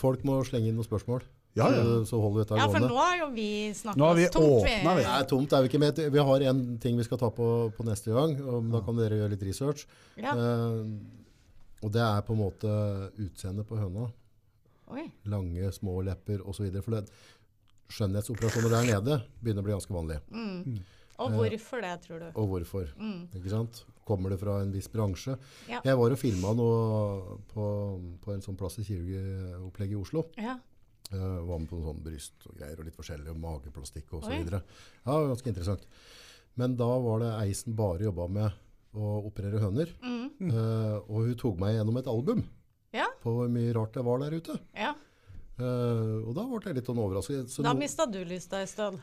Speaker 1: Folk må slenge inn noen spørsmål,
Speaker 3: Ja, ja.
Speaker 1: så, så holder vi dette
Speaker 2: ja, for
Speaker 1: gående.
Speaker 2: nå har jo vi snakket
Speaker 3: Nå har vi
Speaker 2: oss tungt. vi.
Speaker 3: åpnet, vi.
Speaker 1: Det er tomt, er vi ikke med. til- Vi har en ting vi skal ta på, på neste gang, og da kan dere gjøre litt research.
Speaker 2: Ja.
Speaker 1: Eh, og det er på en måte utseendet på høna.
Speaker 2: Oi.
Speaker 1: Lange, små lepper osv. For det, skjønnhetsoperasjoner der nede begynner å bli ganske vanlig.
Speaker 2: Mm. Og hvorfor det, tror du?
Speaker 1: Og hvorfor.
Speaker 2: Mm.
Speaker 1: Ikke sant? Kommer det fra en viss bransje?
Speaker 2: Ja.
Speaker 1: Jeg var og filma noe på, på en sånn plass i kirurgiopplegget i Oslo.
Speaker 2: Ja.
Speaker 1: Eh, var med på noe sånn bryst og greier, og litt forskjellig, og mageplastikk og så
Speaker 2: Oi.
Speaker 1: videre. Ja, ganske interessant. Men da var det ei som bare jobba med å operere høner.
Speaker 2: Mm.
Speaker 1: Eh, og hun tok meg gjennom et album
Speaker 2: Ja,
Speaker 1: på hvor mye rart det var der ute.
Speaker 2: ja.
Speaker 1: Eh, og da ble jeg litt sånn overrasket. Så
Speaker 2: Da
Speaker 1: no-
Speaker 2: mista du lysta en stund.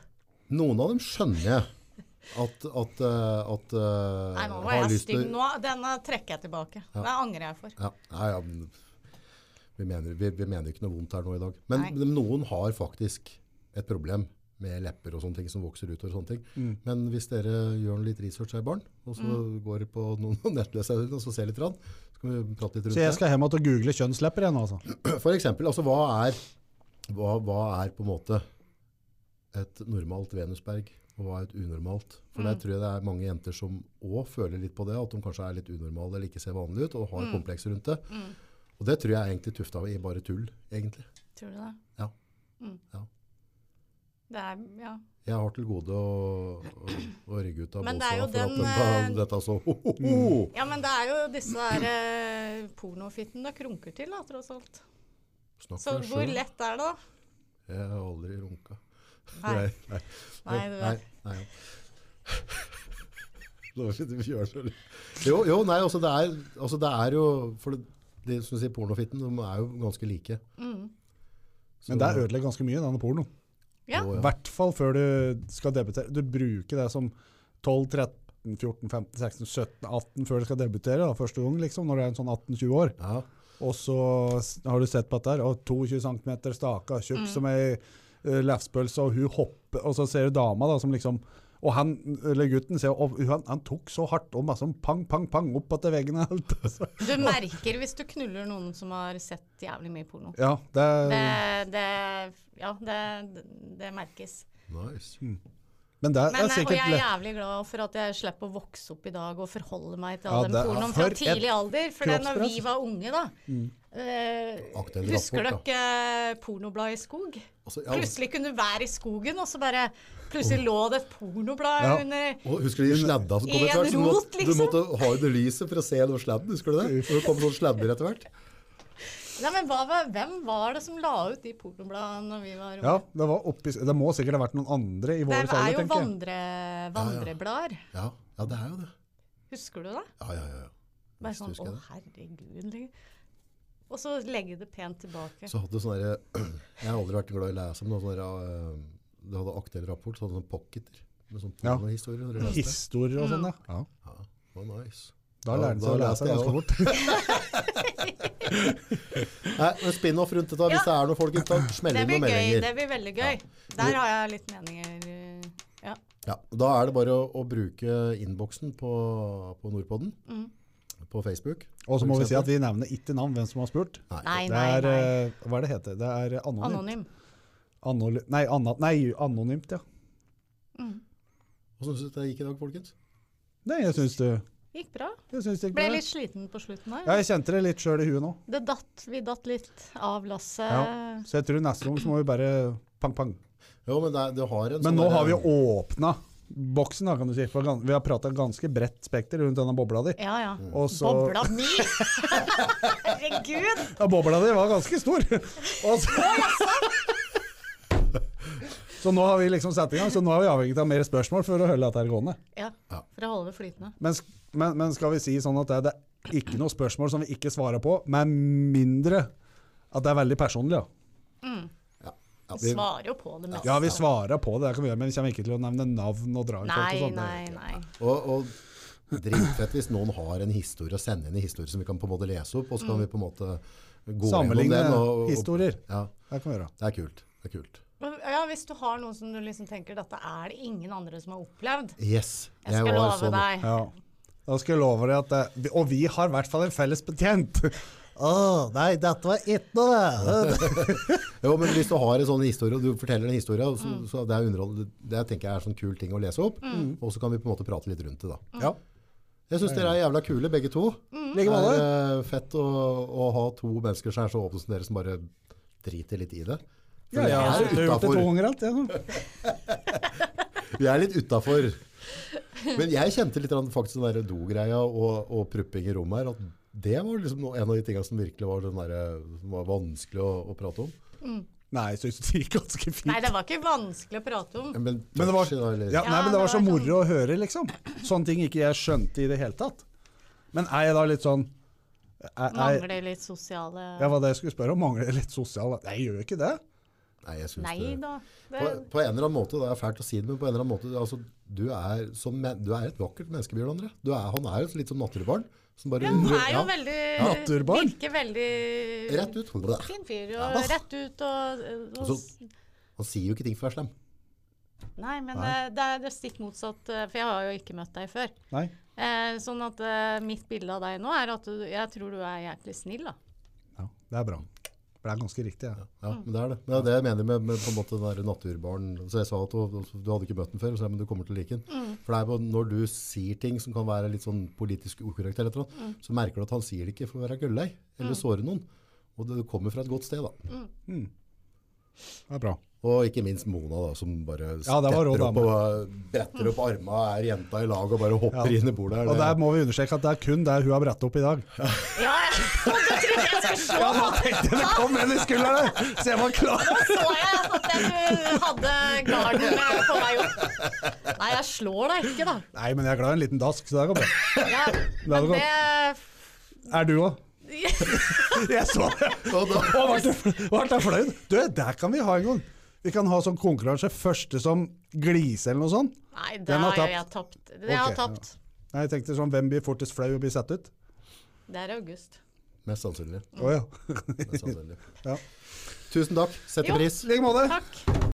Speaker 1: noen av dem skjønner jeg at, at, eh, at eh,
Speaker 2: Nei, nå var
Speaker 1: har
Speaker 2: jeg
Speaker 1: lyst til-
Speaker 2: stygg. Nå, denne trekker jeg tilbake. Det angrer jeg for.
Speaker 1: Ja, nei, ja, men vi, mener, vi, vi mener ikke noe vondt her nå i dag. Men,
Speaker 2: Nei.
Speaker 1: men noen har faktisk et problem med lepper og sånne ting som vokser utover. sånne ting.
Speaker 3: Mm.
Speaker 1: Men hvis dere gjør litt research her, barn, og så går dere på noen *laughs* nettlesere og så ser litt, rann, så kan vi prate litt rundt
Speaker 3: Så jeg skal hjem og google kjønnslepper igjen, altså.
Speaker 1: det. For eksempel, altså, hva, er, hva, hva er på en måte et normalt venusberg, og hva er et unormalt? For
Speaker 2: Mm.
Speaker 1: der tror jeg det er mange jenter som òg føler litt på det, at de kanskje er litt unormale eller ikke ser vanlige ut, og
Speaker 2: Mm.
Speaker 1: har komplekser rundt det. Og det tror jeg er egentlig tufta i bare tull, egentlig.
Speaker 2: Tror du det?
Speaker 1: Ja.
Speaker 2: Mm.
Speaker 1: Ja.
Speaker 2: Det er, ja.
Speaker 1: Jeg har til gode å, å, å rygge ut av
Speaker 2: Men
Speaker 1: båsa
Speaker 2: det er jo
Speaker 1: for at
Speaker 2: den,
Speaker 1: den, tar-
Speaker 2: eh,
Speaker 1: dette så ho, ho, ho.
Speaker 2: ja, men det er jo disse her eh, pornofitten det krunker til, da, tross alt.
Speaker 1: Snakk
Speaker 2: Så
Speaker 1: for deg
Speaker 2: hvor
Speaker 1: sjøl.
Speaker 2: lett er det, da?
Speaker 1: Jeg har aldri runka.
Speaker 2: Nei.
Speaker 1: nei.
Speaker 2: Nei, du
Speaker 1: nei,
Speaker 2: vet.
Speaker 1: nei. *laughs* Det var ikke det vi gjør så litt. Jo, jo, nei, altså det er, altså det er jo For det, det som du sier, pornofitten, de er jo ganske like.
Speaker 2: Mm.
Speaker 1: Så-
Speaker 3: Men det ødelegger ganske mye, denne pornoen.
Speaker 2: Ja.
Speaker 1: Å,
Speaker 3: I hvert fall før du skal debutere. Du bruker det som 12, 13, 14, 15, 16, 17, 18 før du skal debutere da, første gang, liksom, når du er en sånn 18-20 år.
Speaker 1: ja.
Speaker 3: Og så s- har du sett på dette her, og 22 cm staka, tjukk
Speaker 2: Mm.
Speaker 3: som ei eh, lefspølse, og hun hopper, og så ser du dama da, som liksom og han, eller gutten ser, og han, han tok så hardt og masse sånn pang, pang, pang opp etter veggen. og *laughs* alt. altså.
Speaker 2: Du merker hvis du knuller noen som har sett jævlig mye porno.
Speaker 3: Ja, det,
Speaker 2: Det, det, ja, det, det merkes.
Speaker 1: Nice.
Speaker 3: men det
Speaker 2: Men,
Speaker 3: er
Speaker 2: eh, og
Speaker 3: sikkert
Speaker 2: jeg er
Speaker 3: lett.
Speaker 2: jævlig glad for at jeg slipper å vokse opp i dag og forholde meg til
Speaker 3: Ja,
Speaker 2: all den
Speaker 3: det er-
Speaker 2: pornoen
Speaker 3: for
Speaker 2: fra
Speaker 3: et
Speaker 2: tidlig alder. For det når
Speaker 3: kroppspress. Mm.
Speaker 2: vi var unge, da eh,
Speaker 1: Aktuell
Speaker 2: Husker
Speaker 1: rapport,
Speaker 2: dere eh, pornobladet i skog?
Speaker 1: Altså, ja,
Speaker 2: Plutselig kunne du være i skogen, og så bare Plutselig lå det et pornoblad
Speaker 3: Ja.
Speaker 2: under
Speaker 1: og husker du de sladda som kom
Speaker 2: I en
Speaker 1: etter hvert? Så Du, måtte-
Speaker 2: rot, liksom.
Speaker 1: du måtte ha under lyset for å se noe sladden, husker du
Speaker 3: *laughs*
Speaker 1: det? For det kom noen sladder etter hvert.
Speaker 2: Nei, men hva, var- Hvem var det som la ut de pornobladene når vi var unge?
Speaker 3: Ja, det, var oppi, det må sikkert ha vært noen andre i
Speaker 2: det
Speaker 3: vår
Speaker 2: er
Speaker 3: alder,
Speaker 2: jo
Speaker 3: tenker jeg.
Speaker 2: vandre, vandreblader.
Speaker 1: Ja, ja, det er jo det.
Speaker 2: Husker du det?
Speaker 1: Ja, ja, ja. ja.
Speaker 2: Bare
Speaker 1: Visst
Speaker 2: sånn,
Speaker 1: husker
Speaker 2: å
Speaker 1: jeg
Speaker 2: herregud. liksom. Og så legge det pent tilbake.
Speaker 1: Så hadde sånne der, *clears throat* Jeg har aldri vært glad i å lese om noe sånn der, eh, Det hadde aktuell rapport, så hadde sånne pocketer med sånn
Speaker 3: Ja.
Speaker 1: pornohistorie. når du leste.
Speaker 3: Historier og sånn, ja. ja.
Speaker 1: Ja, det var nice.
Speaker 3: Da
Speaker 1: Ja,
Speaker 3: lærte
Speaker 1: da
Speaker 3: jeg å
Speaker 1: lærte
Speaker 3: lese
Speaker 1: jeg
Speaker 3: ganske fort. *laughs*
Speaker 1: Nei, men Spin-off rundt dette.
Speaker 2: Ja.
Speaker 1: Hvis det er noe folk tar, smell
Speaker 2: Det
Speaker 1: inn
Speaker 2: blir
Speaker 1: noen
Speaker 2: gøy.
Speaker 1: meldinger.
Speaker 2: Det blir veldig gøy. Der har jeg litt meninger. eh, Ja.
Speaker 1: Ja, da er det bare å, å bruke innboksen på, på Nordpodden.
Speaker 2: Mm.
Speaker 1: På Facebook.
Speaker 3: Og så må
Speaker 1: for
Speaker 3: vi si
Speaker 1: eksempel.
Speaker 3: at vi nevner ikke navn hvem som har spurt.
Speaker 2: Nei,
Speaker 3: Det
Speaker 2: nei,
Speaker 3: er,
Speaker 2: nei.
Speaker 3: eh, hva er det heter? Det er anonymt.
Speaker 2: Anonym.
Speaker 3: Anony nei, anna nei, anonymt, ja.
Speaker 1: Hvordan syns du det gikk i dag, folkens?
Speaker 3: Nei, jeg syns det,
Speaker 2: Gikk bra.
Speaker 3: jeg syns det gikk
Speaker 2: Ble
Speaker 3: bra.
Speaker 2: litt sliten på slutten
Speaker 3: Ja,
Speaker 2: her.
Speaker 3: jeg kjente det litt sjøl i huet nå.
Speaker 2: Det datt, vi datt litt av lasset.
Speaker 3: Ja. Så jeg tror neste gang så må vi bare pang, pang.
Speaker 1: Jo, men det, er- det har en
Speaker 3: Men
Speaker 1: sånn
Speaker 3: nå
Speaker 1: der-
Speaker 3: har vi jo åpna boksen, da, kan du si. For gan- vi har prata ganske bredt spekter rundt denne bobla di.
Speaker 2: Ja, ja.
Speaker 3: Og Mm. så,
Speaker 2: Bobla mi! Herregud!
Speaker 3: ja, bobla di var ganske stor! *laughs* Og så, *laughs* så nå har vi liksom satt i gang, så nå er vi avhengig av mer spørsmål for å holde dette her gående.
Speaker 2: Ja, for å holde det flytende.
Speaker 3: Men, sk- men, men skal vi si sånn at det, det er ikke noe spørsmål som vi ikke svarer på, med mindre at det er veldig personlig, ja.
Speaker 1: ja,
Speaker 2: Vi
Speaker 1: vi,
Speaker 2: svarer jo på det meste.
Speaker 3: Ja, vi svarer sånn, på det, det kan vi gjøre, men vi kommer ikke til å nevne navn og dra inn folk og
Speaker 2: Nei,
Speaker 3: sånt.
Speaker 2: nei, nei.
Speaker 1: og, og dritfett hvis noen har en historie å sende inn en historie som vi kan på en måte lese opp, og så kan vi på en måte gå gjennom
Speaker 3: Mm. Sammenligne
Speaker 1: den. og- og-
Speaker 3: historier.
Speaker 1: Ja,
Speaker 3: Det kan vi gjøre.
Speaker 1: det er kult. Det er kult.
Speaker 2: Men, Ja, hvis du har noe som du liksom tenker dette er det ingen andre som har opplevd.
Speaker 1: Yes.
Speaker 2: Jeg skal
Speaker 1: var sånn.
Speaker 2: love deg.
Speaker 3: Ja. Da skal jeg love deg at det, vi- Og vi har i hvert fall en felles betjent! *laughs* Å, nei, dette var ikke noe! det.
Speaker 1: *laughs* Jo, men hvis du har en sånn historie, og du forteller en historie, så,
Speaker 3: Mm.
Speaker 1: så det er underhold, det tenker jeg er sånn kul ting å lese opp, og så kan vi på en måte prate litt rundt det da.
Speaker 3: Ja.
Speaker 1: Jeg synes dere er jævla kule, begge to.
Speaker 3: Like
Speaker 1: Det er
Speaker 3: måte.
Speaker 1: eh, fett å, å ha to mennesker som er så åpne som dere, som bare driter litt i det. For
Speaker 3: Ja, altså, jeg
Speaker 1: eh,
Speaker 3: har
Speaker 1: vi,
Speaker 3: sittet
Speaker 1: er
Speaker 3: og gjort det to
Speaker 1: utenfor,
Speaker 3: ganger alt, jeg. nå.
Speaker 1: vi er litt utenfor. Men jeg kjente litt grann faktisk den der do-greia og, og prupping i rommet her, at det var liksom no- en av de tingene som virkelig var, den der, som var vanskelig å, å prate om.
Speaker 3: Nei, jeg syns det gikk ganske fint.
Speaker 2: Nei, det var ikke vanskelig å prate om.
Speaker 1: Men,
Speaker 3: Men det var,
Speaker 1: touchy da, eller-
Speaker 3: ja, nei, men det var så
Speaker 2: sånn-
Speaker 3: moro å høre, liksom. Sånne ting ikke jeg skjønte i det hele tatt. Men er jeg da litt sånn er, er,
Speaker 2: Mangler litt sosiale
Speaker 3: Ja, hva det jeg skulle spørre om? Mangler jeg litt sosial? Nei, jeg gjør jo ikke det.
Speaker 1: Nei, jeg synes
Speaker 2: Nei
Speaker 1: det.
Speaker 2: da. Det,
Speaker 1: På, på en eller annen måte, det er fælt å si det, men på en eller annen måte, altså, du, er, som, men- du er et vakkert menneske, Bjørn André. Du er, han er jo litt som naturbarn. Som bare,
Speaker 2: ja, han er jo
Speaker 1: Ja,
Speaker 2: veldig
Speaker 3: Naturbarn.
Speaker 2: Virker veldig
Speaker 1: Rett ut. Blæh.
Speaker 2: Fin fyr. Og rett ut og, og
Speaker 1: Altså- Han sier jo ikke ting for å være slem.
Speaker 2: Nei, men
Speaker 3: Nei.
Speaker 2: eh, Det, er, det er stikk motsatt, eh, for jeg har jo ikke møtt deg før.
Speaker 3: Nei.
Speaker 2: Eh, sånn at eh, mitt bilde av deg nå er at du, jeg tror du er jæklig snill, da.
Speaker 3: Ja, det er bra. For det er ganske riktig. Ja.
Speaker 1: Ja, men det er det. Det er det jeg mener med, med på en måte den der naturbarn. Så jeg sa at du, du hadde ikke møtt den før, så jeg, men du kommer til å like den. For det er på, når du sier ting som kan være litt sånn politisk ukorrekt, eller et eller annet, så merker du at han sier det ikke for å være gullei eller såre noen. Og det kommer fra et godt sted, da.
Speaker 3: Det er bra.
Speaker 1: Og ikke minst Mona, da, som bare
Speaker 3: Ja, det var rå
Speaker 1: stepper opp og eh, bretter opp arma, er jenta i lag og bare hopper
Speaker 3: Ja.
Speaker 1: inn i bordet. her.
Speaker 3: Og der må vi understreke at det er kun der hun har brettet opp i dag.
Speaker 2: Ja, og du trodde jeg skulle slå
Speaker 3: Ja, nå tenkte jeg det kom en i skulderen! Så jeg var klar.
Speaker 2: så jeg at du hadde garden eh, på vei opp. Nei, jeg slår deg ikke, da.
Speaker 3: Nei, men jeg er glad i en liten dask, så det går bra.
Speaker 2: Ja,
Speaker 3: hadde
Speaker 2: men det
Speaker 3: Er du òg?
Speaker 2: *laughs*
Speaker 3: Jeg så det.
Speaker 1: Og da-
Speaker 3: Å, ble jeg fl- ble jeg flau? Du, der kan vi ha en gang. Vi kan ha sånn konkurranse. Første som gliser, eller noe sånt.
Speaker 2: Nei, det
Speaker 3: Den har
Speaker 2: har jo
Speaker 3: tapt.
Speaker 2: jeg tapt. Det har
Speaker 3: Ok,
Speaker 2: jeg tapt.
Speaker 3: Nei, jeg tenkte sånn, Hvem blir fortest flau og blir satt ut?
Speaker 2: Det er august.
Speaker 1: Mest sannsynlig.
Speaker 3: Å ja.
Speaker 1: Mest sannsynlig.
Speaker 3: Ja.
Speaker 1: Tusen takk. Setter
Speaker 2: Jo.
Speaker 1: pris.
Speaker 3: I like måte.
Speaker 2: Takk.